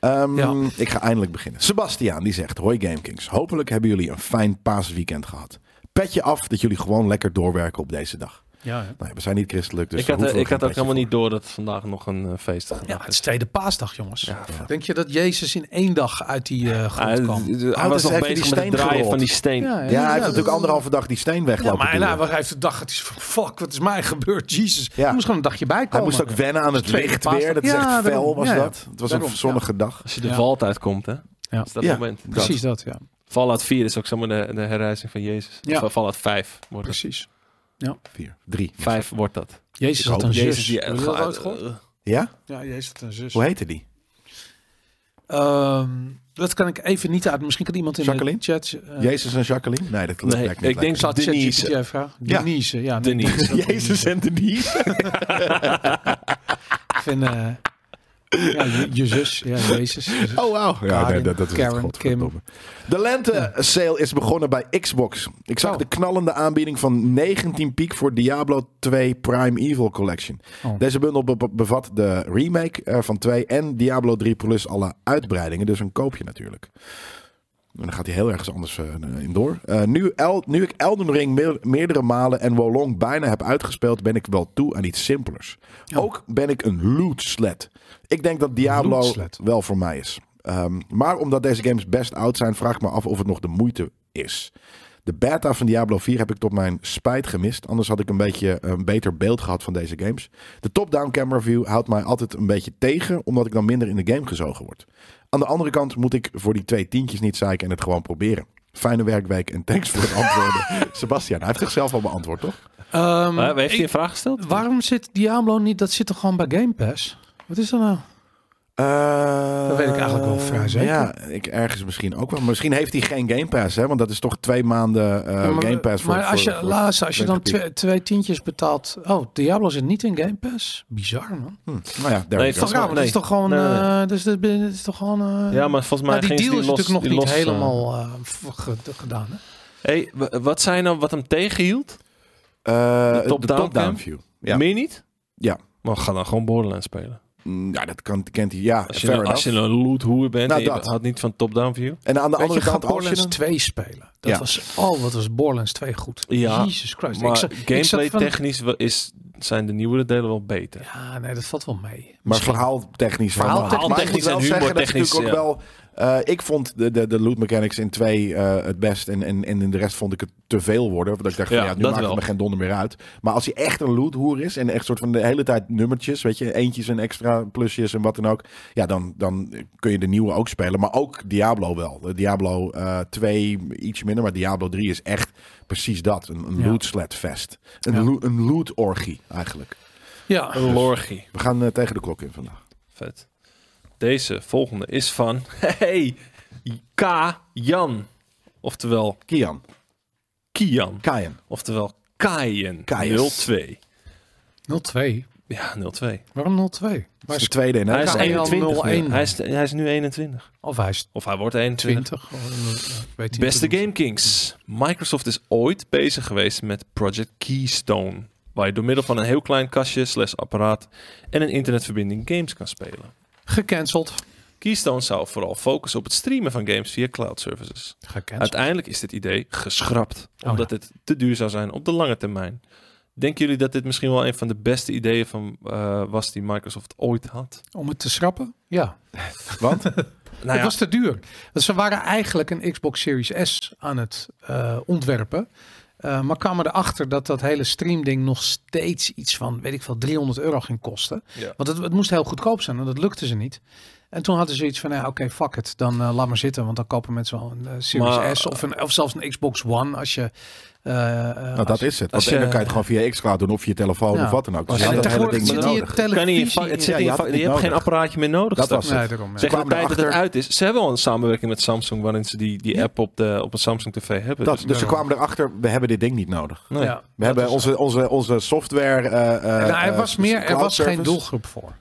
S4: Ehm,
S1: Ja.
S4: Ik ga eindelijk beginnen. Sebastiaan die zegt: Hoi Gamekings, hopelijk hebben jullie een fijn paasweekend gehad. Petje af dat jullie gewoon lekker doorwerken op deze dag.
S1: Ja, ja.
S4: Nou ja, we zijn niet christelijk, dus
S3: ik had, eh,
S4: daar hoeven
S3: ik had
S4: we
S3: ook
S4: geen
S3: helemaal
S4: petje
S3: niet door dat vandaag nog een eh, feest gedaan
S1: Ja, het is
S3: is.
S1: tweede paasdag, jongens. Denk je dat Jezus in één dag uit die eh
S3: Ah,
S1: grond
S3: Hij,
S1: kwam?
S3: hij
S4: dat is
S3: was nog
S4: even die
S3: bezig met
S4: steen
S3: het draaien
S4: gerold.
S3: van die steen.
S4: voor. Ja, hij heeft natuurlijk anderhalve dag die steen
S1: Ja,
S4: weglopen.
S1: maar hij- hij heeft de dag, het is van, fuck, wat is mij gebeurd, Jezus.
S4: Ja.
S1: Hij moest gewoon een dagje bijkomen.
S4: hij moest ook wennen aan het
S1: tweede
S4: licht
S1: paasdag.
S4: weer. Dat is
S1: Ja,
S4: echt fel
S1: daarom.
S4: was
S1: Ja, ja.
S4: dat. Het was
S1: Daarom,
S4: een
S1: ja.
S4: zonnige dag.
S3: Als je de
S1: Ja.
S3: valt uitkomt, hè? Ja. Is dat
S4: Ja,
S3: moment. Dat.
S1: Precies dat, ja.
S3: Fallout 4 is ook zomaar de, de herrijzing van Jezus.
S1: Ja.
S3: Of eh, Fallout 5 wordt het.
S1: Precies.
S4: Vier, drie.
S3: 5 wordt dat.
S1: Jezus
S4: Ik
S1: had
S4: hoop
S1: een
S3: Jezus
S1: zus.
S3: die
S1: Heb je dat ooit gehoord?
S3: eh,
S4: Ja?
S1: Ja, Jezus had een zus.
S4: Hoe heette die?
S1: Ehm, dat kan ik even niet uit. Misschien kan iemand in
S4: Jacqueline?
S1: de chat... eh,
S4: Jezus en Jacqueline? Nee, dat klopt
S3: Nee,
S4: niet.
S3: ik denk
S1: ik zal het
S3: Denise.
S1: ChatGPT even vragen.
S4: Ja.
S1: Denise, ja. nee,
S3: Denise.
S1: dat-
S4: Jezus en Denise.
S1: Ik vind... eh, Ja, je, je zus. Ja, Jezus. Jezus.
S4: Oh, wauw. Ja,
S1: Karin,
S4: nee, dat, dat is
S1: Karen,
S4: het godverdomme. De lente-sale is begonnen bij Xbox. Ik zag
S1: Oh.
S4: de knallende aanbieding van 19 piek voor Diablo 2 Prime Evil Collection.
S1: Oh.
S4: Deze bundel be- be- bevat de remake eh, van 2 en Diablo 3 plus alle uitbreidingen. Dus een koopje natuurlijk. En dan gaat hij heel ergens anders eh, in door. Eh, nu, El- nu ik Elden Ring meer- meerdere malen en Wolong bijna heb uitgespeeld, ben ik wel toe aan iets simpelers.
S1: Oh.
S4: Ook ben ik een loot slet. Ik denk dat Diablo
S1: Loot slet.
S4: wel voor mij is. Ehm, maar omdat deze games best oud zijn, vraag ik me af of het nog de moeite is. De beta van Diablo 4 heb ik tot mijn spijt gemist. Anders had ik een beetje een beter beeld gehad van deze games. De top-down camera view houdt mij altijd een beetje tegen, omdat ik dan minder in de game gezogen word. Aan de andere kant moet ik voor die twee tientjes niet zeiken en het gewoon proberen. Fijne werkweek en thanks voor het antwoorden. Sebastian, hij heeft zichzelf al beantwoord, toch?
S1: Ehm,
S3: Maar heeft
S1: ik-
S3: hij een vraag gesteld?
S1: waarom zit Diablo niet? Dat zit toch gewoon bij Game Pass? Wat is dat nou?
S4: dat
S1: Eh, weet ik eigenlijk wel vrij zeker.
S4: Ja, ik ergens misschien ook wel. Misschien heeft hij geen Game Pass, hè? Want dat is toch twee maanden eh
S1: Ja, maar-
S4: Game Pass voor
S1: maar als
S4: voor-
S1: je,
S4: voor-
S1: laatst, als je dan
S4: 20
S1: twee, twee tientjes betaalt. Oh, Diablo zit niet in Game Pass. Bizar, man.
S4: Hm, Nou ja, daar
S3: Nee,
S4: is
S1: Dat
S4: het.
S1: is
S3: is
S1: raar,
S3: wel-
S1: want het is
S3: nee.
S1: toch gewoon.
S3: Nee, nee.
S1: eh, dus dit dit is toch gewoon. eh,
S3: Ja, maar volgens
S1: nou,
S3: mij
S1: die
S3: ging
S1: deal is
S3: los,
S1: natuurlijk nog
S3: die
S1: niet
S3: los, eh,
S1: helemaal eh, v- ge- gedaan. Hè?
S3: Hey, w- wat zei je nou wat hem tegenhield?
S4: Eh,
S3: De
S4: de
S3: top-down
S4: top-down
S3: cam?
S4: view. Ja.
S3: Meer niet?
S4: Ja.
S3: Maar ga dan gewoon Borderlands spelen.
S4: Mm, ja, dat kan, kent hij. Ja,
S3: Als je,
S4: fair
S3: een- als je
S4: enough.
S3: een loot hoer bent,
S4: Nou,
S3: en je
S4: dat.
S3: had niet van top-down view.
S4: En aan
S1: Weet
S4: de
S1: je,
S4: andere
S1: ga
S4: kant, als je
S1: Borderlands
S4: een-
S1: 2 spelen. Dat
S4: Ja.
S1: was, oh, wat was Borderlands 2 goed.
S3: Ja,
S1: Jesus Christ.
S3: Maar
S1: zat- zat
S3: gameplay
S1: van-
S3: technisch wel- is, zijn de nieuwere delen wel beter.
S1: Ja, nee, dat valt wel mee.
S4: Maar
S1: Misschien-
S4: verhaaltechnisch. wel.
S1: Verhaaltechnisch
S4: Maar ik moet
S3: en
S4: wel zeggen, dat is
S3: humortechnisch,
S4: natuurlijk ook wel... eh, ik vond de, de, de loot mechanics in twee eh, het best. En, en, en in de rest vond ik het te veel worden. Want ik dacht, van,
S3: Ja,
S4: ja, nu
S3: dat
S4: maakt het
S3: wel.
S4: me geen donder meer uit. Maar als hij echt een loothoer is. En echt soort van de hele tijd nummertjes. Weet je, eentjes en extra plusjes en wat dan ook. Ja, dan, dan kun je de nieuwe ook spelen. Maar ook Diablo wel. Eh, Diablo eh 2 iets minder. Maar Diablo 3 is echt precies dat. Een, een
S1: Ja.
S4: loot slat fest. Een,
S1: Ja.
S4: loo- een loot orgie eigenlijk.
S1: Ja.
S3: Een lorgie.
S4: We gaan eh, tegen de klok in vandaag.
S3: Vet. Deze volgende is van hey, K. Jan. Oftewel
S4: Kian.
S3: Kian.
S4: Kaien.
S3: Oftewel Kaien.
S4: Kaius.
S3: 02.
S1: 0-2.
S3: Ja, 02.
S1: Waarom 0-2?
S4: Maar
S1: Maar
S4: is de
S1: is-
S4: tweede in
S3: hij is
S1: Kaien.
S3: 21. nu.
S1: 01.
S3: Hij is, hij is nu 21.
S1: Of hij is
S3: Of hij wordt 21.
S1: 20. of, eh, ik weet niet
S3: Beste
S1: hoe-
S3: Game Kings, Microsoft is ooit bezig geweest met Project Keystone, waar je door middel van een heel klein kastje slash apparaat en een internetverbinding games kan spelen.
S1: Gecanceld.
S3: Keystone zou vooral focussen op het streamen van games via cloud services.
S1: Gecanceld.
S3: Uiteindelijk is Oh, dit idee geschrapt,
S1: ja.
S3: omdat het te duur zou zijn op de lange termijn. Denken jullie dat dit misschien wel een van de beste ideeën van, eh, was die Microsoft ooit had?
S1: Om het te schrappen? Ja.
S4: Want?
S3: Nou ja,
S1: Het was te duur. Dus ze waren eigenlijk een Xbox Series S aan het eh, ontwerpen. Eh, maar kwamen erachter dat dat hele streamding nog steeds iets van, weet ik veel, 300 euro ging kosten.
S3: Ja.
S1: Want het, het moest heel goedkoop zijn en dat lukte ze niet. En toen hadden ze iets van, ja, oké, fuck it, dan eh, laat maar zitten. Want dan kopen mensen wel een eh, Series
S3: Maar-
S1: S of, een, of zelfs een Xbox One als je... eh, eh,
S4: Nou,
S1: als-
S4: dat is het.
S3: als
S4: Want en
S3: je-
S4: dan kan je het gewoon via xCloud doen of je telefoon
S1: Ja.
S4: of wat dan ook. Dus
S1: En
S4: je had dat hele
S1: tegenwoordig
S4: ding niet
S1: zit hier
S4: nodig.
S3: kan niet in
S1: televisie
S3: fa- het zit
S4: Ja,
S3: in
S4: je
S3: fa-
S4: had het
S3: je
S4: niet
S3: hebt geen
S4: nodig.
S3: apparaatje meer nodig.
S4: Dat
S3: straks.
S4: was
S1: Nee,
S4: het.
S1: daarom. ja.
S3: Zeg de
S4: kwamen
S3: tijd dat het
S4: erachter-
S3: uit is. Ze hebben wel een samenwerking met Samsung waarin ze die, die app op, de, op een Samsung TV hebben.
S4: Dat,
S3: Dus-
S4: dus ze kwamen erachter, we hebben dit ding niet nodig.
S3: nee.
S1: Ja,
S4: We hebben onze, onze, onze software. eh, eh,
S1: Nou, er
S4: eh,
S1: was, meer, er
S4: cloud
S1: was geen
S4: service.
S1: doelgroep voor.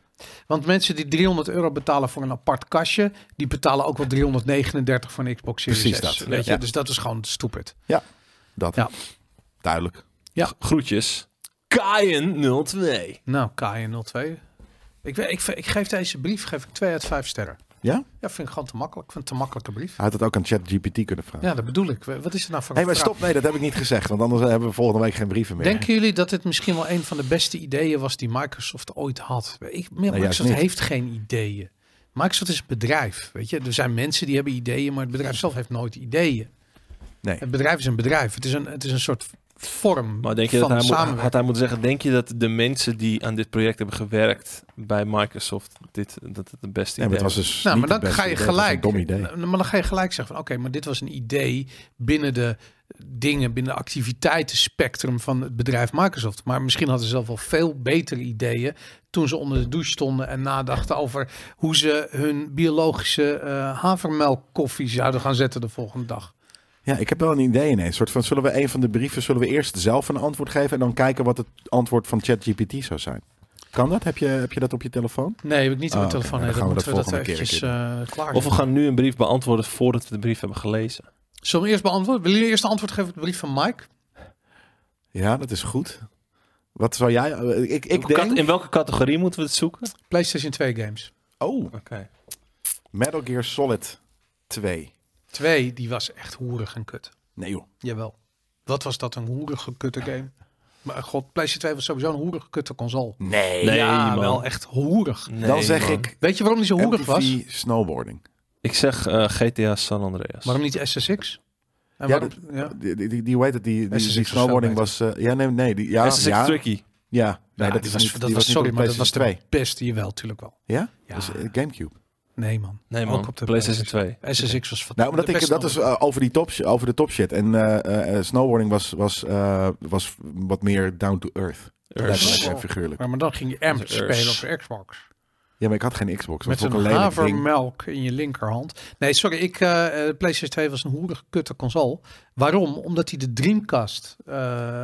S1: Want mensen die 300 euro betalen voor een apart kastje, die betalen ook wel 339 voor een Xbox Series
S4: Precies
S1: S.
S4: dat.
S1: Weet je?
S4: Ja.
S1: Dus dat is gewoon stupid.
S4: Dat.
S1: Ja.
S4: Duidelijk.
S3: Groetjes. Kaien 02.
S1: Nou, KN02. Ik, weet- ik, ik geef deze brief geef ik 2 uit 5 sterren.
S4: Ja?
S1: Ja, vind ik gewoon te makkelijk. Ik vind het een te makkelijke brief.
S4: Hij had het ook aan ChatGPT kunnen vragen.
S1: Ja, dat bedoel ik. Wat is er nou voor
S4: Hé,
S1: een
S4: Ah. maar
S1: vraag?
S4: stop. Nee, dat heb ik niet gezegd. Want anders hebben we volgende week geen brieven meer.
S1: Denken jullie dat dit misschien wel een van de beste ideeën was die Microsoft ooit had? Ik, Microsoft
S4: Nou niet.
S1: heeft geen ideeën. Microsoft is een bedrijf, weet je. Er zijn mensen die hebben ideeën, maar het bedrijf zelf heeft nooit ideeën.
S4: Nee.
S1: Het bedrijf is een bedrijf. Het is een, het is een soort vorm
S3: Maar denk je
S1: van
S3: dat hij moet, had
S1: samenwerking.
S3: hij moeten zeggen, denk je dat de mensen die aan dit project hebben gewerkt bij Microsoft, dit, dat het de beste
S4: Nee, maar
S3: idee
S4: het was dus
S1: Nou,
S4: niet
S1: maar
S4: het
S1: dan
S4: beste
S1: ga je
S4: idee. Het was
S1: gelijk.
S4: Een dom idee.
S1: Nou, Maar dan ga je gelijk zeggen van oké, maar dit was een idee binnen de dingen, binnen de activiteitenspectrum van het bedrijf Microsoft. Maar misschien hadden ze zelf wel veel betere ideeën toen ze onder de douche stonden en nadachten over hoe ze hun biologische eh havermelkkoffie zouden gaan zetten de volgende dag.
S4: Ja, ik heb wel een idee ineens. Soort van, zullen we een van de brieven, zullen we eerst zelf een antwoord geven en dan kijken wat het antwoord van ChatGPT zou zijn? Kan dat? Heb je, heb je dat op je telefoon?
S1: Nee, heb ik niet op
S4: Ah,
S1: mijn
S4: oké.
S1: telefoon.
S4: Dan
S1: Nee, dan
S4: gaan we
S1: moeten we dat
S4: dat volgende keer
S1: eventjes eh,
S4: dus-
S1: klaar
S3: Of we gaan nu een brief beantwoorden voordat we de brief hebben gelezen.
S1: Zullen we eerst beantwoorden? Willen jullie eerst een antwoord geven op de brief van Mike?
S4: Ja, dat is goed. Wat zou jij... eh, Ik, ik
S3: Welke cat-
S4: denk...
S3: In welke categorie moeten we het zoeken?
S1: PlayStation 2 games.
S4: Oh,
S3: Oké.
S4: Metal Gear Solid 2.
S1: 2, die was echt hoerig en kut.
S4: Nee joh.
S1: Jawel. Wat was dat, een hoerige kutte game? Maar god, PlayStation 2 was sowieso een hoerige kutte console.
S4: Nee.
S3: Nee,
S1: ja,
S3: man.
S1: wel echt hoerig.
S4: Dan zeg ik
S1: Weet je waarom die zo hoerig was?
S4: MTV snowboarding.
S3: Ik zeg eh, GTA San Andreas.
S1: Waarom niet SSX? En
S4: Ja,
S1: waarom, ja.
S4: Die, die, die, die, hoe heet het? Die, die,
S1: SSX
S4: die
S1: was
S4: snowboarding
S1: veel
S4: was... eh, ja, nee, nee. Die, ja,
S3: Dat is
S4: ja,
S3: tricky.
S4: Ja. Nee,
S1: Ja,
S4: dat
S1: die
S4: is niet,
S1: dat
S4: die was niet
S1: sorry,
S4: op de
S1: maar dat was
S4: PlayStation 2.
S1: de beste. Jawel, tuurlijk wel.
S4: Ja?
S1: Ja.
S4: Dus eh, Gamecube.
S1: Nee man.
S3: Nee man,
S1: Ook op de
S3: PlayStation 2.
S1: SSX was fantastisch.
S4: Nou, omdat ik, dat is eh, over, die top, over de top shit. En eh, eh, snowboarding was, was, eh, was wat meer down to earth.
S1: Earth. Oh.
S4: Letterlijk en figuurlijk.
S1: maar, maar dan ging je Amp
S3: Dat is
S1: spelen
S3: Earth.
S1: op de Xbox.
S4: Ja, maar ik had geen Xbox. Dat
S1: Met
S4: vond
S1: een
S4: ik een lelijk ding.
S1: havermelk in je linkerhand. Nee, sorry, ik, eh, eh, PlayStation 2 was een hoerige kutte console. Waarom? Omdat hij de Dreamcast... eh,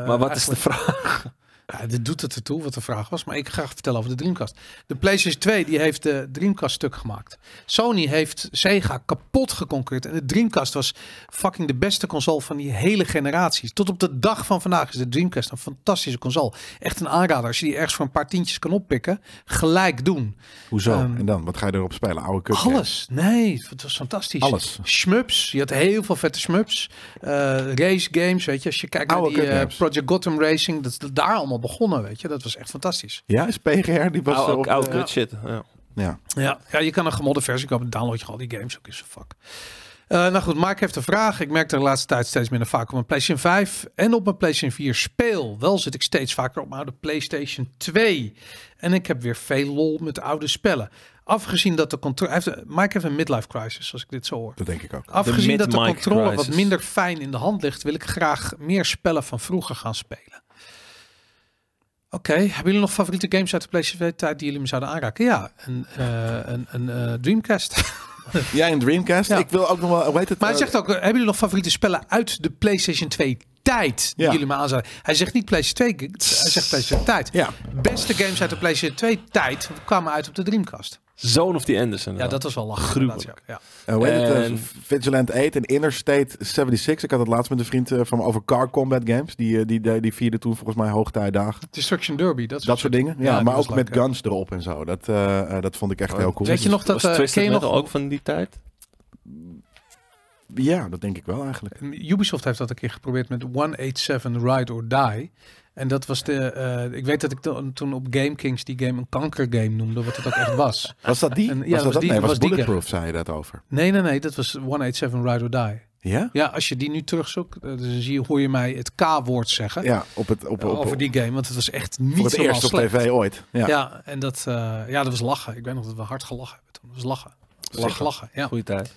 S3: Maar wat is de
S1: eigenlijk-
S3: vraag?
S1: Ja, dit doet het ertoe wat de vraag was, maar ik ga vertellen over de Dreamcast. De PlayStation 2 die heeft de Dreamcast stuk gemaakt. Sony heeft Sega kapot geconcureerd en de Dreamcast was fucking de beste console van die hele generatie. Tot op de dag van vandaag is de Dreamcast een fantastische console. Echt een aanrader. Als je die ergens voor een paar tientjes kan oppikken, gelijk doen.
S4: Hoezo?
S1: Ehm,
S4: en dan? Wat ga je erop spelen? Oude kut.
S1: Alles. Nee, het was fantastisch.
S4: Alles.
S1: Shmups. Je had heel veel vette shmups. Eh, race games, weet je. Als je kijkt naar
S4: Oude
S1: die eh,
S4: kutgames.
S1: Project Gotham Racing, dat is daar allemaal begonnen, weet je. Dat was echt fantastisch.
S4: Ja, is PGR? Die was
S3: Oude
S4: erop,
S3: oude
S4: eh,
S3: kut shit. Ja.
S4: ja.
S1: Ja, ja je kan een gemodde versie kopen. Download je al die games ook is een fuck. Eh, nou goed, Mark heeft een vraag. Ik merk de laatste tijd steeds minder vaak op mijn PlayStation 5 en op mijn PlayStation 4 speel. Wel zit ik steeds vaker op mijn oude PlayStation 2. En ik heb weer veel lol met oude spellen. Afgezien dat de controle... Mike heeft een midlife crisis, als ik dit zo hoor.
S4: Dat denk ik ook.
S1: Afgezien dat de
S3: mid-mic
S1: controle wat
S3: crisis.
S1: minder fijn in de hand ligt, wil ik graag meer spellen van vroeger gaan spelen. Oké, hebben jullie nog favoriete games uit de PlayStation 2-tijd die jullie me zouden aanraken? Ja, een, eh, een, een eh, Dreamcast.
S4: Jij en Dreamcast.
S1: Ja.
S4: Ik wil ook nog wel... Hoe heet het?
S1: maar hij
S4: eh,
S1: zegt ook, eh, hebben jullie nog favoriete spellen uit de PlayStation 2-tijd die
S4: Ja.
S1: jullie me aan zouden... Hij zegt niet PlayStation 2, hij zegt PlayStation tijd.
S4: Ja.
S1: Beste games uit de PlayStation 2-tijd kwamen uit op de Dreamcast.
S3: Zoon of the Anderson.
S1: Ja, dat was wel lachen.
S3: Gruwelijk.
S1: inderdaad, Ja. Ja.
S4: eh, hoe heet het? eh,
S3: En-
S4: Vigilant 8 en Interstate 76. Ik had het laatst met een vriend eh, van me over Car Combat Games. Die, eh, die, die, die vierde toen volgens mij hoogtijdagen.
S1: Destruction Derby, dat,
S4: Dat soort dingen. Ja,
S1: Ja, die
S4: maar
S1: was
S4: ook met
S1: leuk, hè?
S4: guns erop en zo. Dat, eh, eh, dat vond ik echt
S3: Oh,
S4: heel cool.
S1: Weet je nog dat...
S3: was
S1: eh, ken
S3: Twisted
S1: je nog,
S3: Metal ook van die tijd?
S4: Ja, dat denk ik wel eigenlijk.
S1: Ubisoft heeft dat een keer geprobeerd met 187 Ride or Die. En dat was de. eh, ik weet dat ik to- toen op GameKings die game een kankergame noemde, wat het ook echt was.
S4: Was dat die?
S1: En- ja,
S4: was dat
S1: was
S4: dat?
S1: die-
S4: nee, was,
S1: was die
S4: Bulletproof, zei je dat over.
S1: Nee, nee, nee, dat was 187 Ride or Die.
S4: Ja?
S1: Ja, als je die nu terugzoekt, eh, dan zie je, hoor je mij het K-woord zeggen
S4: Ja, op het, op,
S1: eh,
S4: op,
S1: over
S4: op,
S1: die game, want het was echt niet
S4: voor het
S1: helemaal
S4: eerst op
S1: slecht.
S4: tv ooit. Ja.
S1: Ja. en dat, eh, ja, dat was lachen. Ik weet nog dat we hard gelachen hebben toen. Dat was lachen. Dat was echt
S3: Lachen.
S1: lachen, ja.
S3: Goeie tijd.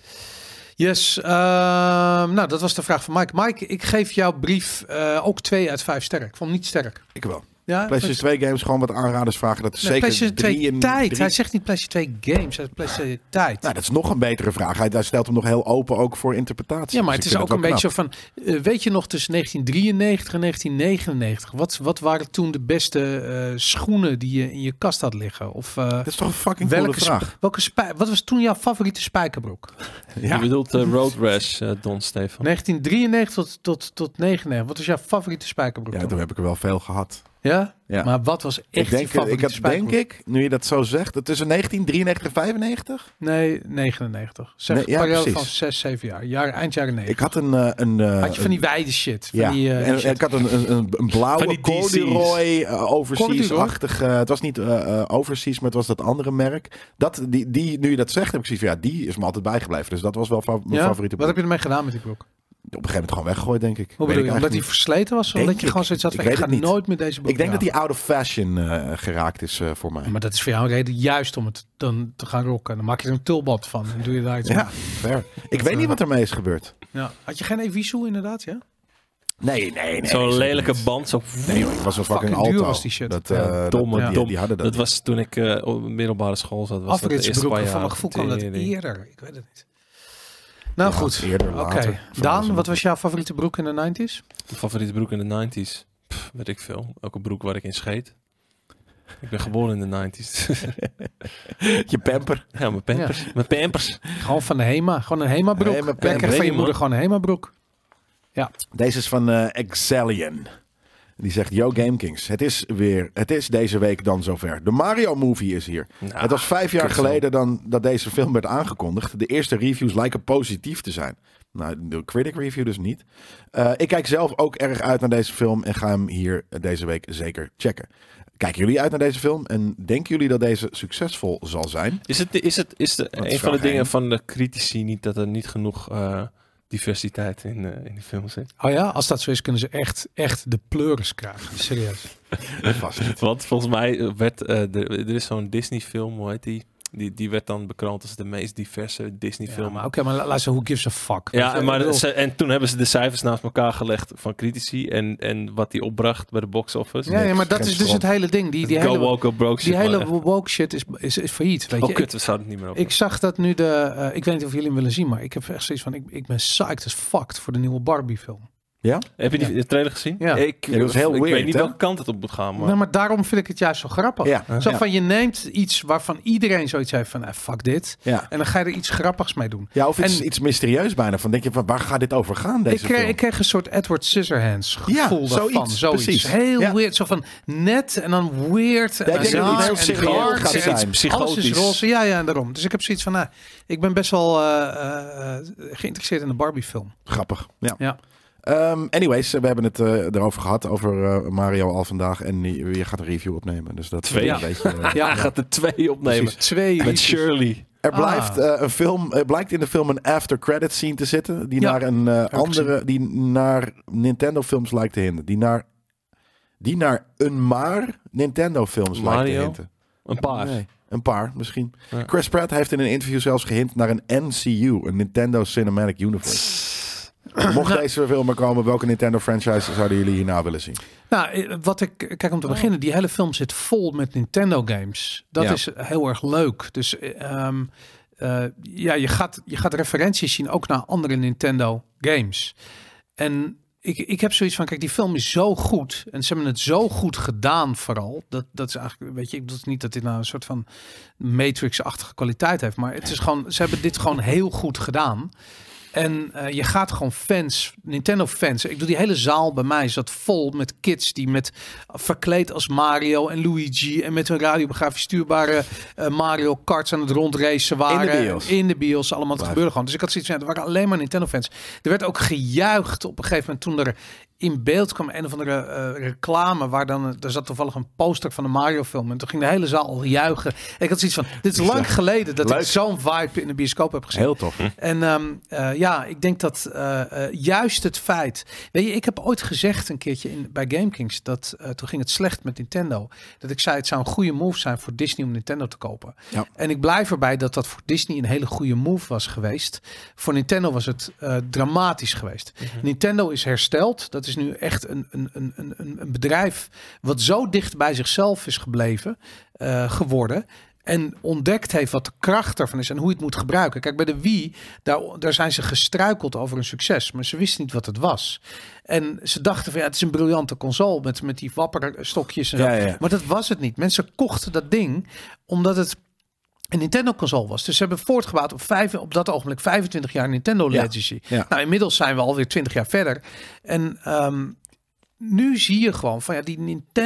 S1: Yes, ehm, nou, dat was de vraag van Mike. Mike, ik geef jouw brief eh, ook 2 uit 5 sterren. Ik vond hem niet sterk.
S4: Ik wel.
S1: Ja,
S4: PlayStation 2 games, gewoon wat aanraders vragen. Dat is
S1: Nee,
S4: zeker
S1: PlayStation 2
S4: drie in
S1: tijd.
S4: drie-
S1: Hij zegt niet PlayStation 2 games, hij zegt PlayStation tijd.
S4: Nou, dat is nog een betere vraag. Hij, hij stelt hem nog heel open ook voor interpretatie.
S1: ja, maar het
S4: Dus
S1: is
S4: ik
S1: ook
S4: vind
S1: een
S4: dat wel
S1: beetje van, eh, weet je nog tussen 1993 en 1999, wat, wat waren toen de beste eh, schoenen die je in je kast had liggen? Of eh,
S4: knap. Dat is toch een fucking coole
S1: welke,
S4: vraag.
S1: sp- welke spij- wat was toen jouw favoriete spijkerbroek?
S3: Je bedoelt eh, Road Rash, eh, Don
S4: Oh.
S3: Stefan. 1993
S1: 1993 tot, tot, tot 99. wat was jouw favoriete spijkerbroek
S4: Ja,
S1: toen?
S4: toen heb ik er wel veel gehad.
S1: Ja?
S4: Ja.
S1: Maar wat was echt
S4: Ik denk,
S1: je favoriete
S4: ik had, denk
S1: spijkerbroek?
S4: ik, nu je dat zo zegt, dat tussen 1993 en 95...
S1: Nee, 99. Zeg
S4: Nee, ja,
S1: periode
S4: precies.
S1: van 6, 7 jaar. jaar eind jaren 90.
S4: Ik had een... eh, een eh,
S1: had je van die wijde shit. Van
S4: ja,
S1: die, eh,
S4: en-
S1: die
S4: en,
S1: shit.
S4: ik had een, een, een- een
S3: Van
S4: blauwe
S3: die DC's.
S4: corduroy eh, overseas-achtig.
S1: Corduroy?
S4: eh, het was niet eh, eh, overseas, maar het was dat andere merk. Dat, die, die, nu je dat zegt, heb ik zoiets van, ja, die is me altijd bijgebleven. Dus dat was wel fa- mijn
S1: Ja?
S4: favoriete
S1: Wat
S4: broek.
S1: heb je ermee gedaan met die broek?
S4: Op een gegeven moment gewoon weggegooid, denk ik.
S1: Hoe
S4: Weet
S1: bedoel
S4: ik
S1: je? Omdat
S4: eigenlijk
S1: hij versleten was? Of
S4: Denk
S1: dat je
S4: ik.
S1: gewoon zoiets had van,
S4: Ik
S1: ik,
S4: weet
S1: ga
S4: het niet.
S1: nooit meer deze broek
S4: Ik denk dat
S1: dragen.
S4: die out of fashion eh, geraakt is eh, voor mij.
S1: Maar dat is voor jou een reden juist om het dan te gaan rocken. Dan maak je er een tulband van en doe je daar iets
S4: ja,
S1: mee.
S4: fair. Ik weet niet wat ermee is gebeurd.
S1: Ja. Had je geen Evisu inderdaad, ja?
S4: Nee, nee, nee.
S3: Zo'n
S4: zeker
S3: lelijke
S4: niet.
S3: band. Zo...
S4: Nee, joh, ik was een fucking,
S1: Fucking duur
S4: alto.
S1: was die shit.
S4: Dat,
S3: Ja,
S4: eh, dat-
S3: domme,
S4: dat- die,
S3: dom.
S4: die hadden dat.
S3: Dat was toen ik eh, op middelbare school zat. Was dat de eerste paar
S1: Afritsbroeken,
S3: jaar.
S1: van mijn gevoel kwam dat
S3: Tering.
S1: eerder. Ik weet het niet. Nou
S4: Ja,
S1: goed,
S4: eerder,
S1: oké.
S4: later. Van was
S1: Daan,
S4: het-
S1: wat was jouw favoriete broek in de 90s?
S3: Mijn favoriete broek in de 90s. Pff, weet ik veel. Elke broek waar ik in scheet. Ik ben geboren in de 90s.
S4: Je pamper.
S3: ja, mijn pampers. Mijn pampers.
S1: Gewoon van de Hema. Gewoon een Hema-broek.
S4: Hema-
S1: Jij krijgt van je
S3: Hema.
S1: moeder gewoon een Hema-broek.
S4: Deze is van eh Exalion. Die zegt, yo Gamekings, het is weer, het is deze week dan zover. De Mario Movie is hier.
S3: Nou,
S4: het was vijf jaar
S3: kutfilm.
S4: geleden dan, dat deze film werd aangekondigd. De eerste reviews lijken positief te zijn. Nou, de critic review dus niet. Eh, ik kijk zelf ook erg uit naar deze film en ga hem hier deze week zeker checken. Kijken jullie uit naar deze film en denken jullie dat deze succesvol zal zijn?
S3: Is het, is het is de,
S4: is
S3: een van
S4: vraag
S3: de dingen
S4: één.
S3: van de critici niet dat er niet genoeg eh, diversiteit in, eh, in de film zit?
S1: Oh ja, als dat zo is, kunnen ze echt, echt de pleuris krijgen. Serieus.
S4: Vast niet.
S3: Want volgens mij werd eh, de- er is zo'n Disney-film, hoe heet die? die? Die werd dan bekroond als de meest diverse
S1: Ja,
S3: Disney-film.
S1: maar Oké, maar luister, who gives a fuck? Weet
S3: Ja,
S1: je,
S3: en, maar
S1: ik bedoel,
S3: ze- en toen hebben ze de cijfers naast elkaar gelegd van critici en, en wat die opbracht bij de box office.
S1: ja, ja, maar dat
S4: Geen
S1: is dus het
S4: stront.
S1: hele ding. Die, die
S3: Go
S1: hele,
S3: woke, go broke shit.
S1: die
S3: man,
S1: hele
S3: echt.
S1: woke shit is, is, is failliet. Weet
S3: Oh
S1: je?
S3: kut, we zouden het niet meer over.
S1: Ik zag dat nu de. eh, ik weet niet of jullie hem willen zien, maar ik heb echt zoiets van. Ik, ik ben psyched as fucked voor de nieuwe Barbie-film.
S4: Oh,
S3: Heb je die de trailer gezien?
S1: Ja.
S3: Ik,
S4: Ja, dat is heel
S3: ik
S4: weird,
S3: weet niet
S4: hè?
S3: welke kant het op moet gaan, maar...
S1: Nou, maar daarom vind ik het juist zo grappig.
S4: Ja,
S1: Zo
S4: ja.
S1: van je neemt iets waarvan iedereen zoiets heeft van. eh, fuck dit.
S4: ja.
S1: En dan ga je er iets grappigs mee doen.
S4: ja of iets,
S1: En-
S4: iets mysterieus bijna. Van denk je, van, waar gaat dit over gaan, deze
S1: Ik kreeg,
S4: film?
S1: ik kreeg een soort Edward Scissorhands gevoel
S4: Ja,
S1: daarvan.
S4: zoiets, precies.
S1: Heel
S4: Ja.
S1: weird. Zo van net en dan weird. En
S4: ik denk
S1: raar
S4: dat het heel
S1: en
S4: serieus
S1: dark
S4: gaat
S1: en
S4: zijn.
S1: iets Alles is roze. Ja, ja, en daarom. Dus ik heb zoiets van, nou, ik ben best wel eh, eh, geïnteresseerd in de Barbie-film.
S4: Grappig. Ja.
S1: Ja.
S4: Ehm, anyways, eh, we hebben het eh, erover gehad, over eh, Mario al vandaag. En je, je gaat een review opnemen. Dus dat
S3: Twee.
S4: is
S3: Ja.
S4: een beetje. eh,
S1: Ja,
S3: Hij gaat er twee opnemen.
S4: Precies.
S1: twee.
S3: Met
S1: liedjes.
S3: Shirley.
S4: Er
S1: Ah.
S4: blijft, eh, een film, er blijkt in de film een after credit scene te zitten. Die
S1: Ja.
S4: naar een eh,
S1: ik
S4: andere, die naar Nintendo films lijkt te hinten. Die naar, die naar een maar Nintendo films lijkt te
S3: Mario?
S4: hinten.
S3: Een paar.
S4: Nee, een paar misschien.
S3: Ja.
S4: Chris Pratt heeft in een interview zelfs gehint naar een NCU, een Nintendo Cinematic Universe. Mocht deze film er komen, welke Nintendo franchise zouden jullie hierna willen zien?
S1: Nou, eh, wat ik, kijk om te beginnen, die hele film zit vol met Nintendo games. Dat
S4: Ja.
S1: is heel erg leuk. Dus eh, ehm, eh, ja, je gaat, je gaat referenties zien ook naar andere Nintendo games. En ik, ik heb zoiets van, kijk, die film is zo goed. En ze hebben het zo goed gedaan vooral. Dat, dat is eigenlijk, weet je, ik bedoel niet dat dit nou een soort van Matrix-achtige kwaliteit heeft. Maar het is gewoon, ze hebben dit gewoon heel goed gedaan. En eh, je gaat gewoon fans, Nintendo fans. Ik doe die hele zaal bij mij zat vol met kids die met verkleed als Mario en Luigi en met hun radiografisch stuurbare eh, Mario karts aan het rondracen waren.
S4: bios.
S1: In de bios allemaal. Het
S4: Blijf.
S1: gebeurde gewoon. Dus ik had zoiets van, ja, er waren alleen maar Nintendo fans. Er werd ook gejuicht op een gegeven moment toen er in beeld kwam een of andere eh, reclame waar dan, eh, er zat toevallig een poster van de Mario film en toen ging de hele zaal al juichen. En ik had zoiets van, dit is lang geleden dat
S4: Leuk.
S1: ik zo'n vibe in de bioscoop heb gezien.
S4: Heel tof.
S1: En ehm, eh, ja, ik denk dat eh, eh, juist het feit. Weet je, ik heb ooit gezegd een keertje in, bij GameKings dat eh, toen ging het slecht met Nintendo. Dat ik zei het zou een goede move zijn voor Disney om Nintendo te kopen.
S4: Ja.
S1: En ik blijf erbij dat dat voor Disney een hele goede move was geweest. Voor Nintendo was het eh, dramatisch geweest.
S4: Mhm.
S1: Nintendo is hersteld. Dat is nu echt een, een, een, een- een, een bedrijf wat zo dicht bij zichzelf is gebleven, eh, geworden. En ontdekt heeft wat de kracht daarvan is en hoe je het moet gebruiken. Kijk, bij de Wii, daar, daar zijn ze gestruikeld over een succes. Maar ze wisten niet wat het was. En ze dachten van ja, het is een briljante console met, met die wapperstokjes en zo.
S4: Ja, ja, ja.
S1: Maar dat was het niet. Mensen kochten dat ding omdat het een Nintendo-console was. Dus ze hebben voortgebouwd op, vijf, op dat ogenblik 25 jaar Nintendo
S4: Ja,
S1: Legacy.
S4: ja.
S1: Nou, inmiddels zijn we alweer 20 jaar verder. En ehm, nu zie je gewoon van ja, die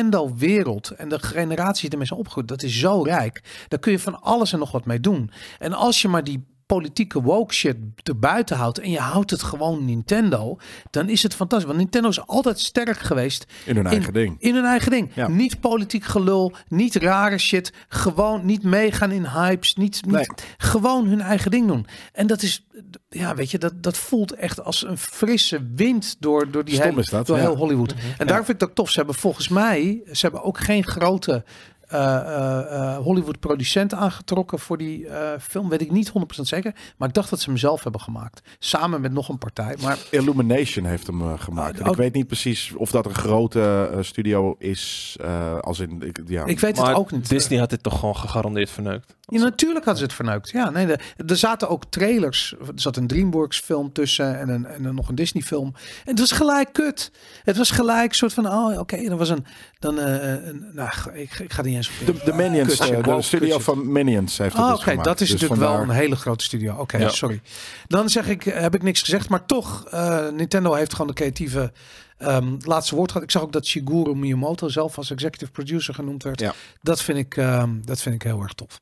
S1: Nintendo-wereld en de generatie die ermee zijn opgegroeid, dat is zo rijk. Daar kun je van alles en nog wat mee doen. En als je maar die politieke woke shit erbuiten houdt en je houdt het gewoon Nintendo, dan is het fantastisch. Want Nintendo is altijd sterk geweest
S4: In hun eigen ding.
S1: in hun eigen ding.
S4: Ja.
S1: Niet politiek gelul, niet rare shit. Gewoon niet meegaan in hypes. Niet, niet,
S4: Nee.
S1: Gewoon hun eigen ding doen. En dat is, ja, weet je, dat, dat voelt echt als een frisse wind door, door die
S4: Stom
S1: hele-
S4: is dat,
S1: door
S4: ja.
S1: heel Hollywood. En daar vind ik dat tof. Ze hebben volgens mij, ze hebben ook geen grote eh, eh, eh, Hollywood-producent aangetrokken voor die eh, film. Weet ik niet 100% zeker. Maar ik dacht dat ze hem zelf hebben gemaakt. Samen met nog een partij. Maar
S4: Illumination heeft hem eh, gemaakt. En
S1: Oh,
S4: ik weet niet precies of dat een grote eh, studio is. eh, als in, ik, ja.
S1: ik weet
S3: Maar
S1: het ook niet.
S3: Disney had dit toch gewoon gegarandeerd verneukt.
S1: Ja, natuurlijk hadden ze het verneukt. Ja, nee, de- er zaten ook trailers. Er zat een DreamWorks film tussen en, een, en een- nog een Disney film. En het was gelijk kut. Het was gelijk soort van, oh oké, dan was een, dan eh, een eh, nou, ik, ik ga het niet Minions. of
S4: De, de Minions,
S1: Kutje,
S4: eh, de
S1: woke
S4: studio
S1: kutje.
S4: van Minions heeft dat
S1: Ah,
S4: dus
S1: oké,
S4: gemaakt.
S1: dat is
S4: Dus
S1: natuurlijk wel
S4: vandaar-
S1: een hele grote studio. Oké,
S3: Ja.
S1: sorry. Dan zeg ik, eh, heb ik niks gezegd, maar toch, eh, Nintendo heeft gewoon de creatieve ehm, het laatste woord gehad. Ik zag ook dat Shigeru Miyamoto zelf als executive producer genoemd werd.
S4: Ja.
S1: Dat, vind ik, ehm, dat vind ik heel erg tof.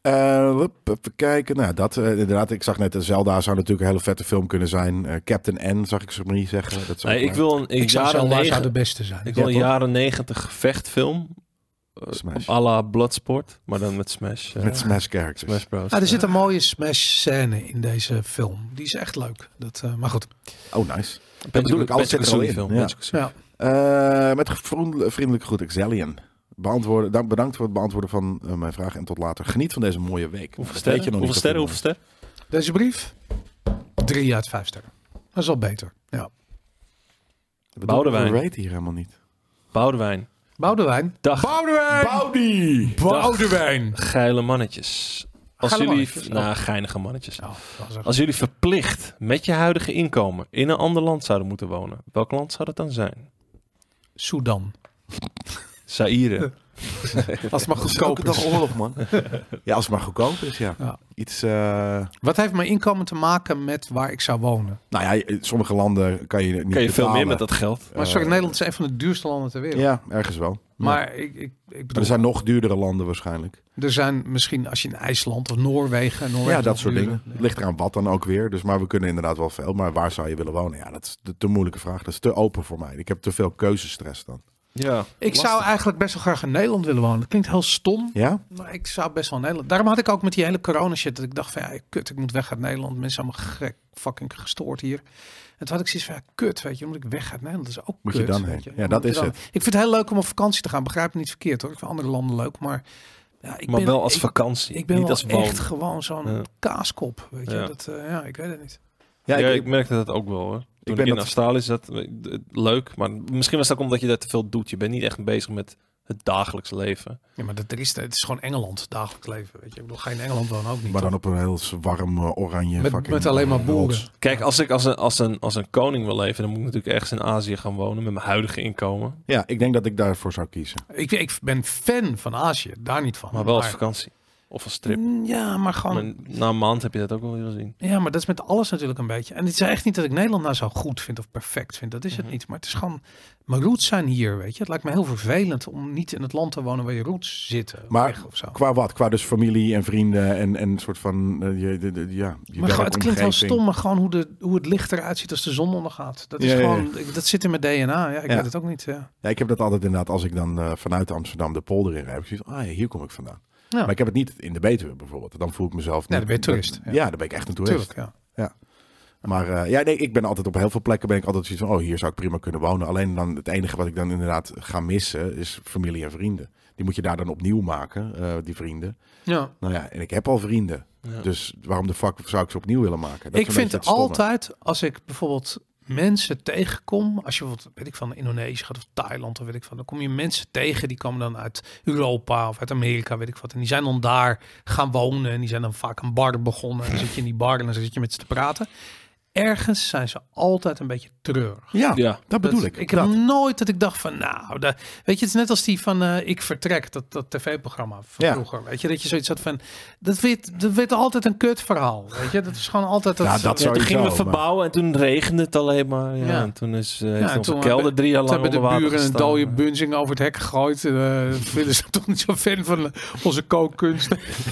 S4: Eh, hup, even kijken. Nou, dat eh, inderdaad. Ik zag net, eh, Zelda zou natuurlijk een hele vette film kunnen zijn. Eh, Captain N zag ik ze maar niet zeggen. Dat zou
S3: Nee, ik
S4: maar-
S3: wil een,
S1: Ik zou
S3: jaren
S1: Zelda zou de
S3: negen,
S1: beste zijn.
S3: ik wil een
S4: Ja, toch?
S3: jaren negentig vechtfilm. eh,
S4: Smash.
S3: à la Bloodsport, maar dan met Smash. eh,
S4: Met Smash Characters.
S3: Smash Bros.
S1: Ah, er zit een mooie smash-scène in deze film. Die is echt leuk. Dat, eh, maar goed,
S4: Oh, nice.
S3: Banjo-
S4: Dat bedoel ik, alles zit er al
S3: Banjo-Kazooie
S4: in.
S3: film,
S4: Ja.
S3: Banjo-Kazooie.
S1: ja.
S4: Eh, met vriendel- vriendelijke groet, Exelion. Beantwoorden, dank, bedankt voor het beantwoorden van eh, mijn vraag en tot later. Geniet van deze mooie week.
S3: Hoeveel
S4: Dat
S3: sterren?
S4: weet je
S3: Hoeveel
S4: nog niet
S3: sterren?
S4: wat
S3: Hoeveel sterren?
S1: deze brief, drie uit vijf sterren. Dat is al beter. Ja.
S4: we doen.
S3: Boudewijn.
S4: We weten hier helemaal niet.
S3: Boudewijn.
S1: Boudewijn.
S3: Dag.
S4: Boudi!
S1: Boudewijn!
S3: Geile mannetjes. Als
S1: Geile
S3: jullie,
S1: mannetjes,
S3: Nou,
S1: oh.
S3: geinige mannetjes.
S1: Nou, dat was echt-
S3: Als jullie verplicht met je huidige inkomen in een ander land zouden moeten wonen, welk land zou dat dan zijn?
S1: Sudan.
S3: Zaire.
S1: Als het maar
S4: Dat is ook
S1: goedkoop
S4: dag
S1: is.
S4: oorlog, man. ja, als het maar goedkoop is, ja.
S1: Ja.
S4: Iets, eh,
S1: Wat heeft mijn inkomen te maken met waar ik zou wonen?
S4: nou ja, in sommige landen kan je niet
S3: Kun je veel
S4: betalen. Eh,
S3: meer met dat geld?
S1: Maar sorry, Nederland is een van de duurste landen ter wereld.
S4: Ja, ergens wel. Ja.
S1: Maar ik, ik, ik
S4: Maar
S1: bedoel,
S4: er zijn nog duurdere landen waarschijnlijk.
S1: misschien als je in IJsland of Noorwegen... Noorwegen
S4: Ja,
S1: is
S4: dat
S1: nog
S4: soort
S1: duurder.
S4: dingen. Het ligt eraan wat dan ook weer. Dus, maar we kunnen inderdaad wel veel. Maar waar zou je willen wonen? Ja, dat is de, te moeilijke vraag. Dat is te open voor mij. Ik heb te veel keuzestress dan.
S3: Ja.
S1: Ik zou eigenlijk best wel graag in Nederland willen wonen. Dat klinkt heel stom,
S4: Ja?
S1: maar ik zou best wel in Nederland... Daarom had ik ook met die hele corona shit dat ik dacht van... Ja, kut, ik moet weg uit Nederland. Mensen zijn allemaal gek, fucking gestoord hier. En toen had ik zoiets van, ja, kut, weet je. Dan moet ik weg uit Nederland. Dat is ook
S4: Moet je
S1: kut.
S4: dan
S1: weet
S4: heen.
S1: je.
S4: Ja,
S1: Moet
S4: dat
S1: je
S4: is
S1: dan-
S4: het.
S1: Ik vind het heel leuk om op vakantie te gaan. Begrijp me niet verkeerd hoor. Ik vind andere landen leuk, maar... Ja, ik
S3: Maar
S1: ben,
S3: wel als
S1: ik-
S3: vakantie,
S1: Ik ben
S3: niet
S1: wel
S3: als woon.
S1: echt gewoon zo'n
S3: Ja.
S1: kaaskop. Weet je,
S3: Ja.
S1: dat, eh, ja, ik weet het niet.
S4: Ja,
S3: Ja,
S4: ik-
S3: ik, merkte dat ook wel hoor. Toen ik,
S4: ben
S3: in
S4: dat-
S3: Australië zat, eh, d- leuk. Maar misschien was dat ook omdat je daar te veel doet. Je bent niet echt bezig met het dagelijks leven.
S1: Ja, maar dat, er is, het is gewoon Engeland, dagelijks leven. Weet je, ik bedoel, ga je in Engeland wonen ook niet.
S4: maar dan
S1: toch?
S4: op een heel warm eh, oranje
S1: met,
S4: fucking,
S1: met alleen maar
S4: eh,
S1: boeren.
S4: rots.
S3: Kijk, als ik als een, als, een, als een koning wil leven, dan moet ik natuurlijk ergens in Azië gaan wonen met mijn huidige inkomen.
S4: Ja, ik denk dat ik daarvoor zou kiezen.
S1: Ik, ik ben fan van Azië, daar niet van.
S3: Maar wel als vakantie. Of als trip.
S1: Mm, Ja, maar gewoon.
S3: Maar na een maand heb je dat ook wel weer gezien.
S1: Ja, maar dat is met alles natuurlijk een beetje. En het is echt niet dat ik Nederland nou zo goed vind of perfect vind. Dat is het
S3: Mhm.
S1: niet. Maar het is gewoon. Mijn roots zijn hier, weet je. Het lijkt me heel vervelend om niet in het land te wonen waar je roots zitten.
S4: Maar-
S1: weg of zo.
S4: Qua wat? Qua dus familie en vrienden en, en een soort van... eh, je, de, de- ja, je
S1: Maar gewoon- het klinkt wel
S4: werkomgeving.
S1: stom, maar gewoon hoe, de, hoe het licht eruit ziet als de zon ondergaat. Dat, is
S4: Ja, ja, ja.
S1: gewoon, ik- dat zit in mijn DNA. Ja, ik
S4: Ja.
S1: weet het ook niet. Ja.
S4: Ja, ik heb dat altijd inderdaad als ik dan eh, vanuit Amsterdam de polder in rijd. Ik zoiets, ah ja, hier kom ik vandaan.
S1: Ja.
S4: Maar ik heb het niet in de Betuwe bijvoorbeeld. Dan voel ik mezelf...
S1: Nee,
S4: niet-
S1: dan ben je toerist,
S4: Ja.
S1: Oh. ja.
S4: dan ben ik echt een toerist.
S1: Tuurlijk, ja.
S4: Maar eh, ja, nee, ik ben altijd op heel veel plekken ben ik altijd zoiets van, oh, hier zou ik prima kunnen wonen. Alleen dan het enige wat ik dan inderdaad ga missen is familie en vrienden. Die moet je daar dan opnieuw maken, eh, die vrienden.
S1: Ja.
S4: Nou ja, en ik heb al vrienden.
S3: Ja.
S4: Dus waarom de fuck zou ik ze opnieuw willen maken?
S1: Ik
S4: Dat is een beetje
S1: vind
S4: het stomme.
S1: altijd, als ik bijvoorbeeld mensen tegenkom, als je bijvoorbeeld, weet ik van, Indonesië gaat of Thailand of weet ik van, dan kom je mensen tegen, die komen dan uit Europa of uit Amerika, weet ik wat. En die zijn dan daar gaan wonen en die zijn dan vaak een bar begonnen. En dan zit je in die bar en dan zit je met ze te praten. Ergens zijn ze altijd een beetje treurig.
S4: Ja,
S3: Ja.
S4: dat bedoel
S1: Dat-
S4: ik.
S1: Ik heb
S4: dat.
S1: nooit dat ik dacht van, nou, da- weet je, het is net als die van eh, Ik Vertrek, dat, dat tv-programma van
S4: Ja.
S1: vroeger. Weet je, dat je zoiets had van, dat werd, dat werd altijd een kutverhaal. Weet je, dat is gewoon altijd dat.
S4: Ja, Nou, dat
S3: Ja, toen
S4: Sowieso,
S3: gingen we
S4: maar-
S3: verbouwen en toen regende het alleen maar. Ja,
S1: Ja.
S3: En toen is eh
S1: en
S3: heeft onze
S1: toen
S3: kelder
S1: hebben-
S3: drie jaar
S1: Toen
S3: lang
S1: hebben
S3: onder
S1: de
S3: water
S1: buren een
S3: gestaan.
S4: eh.
S1: dode bunzing over het hek gegooid. Eh vinden ze toch niet zo fan van eh, onze kookkunst.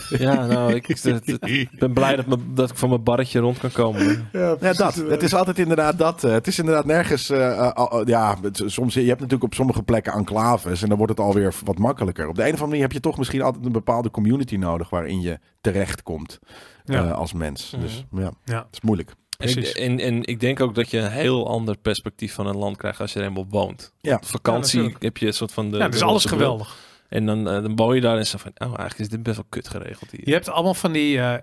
S3: Ja, nou, ik, ik- ik ben blij dat, me- dat ik van mijn barretje rond kan komen.
S4: Ja, dat. Het is altijd inderdaad dat. eh, Het is inderdaad nergens. eh, eh, al- ja, het- soms, je hebt natuurlijk op sommige plekken enclaves. En dan wordt het alweer wat makkelijker. Op de een of andere manier heb je toch misschien altijd een bepaalde community nodig. waarin je terechtkomt
S1: Ja.
S4: eh, als mens. Dus ja,
S1: Ja.
S4: het is moeilijk.
S3: En ik,
S1: Precies.
S3: en, en ik denk ook dat je een heel ander perspectief van een land krijgt als je er eenmaal woont.
S4: Ja.
S3: Op vakantie
S1: Ja, natuurlijk.
S3: heb je een soort van... De,
S1: Ja, dat is
S3: de
S1: alles
S3: roze bril.
S1: geweldig.
S3: En dan, eh, dan woon je daar en zo van, oh, eigenlijk is dit best wel kut geregeld hier.
S1: Je hebt allemaal van die eh, eh,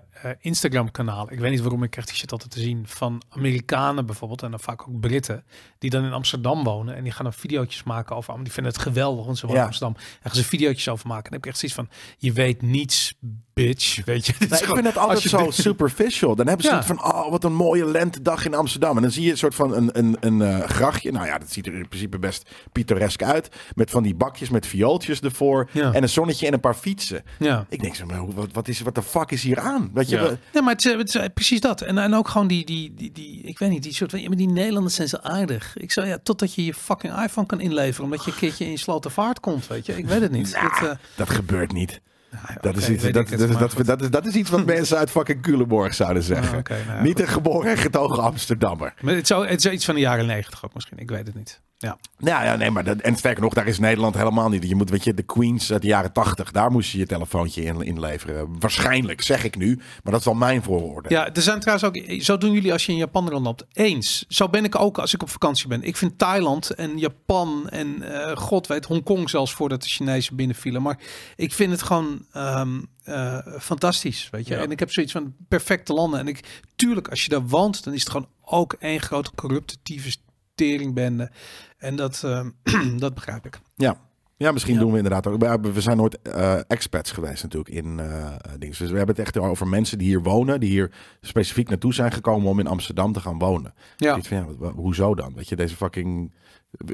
S1: Instagram-kanalen. Ik weet niet waarom ik krijg die shit altijd te zien. Van Amerikanen bijvoorbeeld. En dan vaak ook Britten. Die dan in Amsterdam wonen. En die gaan dan videootjes maken over Amsterdam. Die vinden het geweldig. Want ze wonen
S4: Ja.
S1: in Amsterdam. En gaan ze videootjes over maken. En dan heb ik echt zoiets van... Je weet niets, bitch. Weet je. Dit is
S4: Nee, ik
S1: gewoon-
S4: vind het
S1: als
S4: altijd
S1: je
S4: zo
S1: dit-
S4: superficial. Dan hebben ze
S1: Ja.
S4: het van, oh, wat een mooie lentedag in Amsterdam. En dan zie je een soort van een, een, een eh, grachtje. Nou ja, dat ziet er in principe best pittoresk uit. Met van die bakjes met viooltjes ervoor. voor.
S1: Ja.
S4: En een zonnetje en een paar fietsen.
S1: Ja.
S4: Ik denk zo, maar hoe- wat, wat is, wat de fuck is hier aan? Weet je,
S3: Ja.
S4: we-
S1: eh, Nee, maar het, is- het is precies dat. En, en ook gewoon die, die, die, die, ik weet niet, die soort van, ja, maar die Nederlanders zijn zo aardig. Ik zou ja, totdat je je fucking iPhone kan inleveren, omdat je een keertje in slotenvaart komt, weet je. Ik weet het niet. Dat, eh,
S4: dat gebeurt niet.
S1: nou ja,
S4: Dat is
S1: oké,
S4: iets-
S1: weet
S4: dat-
S1: ik het,
S4: dat-
S1: maar
S4: dat-
S1: goed.
S4: dat is- dat is iets wat mensen uit fucking Culemborg zouden zeggen.
S1: Ah, oké, nou ja,
S4: niet een geboren en getogen Amsterdammer.
S1: Maar het, zou, het is iets van de jaren negentig ook misschien, ik weet het niet. Ja.
S4: Nou ja, nee, maar dat, en sterker nog, daar is Nederland helemaal niet. Je moet, weet je, de Queens uit de jaren tachtig, daar moest je je telefoontje in, inleveren. Waarschijnlijk, zeg ik nu, maar dat is wel mijn vooroordeel.
S1: Ja, er zijn trouwens ook. Zo doen jullie als je in Japan rondloopt. Eens. Zo ben ik ook als ik op vakantie ben. Ik vind Thailand en Japan en eh, god weet Hongkong zelfs voordat de Chinezen binnenvielen. Maar ik vind het gewoon ehm, eh, fantastisch, weet je.
S3: Ja.
S1: En ik heb zoiets van perfecte landen. En ik, tuurlijk, als je daar woont, dan is het gewoon ook één grote corrupte tyfus teringbende. En dat, ehm, dat begrijp ik.
S4: Ja. Ja, misschien
S1: Ja.
S4: doen we inderdaad ook. maar We zijn nooit eh, expats geweest natuurlijk in eh dingen. Dus we hebben het echt over mensen die hier wonen, die hier specifiek naartoe zijn gekomen om in Amsterdam te gaan wonen.
S1: Ja.
S4: Ik vind, ja, wa- hoezo dan? Weet je, deze fucking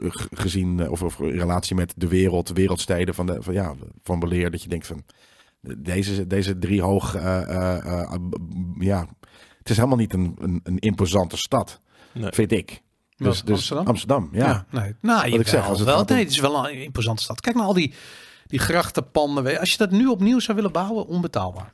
S4: eh, g- gezien eh, of, of in relatie met de wereld, wereldsteden van, de, van, ja, van beleer, dat je denkt van deze, deze drie hoog, eh, eh, eh, b- b- ja, het is helemaal niet een, een, een imposante stad,
S3: Nee.
S4: vind ik.
S1: Wat,
S4: Dus, dus
S1: Amsterdam?
S4: ja.
S1: nee. Nou,
S4: ik
S1: ik
S4: zeg,
S1: zeg,
S4: als het
S1: wel,
S4: gaat om-
S1: nee, het is wel een imposante stad. Kijk naar al die, die grachtenpanden. weet je. Als je dat nu opnieuw zou willen bouwen, onbetaalbaar.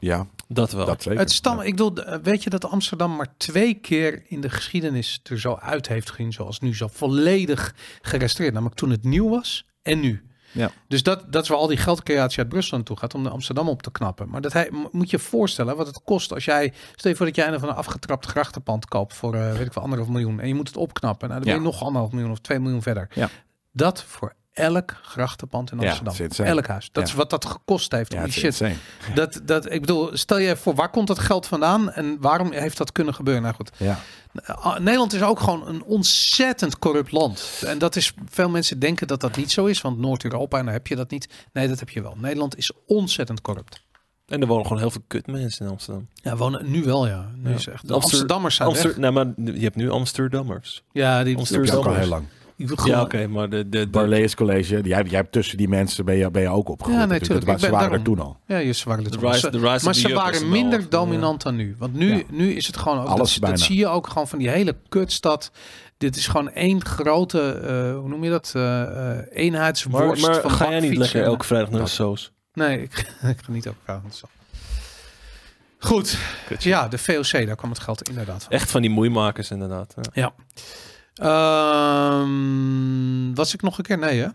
S4: Ja,
S1: Oh,
S3: Dat wel.
S4: dat zeker.
S1: Het stam, ik bedoel, eh, weet je dat Amsterdam maar twee keer in de geschiedenis er zo uit heeft gezien, zoals nu, zo volledig gerestaureerd. Namelijk toen het nieuw was en nu.
S4: Ja.
S1: Dus dat, dat is waar al die geldcreatie uit Brussel naartoe gaat om de Amsterdam op te knappen. Maar dat hij, m- moet je je voorstellen wat het kost als jij, stel je voor dat jij een van een afgetrapt grachtenpand koopt voor, eh, weet ik wel, anderhalf miljoen. En je moet het opknappen. Nou, dan ben je
S4: Ja.
S1: nog anderhalf miljoen of twee miljoen verder.
S4: Ja.
S1: Dat voor elk grachtenpand in
S4: Ja,
S1: Amsterdam.
S4: dat is insane.
S1: elk huis. Dat
S4: Ja.
S1: is wat dat gekost heeft om
S4: Ja,
S1: die
S4: het is
S1: shit
S4: insane.
S1: dat, dat, ik bedoel, stel je voor, waar komt dat geld vandaan en waarom heeft dat kunnen gebeuren? Nou goed,
S4: Ja.
S1: eh, Nederland is ook gewoon een ontzettend corrupt land. En dat is, veel mensen denken dat dat niet zo is, want Noord-Europa, en daar heb je dat niet. Nee, dat heb je wel. Nederland is ontzettend corrupt.
S3: En er wonen gewoon heel veel kutmensen in Amsterdam.
S1: Ja, wonen nu wel, ja. Nu
S3: Ja.
S1: is echt, de
S3: Amster-
S1: Amsterdammers zijn
S3: Amster-
S1: weg.
S3: Nee, maar je hebt nu Amsterdammers.
S1: Ja, die,
S4: Dat is
S3: Amsterdam-
S4: ook al heel lang.
S1: die doen
S3: Ja,
S1: gewoon-
S3: oké, maar de, de, de,
S4: Barlees College, jij, jij hebt tussen die mensen ben je, ben je ook opgegroeid.
S1: Ja, nee,
S4: natuurlijk.
S1: tuurlijk.
S4: Dat
S1: Ik ben-
S4: was- Ze waren er
S1: daarom.
S4: toen al.
S1: Ja, je ze waren er
S3: De
S1: toch.
S3: rise-
S1: Ze-
S3: de rise of
S1: maar
S3: the
S1: ze
S3: Yup is
S1: waren
S3: er wel eh,
S1: minder
S3: echt,
S1: dominant dan nu. Want nu,
S4: Ja.
S1: nu is het gewoon ook.
S4: Alles
S1: dat,
S4: bijna.
S1: dat zie je ook gewoon van die hele kutstad. Dit is gewoon één grote, eh, hoe noem je dat? eh eh,
S3: Maar,
S1: eenheidsworst.
S3: maar
S1: van
S3: ga jij niet
S1: bakfietsen.
S3: lekker elke vrijdag naar de Soos?
S1: Nee, ik, ik ga niet elke vraag. Goed.
S3: Kutje.
S1: Ja, de VOC, daar kwam het geld inderdaad van.
S3: Echt van die moeimakers inderdaad. Ja.
S1: Ehm, was ik nog een keer? Nee, hè?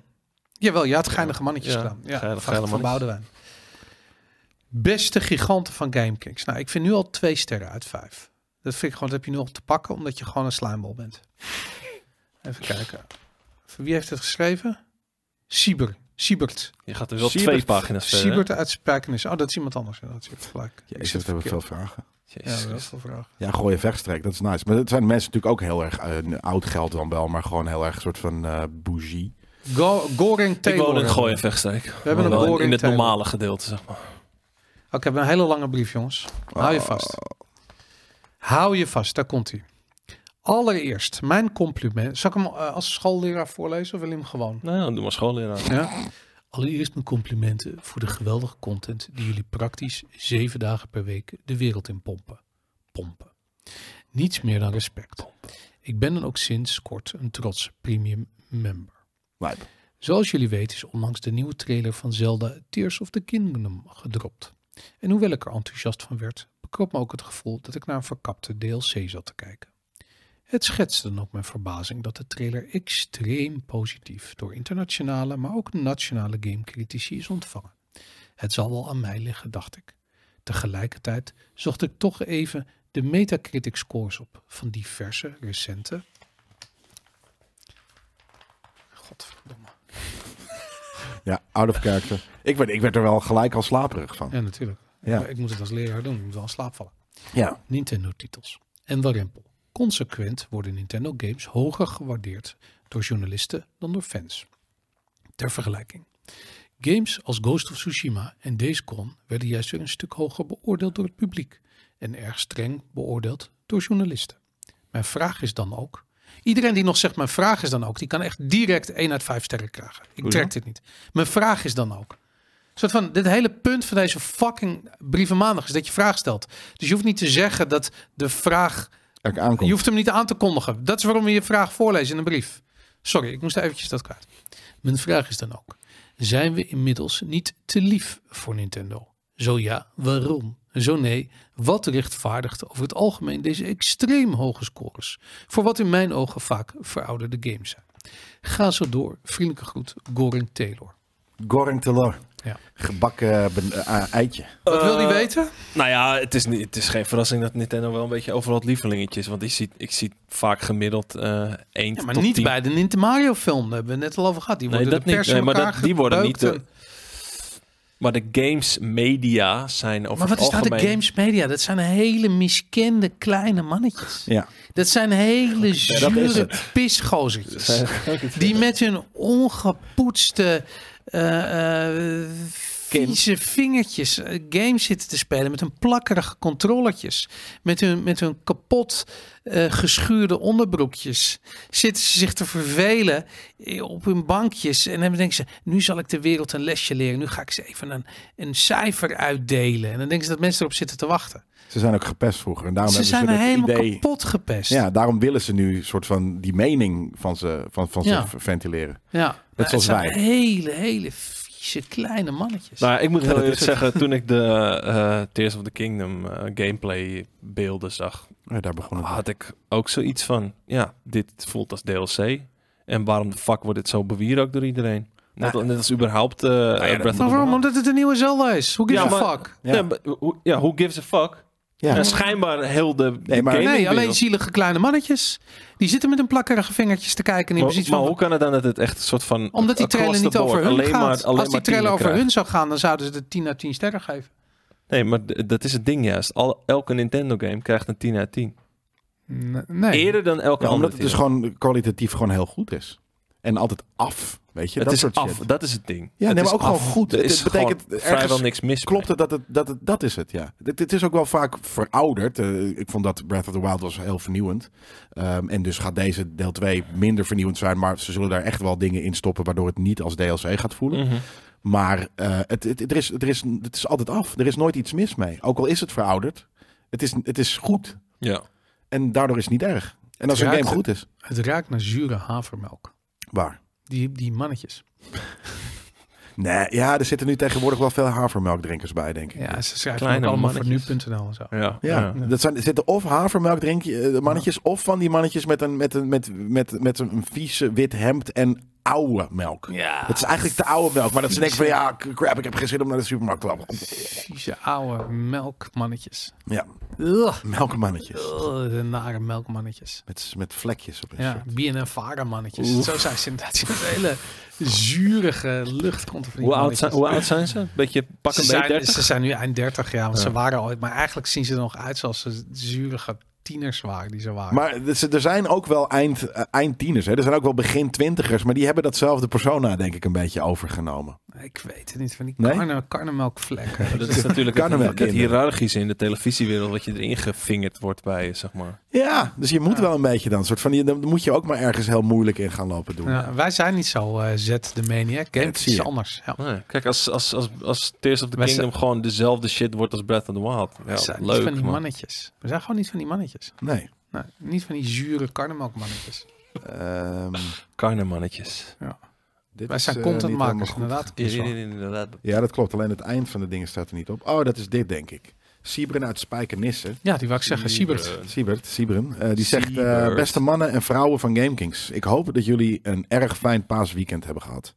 S1: Jawel, je had geinige mannetjes
S3: Ja,
S1: gedaan. Ja,
S3: geinige,
S1: van,
S3: geile
S1: van
S3: mannetjes.
S1: Boudewijn. Beste giganten van GameKings. Nou, ik vind nu al twee sterren uit vijf. Dat vind ik gewoon, dat heb je nu al te pakken, omdat je gewoon een slijmbal bent. Even kijken. Wie heeft het geschreven? Siebert. Siebert.
S3: Je gaat er wel
S4: Siebert-
S3: twee pagina's verder. hè?
S1: Siebert uit Spijkenis. Oh, dat is iemand anders. inderdaad. Je hebt gelijk.
S4: Ja,
S1: Ik
S4: ik
S1: zit
S4: zit hebben
S1: verkeerd.
S4: veel vragen.
S3: Jezus
S1: Ja, dat is
S3: Christus.
S1: de vraag.
S4: Ja, gooi je vechtstreek, dat is nice. Maar dat zijn mensen natuurlijk ook heel erg eh, oud geld dan wel, maar gewoon heel erg een soort van eh bougie.
S1: Go Goring
S3: Ik
S1: Taylor.
S3: woon in Gooi en Vechtstreek. We
S1: hebben een
S3: in,
S1: boring
S3: in het
S1: table.
S3: normale gedeelte, zeg maar.
S1: Oké, we hebben Oh, een hele lange brief, jongens. Hou je vast. Hou je vast, daar komt hij. Allereerst, mijn compliment. Zal ik hem eh, als schoolleraar voorlezen of wil je hem gewoon?
S3: Nou ja, doe maar schoolleraar.
S1: Ja. Allereerst mijn complimenten voor de geweldige content die jullie praktisch zeven dagen per week de wereld in pompen. Pompen. Niets meer dan respect. Ik ben dan ook sinds kort een trots premium member.
S4: Lijp.
S1: Zoals jullie weten is onlangs de nieuwe trailer van Zelda Tears of the Kingdom gedropt. En hoewel ik er enthousiast van werd, bekrop me ook het gevoel dat ik naar een verkapte DLC zat te kijken. Het schetste dan ook mijn verbazing dat de trailer extreem positief door internationale, maar ook nationale gamecritici is ontvangen. Het zal wel aan mij liggen, dacht ik. Tegelijkertijd zocht ik toch even de Metacritic scores op van diverse recente. Godverdomme.
S4: Ja, out of character. Ik werd, ik werd er wel gelijk al slaperig van.
S1: Ja, natuurlijk.
S4: Ja.
S1: Maar Eh, Ik moet het als leraar doen. Ik moet wel in slaap vallen.
S4: Ja.
S1: Nintendo-titels. En warempel. Consequent worden Nintendo-games hoger gewaardeerd door journalisten dan door fans. Ter vergelijking. Games als Ghost of Tsushima en Days Gone werden juist weer een stuk hoger beoordeeld door het publiek en erg streng beoordeeld door journalisten. Mijn vraag is dan ook: Iedereen die nog zegt, mijn vraag is dan ook, die kan echt direct 1 uit 5 sterren krijgen. Ik
S3: Hoezo?
S1: trek dit niet. Mijn vraag is dan ook. Een soort van, dit hele punt van deze fucking brieven maandag is dat je vraag stelt. Dus je hoeft niet te zeggen dat de vraag,
S4: Er aankomt.
S1: je hoeft hem niet aan te kondigen. Dat is waarom we je vraag voorlezen in een brief. Sorry, ik moest eventjes dat kwijt. Mijn vraag is dan ook, zijn we inmiddels niet te lief voor Nintendo? Zo ja, waarom? Zo nee, wat rechtvaardigt over het algemeen deze extreem hoge scores? Voor wat in mijn ogen vaak verouderde games zijn. Ga zo door. Vriendelijke groet, Goring Taylor.
S4: Goring Telor.
S1: Ja.
S4: Gebakken ben- eh, eitje.
S1: Wat wil
S3: Eh,
S1: die weten?
S3: Nou ja, het is, niet, het is geen verrassing dat Nintendo wel een beetje overal het lievelingetje is. Want ik zie, ik zie vaak gemiddeld eh 1
S1: Ja, maar
S3: tot
S1: niet
S3: 10.
S1: bij de Nintendo Mario film. Daar hebben we het net al over gehad. Die
S3: Nee,
S1: worden
S3: dat
S1: de
S3: niet.
S1: pers
S3: Nee,
S1: in
S3: maar
S1: elkaar
S3: dat, die worden niet...
S1: gebeukt en-
S3: eh, maar de games media zijn over
S1: Maar wat
S3: het
S1: is nou
S3: algemeen...
S1: de games media? Dat zijn hele miskende kleine mannetjes.
S4: Ja.
S1: Dat zijn hele
S4: dat is
S1: zure pisgozertjes. Die met hun ongepoetste, eh, eh, vieze vingertjes eh, games zitten te spelen. Met hun plakkerige controllertjes. Met hun, met hun kapot eh, geschuurde onderbroekjes. Zitten ze zich te vervelen eh, op hun bankjes. En dan denken ze, nu zal ik de wereld een lesje leren. Nu ga ik ze even een, een cijfer uitdelen. En dan denken ze dat mensen erop zitten te wachten.
S4: Ze zijn ook gepest vroeger. En daarom
S1: ze zijn
S4: Nou, hebben ze het
S1: helemaal
S4: idee...
S1: kapot gepest.
S4: Ja, daarom willen ze nu een soort van die mening van ze, van, van
S1: Ja.
S4: ze ventileren.
S1: Ja, maar het
S4: zoals
S1: zijn
S4: wij.
S1: Hele, hele vieze kleine mannetjes.
S3: Nou, ik moet
S4: Ja,
S3: heel
S4: dat
S3: eerlijk
S4: is het.
S3: zeggen, toen ik de eh, Tears of the Kingdom eh, gameplay beelden zag,
S4: Ja, daar begon
S1: Ah,
S4: het.
S3: had ik ook zoiets van, ja, dit voelt als DLC. En waarom de fuck wordt dit zo bewierookt door iedereen? Net,
S4: Nou,
S3: net als überhaupt eh,
S4: dat-
S3: Breath
S1: maar
S3: of the
S1: waarom?
S3: Wild.
S1: Omdat het een nieuwe Zelda is. Hoe gives
S3: Ja,
S1: a
S3: maar-
S1: fuck?
S4: Ja.
S3: Ja, maar hoe- ja, who gives a fuck?
S4: Ja.
S3: En schijnbaar heel de
S4: Nee, maar-
S3: gaming
S1: Nee, alleen
S3: wereld.
S1: zielige kleine mannetjes. Die zitten met hun plakkerige vingertjes te kijken. En in
S3: Maar,
S1: precies
S3: maar
S1: van,
S3: hoe kan het dan dat het echt een soort van
S1: omdat die trailer
S3: across
S1: niet
S3: the board
S1: over hun
S3: alleen
S1: gaat.
S3: Maar, alleen
S1: Als die
S3: maar
S1: trailer
S3: tienen
S1: over
S3: krijgt?
S1: hun zou gaan, dan zouden ze de 10 uit 10 sterren geven.
S3: Nee, maar d- dat is het ding juist. Al, elke Nintendo game krijgt een 10 uit 10.
S1: Nee.
S3: Eerder dan elke
S4: Ja,
S3: andere
S4: omdat het dus
S3: titel.
S4: gewoon kwalitatief gewoon heel goed is. En altijd af, weet je.
S3: Het
S4: dat
S3: is
S4: soort
S3: af,
S4: shit.
S3: dat is het ding.
S4: Ja,
S3: het
S4: nee,
S3: is
S4: maar ook gewoon
S3: af.
S4: goed.
S3: Er
S4: Het
S3: is
S4: betekent
S3: gewoon
S4: ergens-
S3: vrijwel niks mis
S4: Klopt
S3: mee.
S4: het dat, het, dat het dat is het, ja. Het, het is ook wel vaak verouderd. Eh, ik vond dat Breath of the Wild was heel vernieuwend. Ehm, en dus gaat deze deel 2 minder vernieuwend zijn. Maar ze zullen daar echt wel dingen in stoppen waardoor het niet als DLC gaat voelen.
S3: Mhm.
S4: Maar eh, het, het, het, er is, het, er is, het is altijd af. Er is nooit iets mis mee. Ook al is het verouderd. Het is, het is goed.
S3: Ja.
S4: En daardoor is het niet erg. En als
S1: Het
S4: een game
S1: raakt-
S4: goed is.
S1: Het ruikt naar zure havermelk.
S4: Waar?
S1: Die, die mannetjes.
S4: Nee, ja, er zitten nu tegenwoordig wel veel havermelkdrinkers bij, denk ik.
S1: Ja, ze schrijven
S3: Kleine
S1: ook allemaal
S3: mannetjes.
S1: voor nu.nl en zo.
S3: Ja.
S4: Ja, dat zijn, er zitten of havermelkdrinkje eh, mannetjes, of van die mannetjes met een, met een, met, met, met een vieze wit hemd en oude melk.
S1: Ja,
S4: Dat is eigenlijk de oude melk, maar dat ze denken van ja, k- crap, ik heb geen zin om naar de supermarkt te lopen.
S1: vieze oude melkmannetjes.
S4: Ja,
S1: Ugh,
S4: melkmannetjes.
S1: ugh, de nare melkmannetjes.
S4: Met, met vlekjes op hun
S1: Ja,
S4: shirt.
S1: BNNVARA mannetjes. Zo zijn ze inderdaad. Ze hebben Een hele zurige lucht komt er van die
S3: Hoe, oud
S1: mannetjes.
S3: zijn, hoe oud zijn ze? Beetje pak
S1: ze,
S3: een beetje
S1: zijn,
S3: 30?
S1: ze zijn nu eind 30 jaar, want
S3: Ja.
S1: ze waren ooit. Maar eigenlijk zien ze er nog uit zoals ze zurige tieners waren die ze waren.
S4: Maar er z- er zijn ook wel eind, eh, eindtieners, hè. er zijn ook wel begin twintigers, maar die hebben datzelfde persona denk ik een beetje overgenomen.
S1: ik weet het niet, van die
S4: Nee?
S1: karne, karnemelkvlekken.
S3: Dat is natuurlijk
S4: Kan
S3: het,
S4: hem wel,
S3: het
S4: kinderen.
S3: hiërarchische in de televisiewereld wat je erin gevingerd wordt bij, zeg maar.
S4: Ja, dus je moet
S1: Ja.
S4: wel een beetje dan, soort van, je- dan moet je ook maar ergens heel moeilijk in gaan lopen doen.
S1: Ja, wij zijn niet zo eh, zet de maniac. Game
S4: Dat zie
S1: is
S4: je.
S1: anders. Ja.
S3: Nee, Kijk, als, als, als, als Tears of the
S1: Wij
S3: Kingdom gewoon dezelfde shit wordt als Breath of the Wild.
S1: we
S3: Ja,
S1: zijn niet van
S3: leuk,
S1: die
S3: man.
S1: mannetjes. We zijn gewoon niet van die mannetjes.
S4: Nee.
S1: Nee, niet van die zure karnemelkmannetjes.
S4: Ehm,
S3: Karnemannetjes.
S4: dit
S1: Wij
S4: is,
S1: zijn
S4: eh, niet helemaal
S1: contentmakers,
S4: goed.
S1: inderdaad.
S3: Inderdaad.
S4: Ja, dat klopt. Alleen het eind van de dingen staat er niet op. Oh, dat is dit, denk ik. Siebren uit Spijkenisse.
S1: Ja, die wou ik zeggen,
S3: eh,
S1: Siebert.
S4: Siebert, Siebren. eh, die zegt, eh,
S3: Siebert.
S4: beste mannen en vrouwen van GameKings. Ik hoop dat jullie een erg fijn paasweekend hebben gehad.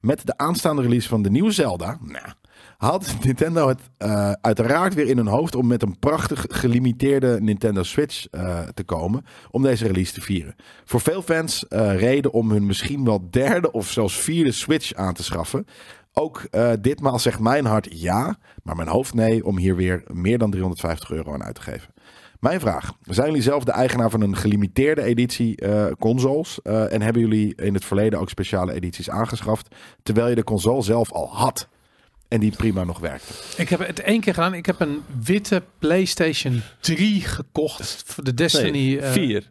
S4: Met de aanstaande release van de nieuwe Zelda... Nou, had Nintendo het eh, uiteraard weer in hun hoofd om met een prachtig gelimiteerde Nintendo Switch eh, te komen. Om deze release te vieren. Voor veel fans eh, reden om hun misschien wel derde of zelfs vierde Switch aan te schaffen. Ook eh, ditmaal zegt mijn hart ja, maar mijn hoofd nee om hier weer meer dan 350 euro aan uit te geven. Mijn vraag, zijn jullie zelf de eigenaar van een gelimiteerde editie eh, consoles? Eh, en hebben jullie in het verleden ook speciale edities aangeschaft, terwijl je de console zelf al had? En die prima nog werkte.
S1: Ik heb het één keer gedaan. Ik heb een witte PlayStation 3 gekocht voor de Destiny.
S3: Nee,
S1: eh,
S3: vier.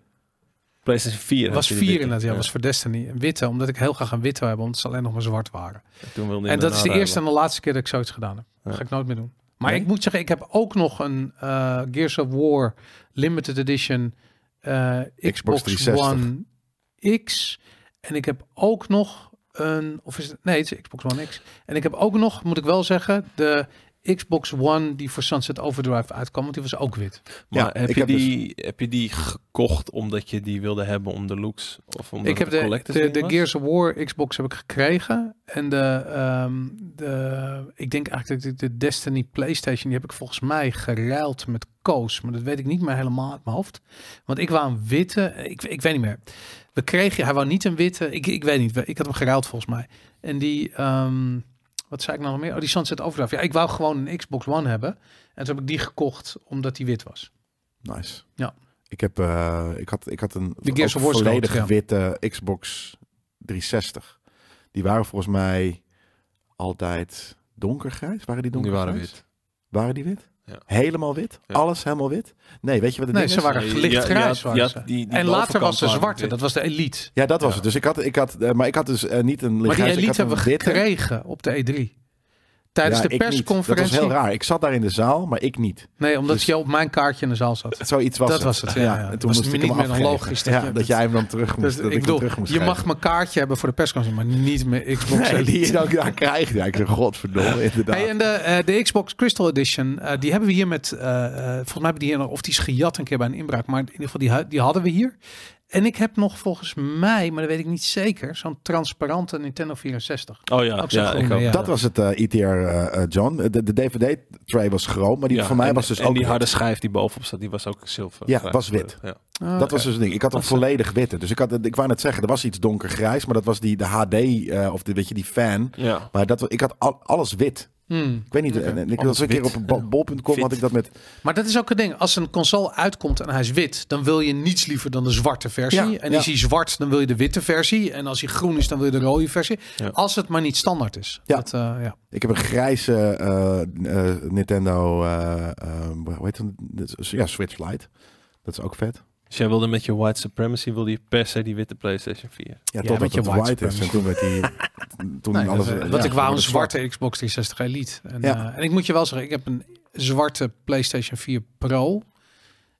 S3: PlayStation 4.
S1: was
S3: had je die
S1: vier
S3: witte.
S1: inderdaad, ja, was voor Destiny. Een witte, omdat ik heel graag een witte wil hebben, omdat ze alleen nog maar zwart waren.
S3: Toen wilde je
S1: En
S3: hem
S1: dat is de
S3: daarna
S1: eerste en de laatste keer dat ik zoiets gedaan heb.
S3: Ja.
S1: Dat ga ik nooit meer doen. Maar
S3: Nee?
S1: ik moet zeggen, ik heb ook nog een eh, Gears of War Limited Edition eh, Xbox,
S4: 360.
S1: One X. En ik heb ook nog een, of is het, nee, het is Xbox One X. En ik heb ook nog, moet ik wel zeggen, de Xbox One die voor Sunset Overdrive uitkwam, want die was ook wit.
S3: Maar
S4: Ja,
S3: heb,
S4: ik
S3: je
S4: heb
S3: die, heb je die gekocht omdat je die wilde hebben om de looks? Of omdat
S1: ik heb
S3: het een
S1: de,
S3: collectors
S1: de,
S3: ding
S1: de
S3: was?
S1: Gears of War Xbox heb ik gekregen. En de, ehm, de, ik denk eigenlijk dat ik de Destiny Playstation, die heb ik volgens mij geruild met Koos. Maar dat weet ik niet meer helemaal uit mijn hoofd. Want ik wou een witte, ik, ik weet niet meer. We kregen, hij wou niet een witte, ik, ik weet niet, ik had hem geruild volgens mij. En die, ehm, wat zei ik nou nog meer? Oh, die Sunset Overdrive. Ja, ik wou gewoon een Xbox One hebben. En toen heb ik die gekocht omdat die wit was.
S4: Nice.
S1: Ja.
S4: Ik, heb, eh, ik, had, ik had een
S1: De Gears
S4: ook
S1: of War schoot,
S4: volledig
S1: ja.
S4: witte Xbox 360. Die waren volgens mij altijd donkergrijs. Waren die
S3: Die
S4: donkergrijs?
S3: waren wit.
S4: Waren die wit?
S3: Ja.
S4: Helemaal wit?
S3: Ja.
S4: Alles helemaal wit? Nee, weet je wat het
S1: Nee,
S4: ding
S1: ze
S4: is?
S1: waren
S3: Ja,
S1: lichtgrijs.
S3: je had- je
S1: waren
S3: had
S1: ze.
S3: die- die
S1: en later
S3: bovenkant
S1: was de
S3: waren
S1: zwarte,
S3: wit.
S1: dat was de Elite.
S4: Ja, dat was
S3: Ja.
S4: het. Dus ik had, ik had, eh, maar ik had dus eh, niet een
S1: Maar die
S4: lichtgrijs, ik had
S1: elite hebben we
S4: een witte.
S1: gekregen op de E3. Tijdens
S4: Ja,
S1: de
S4: ik niet.
S1: persconferentie.
S4: Dat was heel raar. Ik zat daar in de zaal, maar ik niet.
S1: Nee, omdat
S4: Dus-
S1: je op mijn kaartje in de zaal zat.
S4: Zoiets was
S1: Dat
S4: het.
S1: was het, ja, ja.
S4: En
S1: Was
S4: toen moest
S1: het
S4: ik
S1: niet
S4: hem
S1: meer dan
S4: afgeven.
S1: logisch dat
S4: Ja,
S1: je-
S4: dat jij hem dan terug moest,
S1: Dus
S4: dat ik
S1: ik
S4: hem
S1: bedoel,
S4: terug moest
S1: je
S4: geven.
S1: mag mijn kaartje hebben voor de persconferentie, maar niet mijn Xbox
S4: Nee,
S1: Elite.
S4: die je dan daar krijgt. Ja, ik zeg, godverdomme, inderdaad.
S1: Hey, en de, eh, de Xbox Crystal Edition, eh, die hebben we hier met, eh, eh, volgens mij hebben die hier nog, of die is gejat een keer bij een inbraak, maar in ieder geval die, hu- die hadden we hier. En ik heb nog volgens mij, maar dat weet ik niet zeker, zo'n transparante Nintendo 64.
S3: Oh ja,
S1: Ook zo'n
S3: ja, ik
S1: groene,
S3: ook.
S1: ja.
S4: dat was het eh, ETR, eh, eh, John. De, de DVD-tray was groot, maar die
S3: Ja,
S4: voor mij
S3: en-
S4: was dus
S3: en
S4: ook
S3: die
S4: wit.
S3: harde schijf die bovenop staat, die was ook zilver.
S4: Ja,
S3: Grijs
S4: was wit.
S3: kleur,
S1: Ah,
S4: Dat was dus het ding. Ik had een
S3: Dat is-
S4: volledig witte. Dus ik, had, ik wou net zeggen, er was iets donkergrijs, maar dat was die de HD, eh, of de, weet je, die fan.
S3: Ja. ja.
S4: Maar dat, ik had al- alles wit.
S1: hmm.
S4: Ik weet niet, en- en ik was een keer op
S3: wit.
S4: een bo- bol.com, had ik dat met...
S1: Maar dat is ook het ding. Als een console uitkomt en hij is wit, dan wil je niets liever dan de zwarte versie.
S4: Ja,
S1: en
S4: ja.
S1: is hij zwart, dan wil je de witte versie. En als hij groen is, dan wil je de rode versie.
S3: Ja.
S1: Als het maar niet standaard is.
S4: Ja.
S1: Dat, eh, ja.
S4: Ik heb een grijze eh, eh, Nintendo, eh, eh, hoe heet het? Ja, Switch Lite. Dat is ook vet.
S3: Dus jij wilde met je white supremacy, wilde je per se die witte PlayStation 4.
S4: Ja,
S1: Ja,
S4: totdat
S1: met je
S4: het
S1: white
S4: white is. En toen werd die... Toen
S1: Nee,
S4: alles,
S1: dat, eh,
S4: ja,
S1: want ik wou
S4: toen werd
S1: een
S4: het zwart.
S1: zwarte Xbox 360 Elite. En,
S4: Ja.
S1: eh, en ik moet je wel zeggen, ik heb een zwarte PlayStation 4 Pro.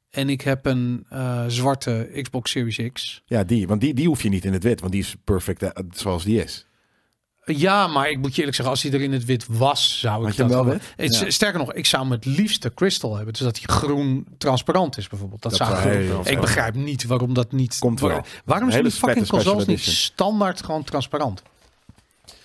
S1: En ik heb een eh, zwarte Xbox Series X.
S4: Ja, die. Want die, die hoef je niet in het wit. Want die is perfect eh, zoals die is.
S1: Ja, maar ik moet je eerlijk zeggen, als hij er in het wit was, zou ik
S4: Had je hem
S1: dat
S4: wel
S1: hebben. Het-
S4: Ja.
S1: Sterker nog, ik zou hem het liefst de crystal hebben, dus dat hij groen transparant is bijvoorbeeld. Dat, zou
S4: zou
S1: ik
S4: heel
S1: doen.
S4: vet
S1: Ik begrijp niet waarom dat niet.
S4: Komt wel.
S1: waar- waarom
S4: Hele
S1: zijn die
S4: vette
S1: fucking
S4: special
S1: consoles niet
S4: edition.
S1: standaard gewoon transparant?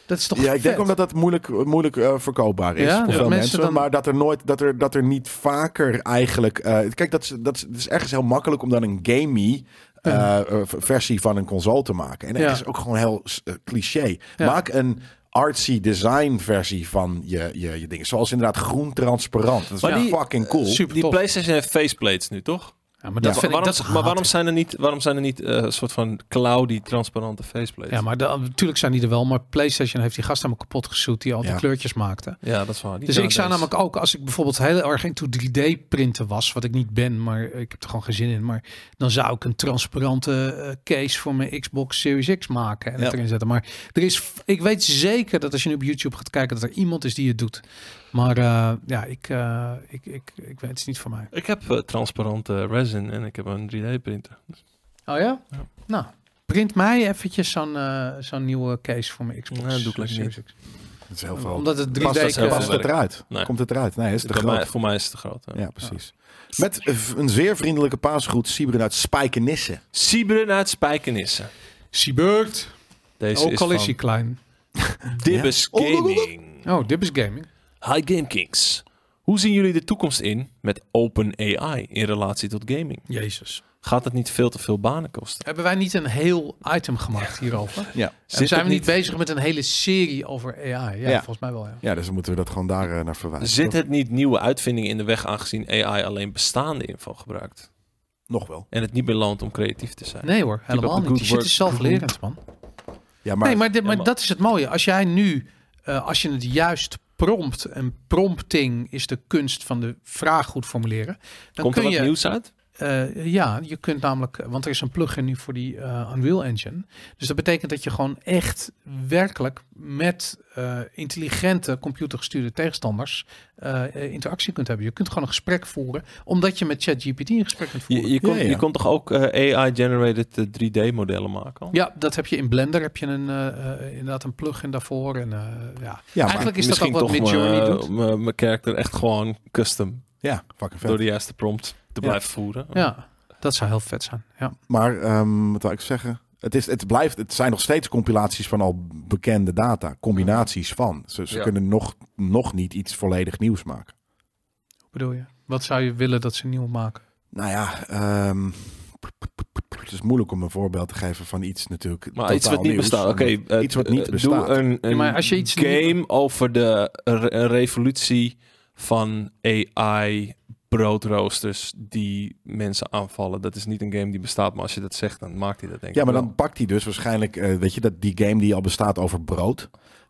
S1: Dat is toch
S4: Ja, ik denk
S1: vet?
S4: omdat dat moeilijk, moeilijk eh, verkoopbaar is
S1: Ja,
S4: voor
S1: dat
S4: veel
S1: mensen
S4: mensen.
S1: dan-
S4: Maar dat er nooit, dat er, dat er niet vaker eigenlijk. eh, kijk, dat is, dat, is, het is ergens heel makkelijk om dan een gamey. eh, eh, v- versie van een console te maken. En dat
S1: Ja.
S4: is ook gewoon heel s- eh, cliché.
S1: Ja.
S4: Maak een artsy design versie van je, je, je dingen. Zoals inderdaad groen transparant. Dat is
S1: Maar die-
S4: fucking cool.
S1: Super
S3: Die
S1: tof.
S3: PlayStation heeft faceplates nu, toch?
S1: Ja, maar dat
S4: Ja.
S1: vind
S3: waarom,
S1: ik dat
S3: maar waarom zijn er niet, waarom zijn er niet eh, een soort van cloudy, transparante faceplates?
S1: Ja, maar dan- natuurlijk zijn die er wel, maar PlayStation heeft die gast helemaal kapot gezoet die al die
S4: Ja.
S1: kleurtjes maakte.
S3: Ja, dat is waar. Die
S1: Dus
S3: zijn
S1: ik zou
S3: deze.
S1: namelijk ook, als ik bijvoorbeeld heel erg into 3D-printen was, wat ik niet ben, maar ik heb er gewoon geen zin in, maar dan zou ik een transparante eh, case voor mijn Xbox Series X maken en
S4: Ja.
S1: het erin zetten. Maar er is, f- ik weet zeker dat als je nu op YouTube gaat kijken, dat er iemand is die het doet. Maar eh, ja, ik, eh, ik, ik, ik, weet het is niet voor mij.
S3: Ik heb eh, transparante resin en ik heb een 3D-printer.
S1: Oh ja?
S3: Ja.
S1: Nou, print mij eventjes zo'n eh, zo'n nieuwe case voor mijn Xbox
S3: Nee, dat doe ik lekker
S1: Series X.
S4: Dat is heel veel.
S1: Omdat het 3D...
S4: Past,
S3: dat
S1: eh,
S3: zelf
S4: past
S3: wel
S4: het eruit?
S3: Nee.
S4: Komt het eruit? Nee, is te
S3: Bij
S4: groot.
S3: mij- voor mij is het te groot. Ja.
S4: Ja, precies. Met een zeer vriendelijke paasgroet, Siebren uit Spijkenisse.
S3: Siebren uit Spijkenissen.
S1: Seabird.
S3: Deze
S1: Ook
S3: is
S1: al
S3: van
S1: is hij klein.
S3: Dibbes
S4: Ja.
S3: Gaming.
S1: Oh, dit is gaming.
S3: Hi GameKings. Hoe zien jullie de toekomst in met open AI in relatie tot gaming?
S1: Jezus.
S3: Gaat het niet veel te veel banen kosten?
S1: Hebben wij niet een heel item gemaakt hierover?
S4: Ja.
S1: En zijn we
S3: het
S1: niet bezig met een hele serie over AI? Ja,
S4: Ja.
S1: volgens mij wel. Ja.
S4: Ja, dus dan moeten we dat gewoon daar eh, naar verwijzen.
S3: Zit
S4: Toch?
S3: het niet nieuwe uitvindingen in de weg aangezien AI alleen bestaande info gebruikt?
S4: Nog wel.
S3: En het niet meer loont om creatief te zijn.
S1: Nee hoor, helemaal
S3: up the
S1: niet. Die
S3: good
S1: shit is
S3: work.
S1: zelflerend, man.
S4: Ja, maar,
S1: nee, maar, dit,
S3: Ja,
S1: maar
S3: maar-
S1: dat is het mooie. Als jij nu, eh, als je het juist prompt, en prompting is de kunst van de vraag goed formuleren, dan
S3: Komt
S1: kun
S3: er wat
S1: je.
S3: nieuws uit?
S1: eh, ja, je kunt namelijk, want er is een plugin nu voor die eh, Unreal Engine. Dus dat betekent dat je gewoon echt werkelijk met eh, intelligente computergestuurde tegenstanders eh, eh, interactie kunt hebben. Je kunt gewoon een gesprek voeren, omdat je met ChatGPT een gesprek kunt voeren.
S3: Je, je, kon,
S4: Ja, ja.
S3: je kon toch ook eh, AI-generated eh, 3D-modellen maken? al?
S1: Ja, dat heb je in Blender, heb je een, eh, eh, inderdaad een plugin daarvoor. En, eh, ja.
S4: Ja, maar
S1: Eigenlijk is dat ook
S3: Misschien
S1: wat
S3: toch
S1: Midjourney
S3: mijn-
S1: doet.
S3: mijn- Mijn character echt gewoon custom.
S4: Ja, fucking vet.
S3: Door de juiste prompt te blijven voeren.
S1: Ja, dat zou heel vet zijn. Ja.
S4: Maar ehm, wat wil ik zeggen? Het, is, het, blijft, het zijn nog steeds compilaties van al bekende data. Combinaties van. Ze, ze
S3: Ja.
S4: kunnen nog, nog niet iets volledig nieuws maken.
S1: Hoe bedoel je? Wat zou je willen dat ze nieuw maken?
S4: Nou ja, ehm, het is moeilijk om een voorbeeld te geven van iets natuurlijk.
S3: Maar
S4: totaal
S3: iets wat niet
S4: nieuws.
S3: bestaat. Oké, eh,
S4: iets wat niet
S3: eh,
S4: bestaat.
S3: Doe een, een
S1: Ja, maar als je iets
S3: game
S1: niet-
S3: over de re- een revolutie van AI broodroosters die mensen aanvallen. Dat is niet een game die bestaat, maar als je dat zegt, dan maakt hij dat denk ik
S4: Ja, maar
S3: wel.
S4: dan pakt hij dus waarschijnlijk, eh, weet je, dat die game die al bestaat over brood.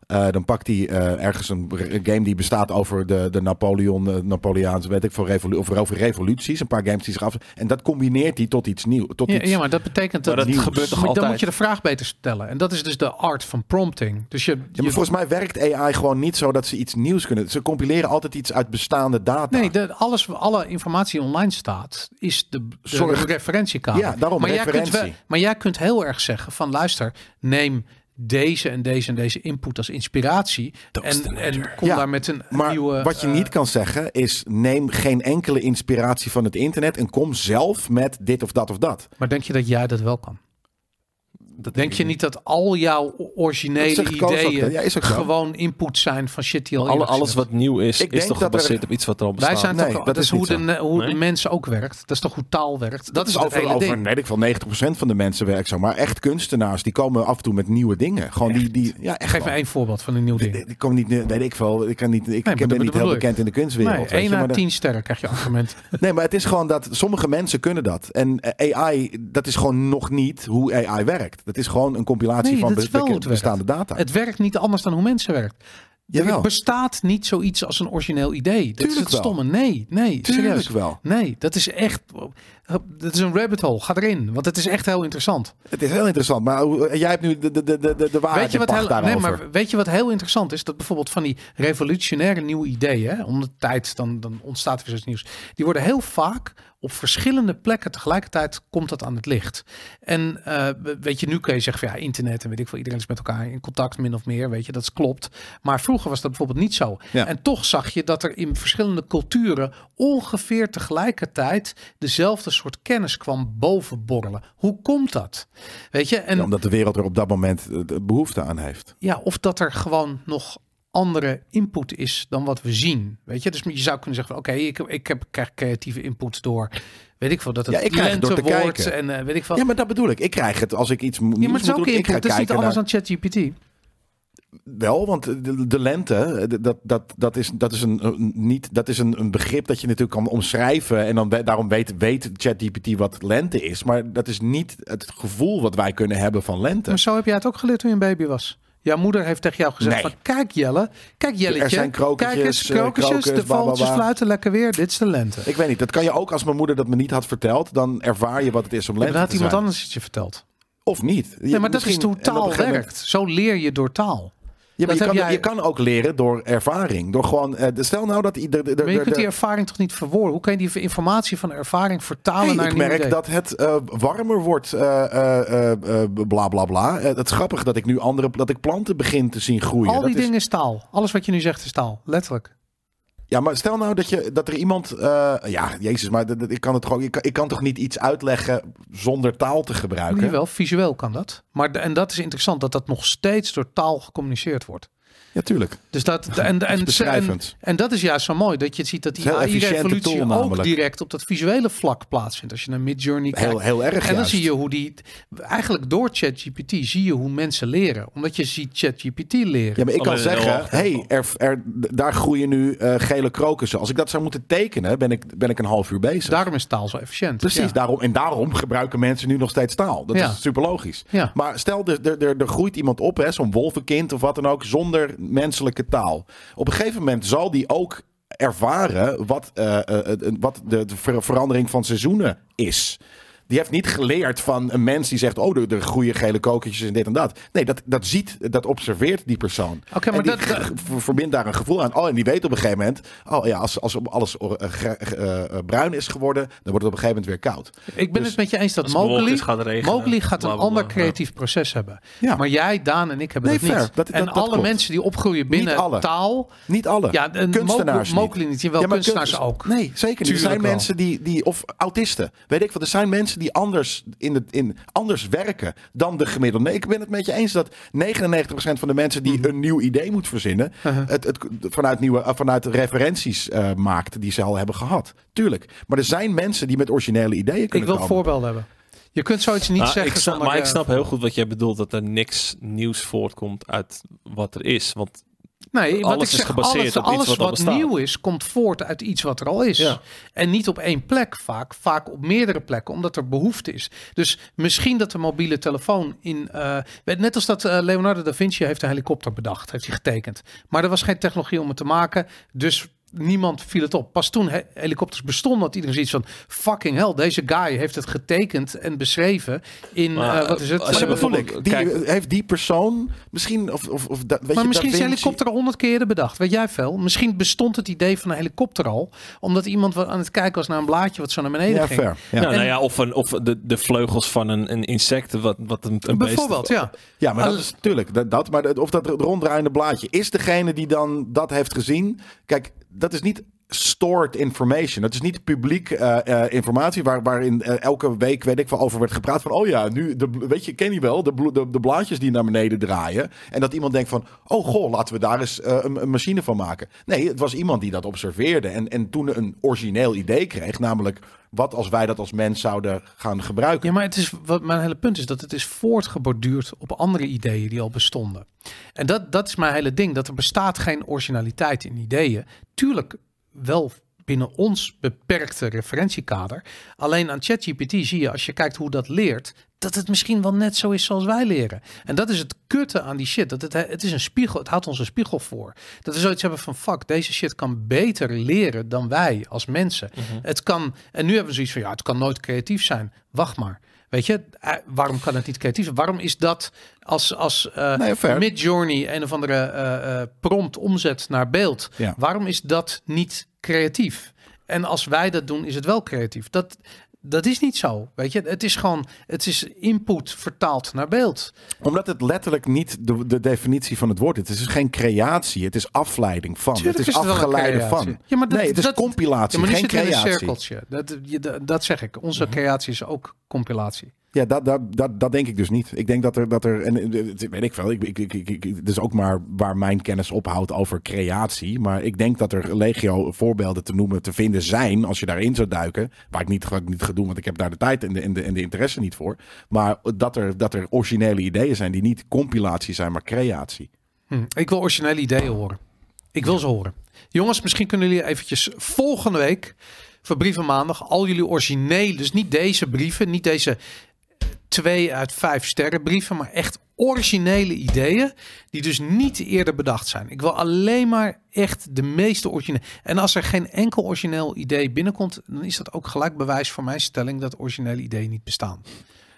S4: eh, dan pakt hij eh, ergens een r- game die bestaat over de, de Napoleon, eh, Napoleaanse, weet ik veel, revolu of over revoluties. Een paar games die zich af. En dat combineert hij tot iets nieuws. Tot
S1: Ja,
S4: iets,
S1: ja, maar dat betekent dat,
S3: Maar dat
S1: Nieuws.
S3: gebeurt toch
S1: Moet- Dan
S3: altijd?
S1: moet je de vraag beter stellen. En dat is dus de art van prompting. Dus je,
S4: Ja,
S1: je-
S4: maar volgens mij werkt AI gewoon niet zo dat ze iets nieuws kunnen. Ze compileren altijd iets uit bestaande data.
S1: nee, de, alles, alle informatie die online staat, is de, de
S4: Zorg.
S1: referentiekader.
S4: Ja, daarom,
S1: maar Jij kunt
S4: referentie.
S1: wel- maar jij kunt heel erg zeggen van luister, neem deze en deze en deze input als inspiratie. En, en kom
S4: Ja,
S1: daar met een
S4: maar
S1: nieuwe...
S4: wat je
S1: eh,
S4: niet kan zeggen is: neem geen enkele inspiratie van het internet en kom zelf met dit of dat of dat.
S1: eh, Maar denk je dat jij dat wel kan?
S3: Dat
S1: Denk je niet dat al jouw originele
S4: Dat zegt Koos ook, hè?
S1: ideeën
S4: Ja, is ook zo.
S1: gewoon input zijn van shit die al
S3: Alle,
S1: eerder
S3: alles
S1: gezien
S3: wat nieuw is,
S4: Oh, Ik
S3: is
S4: denk
S3: toch
S4: dat er-
S3: gebaseerd op iets wat er al bestaat.
S1: Wij zijn
S4: Nee,
S1: toch,
S4: dat
S1: dat,
S4: is
S1: is hoe,
S4: niet
S1: de,
S4: zo.
S1: ne- hoe
S3: Nee?
S1: de mens ook werkt. Dat is toch hoe taal werkt. Dat, is
S4: al
S1: het
S4: Dus over,
S1: hele
S4: over
S1: ding.
S4: weet ik veel, 90% van de mensen werkt zo. Maar echt kunstenaars, die komen af en toe met nieuwe dingen. Gewoon die, die, ja, echt
S1: Geef me
S4: wel.
S1: één voorbeeld van een nieuw ding.
S4: Die- Die komen niet, weet ik veel. Ik, kan niet, ik,
S1: maar
S4: ik
S1: dat
S4: ben niet
S1: bedoel
S4: heel
S1: ik.
S4: bekend in de kunstwereld.
S1: Nee,
S4: weet je,
S1: 1
S4: maar
S1: à
S4: dat-
S1: 10 sterren krijg je argument.
S4: Nee, maar het is gewoon dat sommige mensen kunnen dat. En eh, AI, dat is gewoon nog niet hoe AI werkt. Dat is gewoon een compilatie
S1: Nee,
S4: van
S1: dat
S4: be-
S1: is wel hoe het
S4: beke- bestaande data.
S1: het werkt niet anders dan hoe mensen werkt.
S4: Jawel.
S1: Er bestaat niet zoiets als een origineel idee. Dat
S4: Tuurlijk
S1: is het
S4: wel.
S1: stomme. Nee, nee.
S4: Tuurlijk
S1: serieus.
S4: wel.
S1: Nee, dat is echt... Dat is een rabbit hole. Ga erin. Want het is echt heel interessant.
S4: Het is heel interessant. Maar hoe- eh, jij hebt nu de, de, de, de, de waarheid
S1: Weet je, wat
S4: pacht
S1: heel, nee,
S4: daarover.
S1: maar weet je wat heel interessant is? Dat bijvoorbeeld van die revolutionaire nieuwe ideeën, hè, om de tijd, dan, dan ontstaat er weer iets nieuws. Die worden heel vaak op verschillende plekken tegelijkertijd komt dat aan het licht. En eh, weet je, nu kun je zeggen van ja, internet en weet ik veel, iedereen is met elkaar in contact min of meer, weet je, dat klopt. Maar vroeger was dat bijvoorbeeld niet zo.
S4: Ja.
S1: En toch zag je dat er in verschillende culturen ongeveer tegelijkertijd dezelfde soort kennis kwam bovenborrelen. Hoe komt dat? Weet je, en
S4: Ja, omdat de wereld er op dat moment eh, de behoefte aan heeft.
S1: ja, of dat er gewoon nog andere input is dan wat we zien. Weet je, dus je zou kunnen zeggen: van, oké, ik, ik heb, krijg creatieve input door, weet ik veel, dat het
S4: Ja, ik krijg het door
S1: lente
S4: te
S1: wordt
S4: kijken.
S1: en eh, weet ik veel.
S4: Ja,
S1: Ja,
S4: maar dat bedoel ik. Ik krijg het als ik iets mo- nieuws
S1: maar het is
S4: moet
S1: ook
S4: doen. Ik
S1: input.
S4: ga
S1: Het is niet
S4: kijken
S1: anders
S4: naar...
S1: dan ChatGPT.
S4: Wel, want de, de lente, eh, dat, dat, dat is, dat is, een, een- niet, dat is een, een begrip dat je natuurlijk kan omschrijven. En dan, we- daarom weet, weet ChatGPT wat lente is. Maar dat is niet het gevoel wat wij kunnen hebben van lente.
S1: Maar zo heb jij het ook geleerd toen je een baby was. Jouw moeder heeft tegen jou gezegd:
S4: Nee.
S1: van, Kijk, Jelle, kijk, Jelletje.
S4: zijn kroketjes,
S1: kijk eens,
S4: eh,
S1: kroketjes,
S4: krokers,
S1: de
S4: bla, bla,
S1: vogeltjes
S4: bla.
S1: fluiten lekker weer. Dit is de lente.
S4: Ik weet niet, dat kan je ook als mijn moeder dat me niet had verteld. Dan ervaar je wat het is om lente
S1: Dan had
S4: te zijn.
S1: iemand anders het je verteld.
S4: Of niet. Je-
S1: Nee, maar dat is
S4: misschien-
S1: hoe
S4: en op een
S1: taal
S4: gegeven
S1: werkt.
S4: moment-
S1: Zo leer je door taal.
S4: Ja, maar
S1: Dat
S4: je, kan,
S1: heb jij-
S4: je kan ook leren door ervaring. Door gewoon, eh, de- stel nou dat ieder... de- de-
S1: Maar je
S4: de-
S1: kunt die
S4: de-
S1: ervaring toch niet verwoorden? Hoe kan je die informatie van ervaring vertalen
S4: Hey,
S1: naar een
S4: ik
S1: nieuw
S4: merk
S1: idee?
S4: dat het eh, warmer wordt, eh, eh, eh, eh, bla bla bla. Eh, het is grappig dat ik nu andere, dat ik planten begin te zien groeien.
S1: Al die
S4: dat is-
S1: dingen is taal. Alles wat je nu zegt is taal. Letterlijk.
S4: Ja, maar stel nou dat, je, dat er iemand. eh, ja, Jezus, maar dat- dat- ik kan het gewoon. Ik kan, ik kan toch niet iets uitleggen zonder taal te gebruiken?
S1: Jawel, visueel kan dat. Maar de- en dat is interessant dat dat nog steeds door taal gecommuniceerd wordt.
S4: Ja, tuurlijk.
S1: Dus dat, en, en, en,
S4: beschrijvend.
S1: en dat is juist zo mooi. Dat je ziet dat
S4: Het
S1: die
S4: is een heel efficiënte
S1: AI-revolutie
S4: tool
S1: ook
S4: namelijk.
S1: direct op dat visuele vlak plaatsvindt. Als je naar Midjourney kijkt.
S4: Heel, heel erg.
S1: En dan
S4: juist.
S1: zie je hoe die... Eigenlijk door ChatGPT zie je hoe mensen leren. Omdat je ziet ChatGPT leren.
S4: Ja, maar ik kan
S3: Alleen heel
S4: zeggen,
S3: erg.
S4: hey, er, er- daar groeien nu eh, gele krokussen. Als ik dat zou moeten tekenen, ben ik, ben ik een half uur bezig.
S1: Daarom is taal zo efficiënt.
S4: Precies,
S1: Ja.
S4: daarom, en daarom gebruiken mensen nu nog steeds taal. Dat
S1: Ja.
S4: is super logisch.
S1: Ja.
S4: Maar stel, er, er, er, er groeit iemand op, hè, zo'n wolvenkind of wat dan ook, zonder menselijke taal. Op een gegeven moment zal die ook ervaren wat, eh, eh, eh, wat de, de ver- verandering van seizoenen is. Die heeft niet geleerd van een mens die zegt: Oh, de, de goede gele kokertjes en dit en dat. Nee, dat, dat ziet, dat observeert die persoon.
S1: Oké, maar
S4: En die
S1: dat-
S4: ge- ver- verbindt daar een gevoel aan. Oh, en die weet op een gegeven moment: Oh ja, als, als alles or- eh, gra- eh, eh, bruin is geworden, dan wordt het op een gegeven moment weer koud.
S1: Ik ben
S4: Dus
S1: het met je eens dat
S3: als het bewolkt
S1: Mowgli
S3: is, gaat het regenen.
S1: Mowgli gaat een
S3: Blablabla.
S1: ander creatief proces hebben.
S4: Ja.
S1: Maar jij, Daan en ik hebben
S4: Nee,
S1: dat niet.
S4: fair. Dat-
S1: en
S4: dat- dat
S1: alle
S4: klopt.
S1: mensen die opgroeien
S4: Niet alle.
S1: binnen taal...
S4: Niet alle.
S1: Ja, en
S4: kunstenaars.
S1: Mowgli- Mowgli niet. Jawel,
S4: maar
S1: kunstenaars
S4: kunst-
S1: ook.
S4: Nee, zeker niet. Er
S1: Tuurlijk
S4: zijn
S1: wel.
S4: mensen die, die. Of autisten. Weet ik wat. Er zijn mensen die anders, in het, in, anders werken dan de gemiddelde. Nee, ik ben het met je eens dat 99% van de mensen die
S1: Mhm.
S4: een nieuw idee moet verzinnen.
S1: Uh-huh.
S4: het, het vanuit, nieuwe, eh, vanuit referenties eh, maakt die ze al hebben gehad. Tuurlijk. Maar er zijn mensen die met originele ideeën
S1: Ik
S4: kunnen
S1: wil
S4: komen.
S1: voorbeelden hebben. Je kunt zoiets niet
S3: Nou,
S1: zeggen
S3: ik snap,
S1: zonder,
S3: maar ik
S1: eh,
S3: snap heel goed wat jij bedoelt, dat er niks nieuws voortkomt uit wat er is. Want
S1: Nee, wat
S3: Alles
S1: ik
S3: is
S1: zeg,
S3: gebaseerd
S1: alles,
S3: op iets
S1: alles
S3: wat al
S1: wat,
S3: bestaat.
S1: nieuw is, komt voort uit iets wat er al is.
S3: Ja.
S1: En niet op één plek vaak, vaak op meerdere plekken, omdat er behoefte is. Dus misschien dat de mobiele telefoon in... eh, weet- net als dat eh, Leonardo da Vinci heeft een helikopter bedacht, heeft hij getekend. Maar er was geen technologie om het te maken, dus... Niemand viel het op. Pas toen he- helikopters bestonden, had iedereen zoiets van: fucking hell, deze guy heeft het getekend en beschreven in.
S3: Maar,
S1: eh, wat is het?
S3: als je
S1: Eh,
S4: Dat bedoel
S3: bijvoorbeeld-
S4: ik. Die,
S3: Kijk-
S4: heeft die persoon misschien. Of, of, of, dat- weet
S1: Maar
S4: je,
S1: misschien
S4: Da
S1: is
S4: Vinci-
S1: helikopter honderd keer eerder bedacht. Weet jij veel? Misschien bestond het idee van een helikopter al. Omdat iemand wat aan het kijken was naar een blaadje wat zo naar beneden
S4: Ja,
S1: ging.
S4: fair. Ja.
S3: nou,
S1: En-
S3: nou ja, of, een, of de, de vleugels van een, een insect, wat, wat een, een
S1: Bijvoorbeeld,
S3: beest...
S1: ja.
S4: Ja, maar dat
S1: Al-
S4: is natuurlijk dat, dat. Maar dat- of dat ronddraaiende blaadje is degene die dan dat heeft gezien. Kijk, dat is niet stored information. Dat is niet publiek eh, eh, informatie waar, waarin eh, elke week, weet ik veel, over werd gepraat van, oh ja, nu, de, bl- weet je, ken je wel, de, bl- de, de blaadjes die naar beneden draaien. En dat iemand denkt van, oh goh, laten we daar eens eh, een, een machine van maken. Nee, het was iemand die dat observeerde en, en toen een origineel idee kreeg, namelijk wat als wij dat als mens zouden gaan gebruiken.
S1: Ja, maar het is, wat mijn hele punt is dat het is voortgeborduurd op andere ideeën die al bestonden. En dat, dat is mijn hele ding, dat er bestaat geen originaliteit in ideeën. Tuurlijk wel binnen ons beperkte referentiekader. Alleen aan ChatGPT zie je, als je kijkt hoe dat leert, dat het misschien wel net zo is zoals wij leren. En dat is het kutte aan die shit. Dat het, het is een spiegel, het houdt ons een spiegel voor. Dat we zoiets hebben van, fuck, deze shit kan beter leren dan wij als mensen.
S4: Mhm.
S1: Het kan, en nu hebben we zoiets van, ja, het kan nooit creatief zijn. Wacht maar. Weet je, eh, waarom kan het niet creatief zijn? Waarom is dat als, als eh
S4: Nee, fair.
S1: Midjourney een of andere eh, eh, prompt omzet naar beeld?
S4: Ja.
S1: Waarom is dat niet creatief? En als wij dat doen, is het wel creatief. Dat, dat is niet zo. Weet je, het is gewoon, het is input vertaald naar beeld.
S4: Omdat het letterlijk niet de, de definitie van het woord is. Het is geen creatie, het is afleiding van.
S1: Tuurlijk
S4: het is,
S1: wel een
S4: afgeleide
S1: creatie.
S4: van.
S1: Ja, maar dat,
S4: nee, het is
S1: dat-
S4: compilatie,
S1: ja, maar nu
S4: geen
S1: zit het in een
S4: creatie. Mhm.
S1: cirkeltje. Dat, je- dat, dat zeg ik. Onze creatie is ook compilatie.
S4: Ja, dat, dat, dat, dat denk ik dus niet. Ik denk dat er, dat er en eh, het- weet ik veel, ik, ik, ik, ik, ik- het is ook maar waar mijn kennis ophoudt over creatie. Maar ik denk dat er legio voorbeelden te noemen, te vinden zijn, als je daarin zou duiken. Waar ik niet, ga- niet ga doen, want ik heb daar de tijd en de, en de, en de interesse niet voor. Maar dat er, dat er originele ideeën zijn die niet compilatie zijn, maar creatie.
S1: Hm, Ik wil originele ideeën horen. Ik wil ze horen. Jongens, misschien kunnen jullie eventjes volgende week voor Brieven Maandag al jullie originele, dus niet deze brieven, niet deze twee uit vijf sterren brieven, maar echt originele ideeën die dus niet eerder bedacht zijn. Ik wil alleen maar echt de meeste originele. En als er geen enkel origineel idee binnenkomt, dan is dat ook gelijk bewijs voor mijn stelling dat originele ideeën niet bestaan.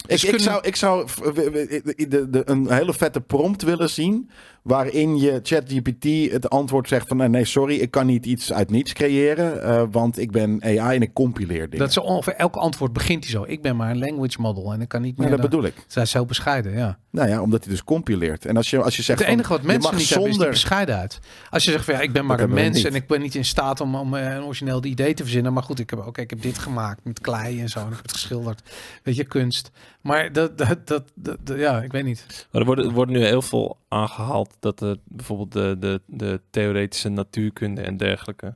S4: Ik,
S1: Dus
S4: ik
S1: kunnen-
S4: zou, ik zou v- w- w- i- de, de, een hele vette prompt willen zien. waarin je ChatGPT het antwoord zegt: van nou, nee, sorry, ik kan niet iets uit niets creëren. eh, want ik ben AI en ik compileer dingen.
S1: Dat ze over elk antwoord begint hij zo. Ik ben maar een language model en ik kan niet meer.
S4: Ja, Nou, dat
S1: dan-
S4: bedoel ik.
S1: Zij is heel bescheiden, ja.
S4: Nou ja, omdat hij dus compileert. En als je, als je zegt.
S1: Het enige
S4: van,
S1: wat
S4: je
S1: mensen
S4: mag
S1: niet hebben is die
S4: zonder.
S1: bescheidenheid. Als je zegt van ja, ik ben maar een
S4: hebben we
S1: mens
S4: niet.
S1: en ik ben niet in staat om, om eh, een origineel idee te verzinnen. Maar goed, ik heb, oké, ik heb dit gemaakt met klei en zo. En ik heb het geschilderd. Weet je, kunst. Maar dat, dat, dat, dat- dat- ja, ik weet niet.
S3: Maar er worden, er worden nu heel veel aangehaald dat er bijvoorbeeld de, de, de theoretische natuurkunde en dergelijke,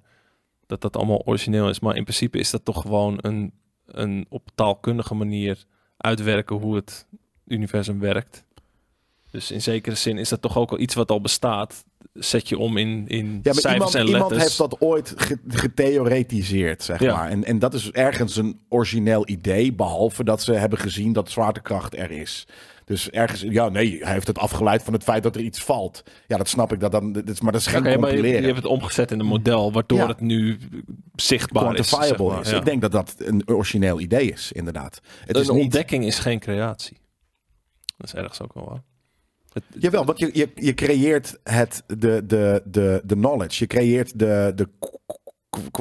S3: dat dat allemaal origineel is. Maar in principe is dat toch gewoon een, een op taalkundige manier uitwerken hoe het universum werkt. Dus in zekere zin is dat toch ook al iets wat al bestaat. zet je om in, in
S4: Ja, maar
S3: cijfers
S4: iemand,
S3: en letters.
S4: iemand heeft dat ooit ge- getheoretiseerd, zeg
S3: Ja.
S4: maar. En, en dat is dus ergens een origineel idee, behalve dat ze hebben gezien dat zwaartekracht er is. Dus ergens, ja, nee, hij heeft het afgeleid van het feit dat er iets valt. Ja, dat snap ik, dat dan, dit is, maar dat is geen
S3: Oké, maar je,
S4: compileren.
S3: je hebt het omgezet in een model, waardoor
S4: Ja.
S3: het nu zichtbaar is. zeg
S4: quantifiable
S3: maar.
S4: is.
S3: Ja.
S4: Ik denk dat dat een origineel idee is, inderdaad. Het is
S3: een
S4: niet-
S3: ontdekking is geen creatie. Dat is ergens ook wel waar. Het-
S4: Jawel, want je, je, je creëert het, de, de, de, de knowledge. Je creëert de, de k- k-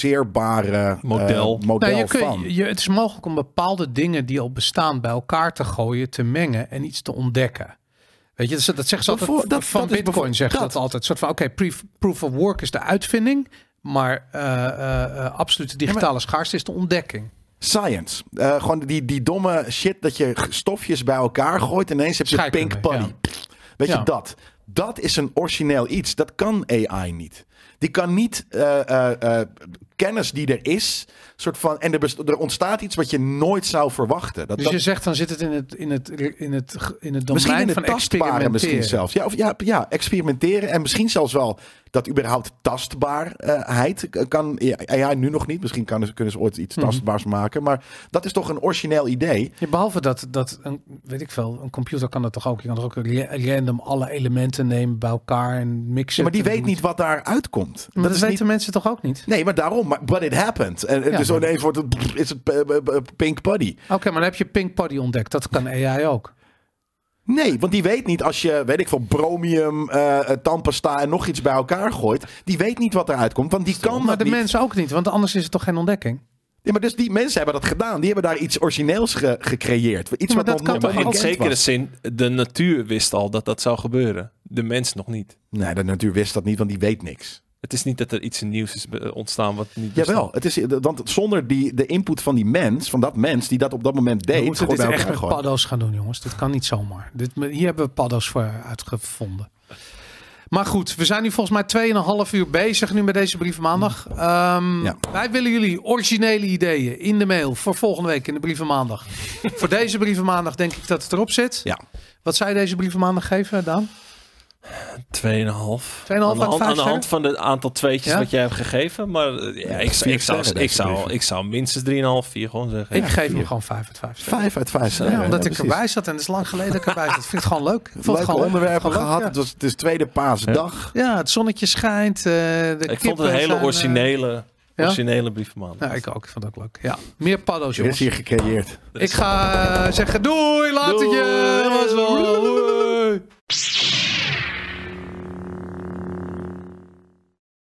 S4: kwantificeerbare eh,
S3: Model.
S4: model
S1: Nou, je kun-
S4: van.
S1: je- het is mogelijk om bepaalde dingen die al bestaan bij elkaar te gooien, te mengen en iets te ontdekken. Weet je, dat, is- dat zeggen ze altijd
S4: Bijvoor- dat-
S1: van
S4: dat is
S1: Bitcoin,
S4: bijvoor-
S1: zeggen
S4: dat.
S1: dat, altijd. Een soort van, oké, proof, proof of work is de uitvinding, maar eh, eh, eh, absolute digitale schaarste is de ontdekking.
S4: Science. Eh, gewoon die, die domme shit dat je g- stofjes bij elkaar gooit. Ineens heb je
S1: Scheikunde,
S4: pink pony.
S1: ja.
S4: Weet
S1: Ja.
S4: je dat? Dat is een origineel iets. Dat kan AI niet. Die kan niet eh, eh, eh, kennis die er is. Soort van, en er, best- er ontstaat iets wat je nooit zou verwachten. Dat,
S1: Dus
S4: dat-
S1: je zegt, dan zit het in het, in het, in het, ge- in het
S4: misschien
S1: domein
S4: in
S1: van
S4: het tastbare
S1: experimenteren.
S4: misschien zelfs. Ja, of, ja, ja, experimenteren. En misschien zelfs wel dat überhaupt tastbaarheid k- kan. AI nu nog niet. Misschien kan, kunnen ze ooit iets
S1: Mhm.
S4: tastbaars maken. Maar dat is toch een origineel idee.
S1: Ja, behalve dat, dat een, weet ik veel, een computer kan dat toch ook. Je kan toch ook ra- random alle elementen nemen bij elkaar en mixen.
S4: Ja, maar die
S1: en
S4: weet
S1: doen.
S4: niet wat daar uitkomt.
S1: Maar dat,
S4: is
S1: weten
S4: niet...
S1: mensen toch ook niet?
S4: Nee, maar daarom. Maar, but it happened. En, en
S1: Ja,
S4: dus
S1: maar-
S4: ineens wordt het, brrr, is het eh, eh, eh, pink buddy.
S1: Oké, maar dan heb je Pink Party ontdekt. Dat kan AI ook.
S4: Nee, want die weet niet als je, weet ik veel, bromium, eh eh, tandpasta en nog iets bij elkaar gooit. Die weet niet wat eruit komt, want die kan
S1: maar
S4: dat
S1: de
S4: niet.
S1: mensen ook niet, want anders is het toch geen ontdekking?
S4: Ja, maar dus die mensen hebben dat gedaan. Die hebben daar iets origineels ge- gecreëerd. Iets
S1: maar
S4: wat
S1: dat
S4: nog
S1: kan
S4: nooit
S1: toch
S3: Maar in
S1: ook?
S4: bekend
S3: zekere
S4: was.
S3: zin, de natuur wist al dat dat zou gebeuren. De mens nog niet.
S4: Nee, de natuur wist dat niet, want die weet niks.
S3: Het is niet dat er iets nieuws is be- eh, ontstaan wat niet
S1: Dus
S3: bestaat.
S4: Jawel, het is, want zonder die, de input van die mens, van dat mens die dat op dat moment
S1: We
S4: deed,
S1: moeten dit
S4: gewoon bij elkaar
S1: echt met
S4: gooien.
S1: paddo's gaan doen, jongens. Dit kan niet zomaar. Dit, hier hebben we paddo's voor uitgevonden. Maar goed, we zijn nu volgens mij 2,5 uur bezig nu met deze brief maandag. Ehm,
S4: Ja.
S1: Wij willen jullie originele ideeën in de mail voor volgende week in de brieven maandag. voor deze brieven maandag denk ik dat het erop zit.
S4: Ja.
S1: Wat zou je deze brieven maandag geven, Daan?
S3: 2,5.
S1: 2,5
S3: Aan, de
S1: uit
S3: hand-
S1: vijf
S3: aan de hand
S1: sterren?
S3: van het aantal tweetjes
S1: Ja?
S3: wat jij hebt gegeven. Maar eh, ja, ik,
S4: vier
S3: ik, zou,
S4: sterren
S3: ik,
S4: deze
S3: zou,
S4: brieven.
S3: ik zou minstens 3,5, 4 gewoon zeggen.
S1: Ik
S3: Ja.
S1: geef hem gewoon 5 uit 5.
S4: Vijf uit vijf.
S1: Ja,
S4: sterren,
S1: omdat ik
S4: precies.
S1: erbij zat en het is lang geleden dat ik erbij zat. Ik vind het gewoon leuk. Ik vond het
S4: Leuke
S1: gewoon leuk.
S4: onderwerpen
S1: Gewoon leuk,
S4: gehad.
S1: ja.
S4: Het, was, het is tweede paasdag.
S1: Ja, het zonnetje schijnt. eh, de
S3: Ik vond
S1: kippen
S3: het een hele
S1: zijn, eh,
S3: originele,
S1: ja?
S3: originele brief van maandag.
S1: Ja, ik ook. Ik vond het ook leuk. Ja, meer paddo's,
S4: Er is
S1: jongens.
S4: hier gecreëerd.
S1: Ik ga eh, zeggen doei, later je. Dat was wel.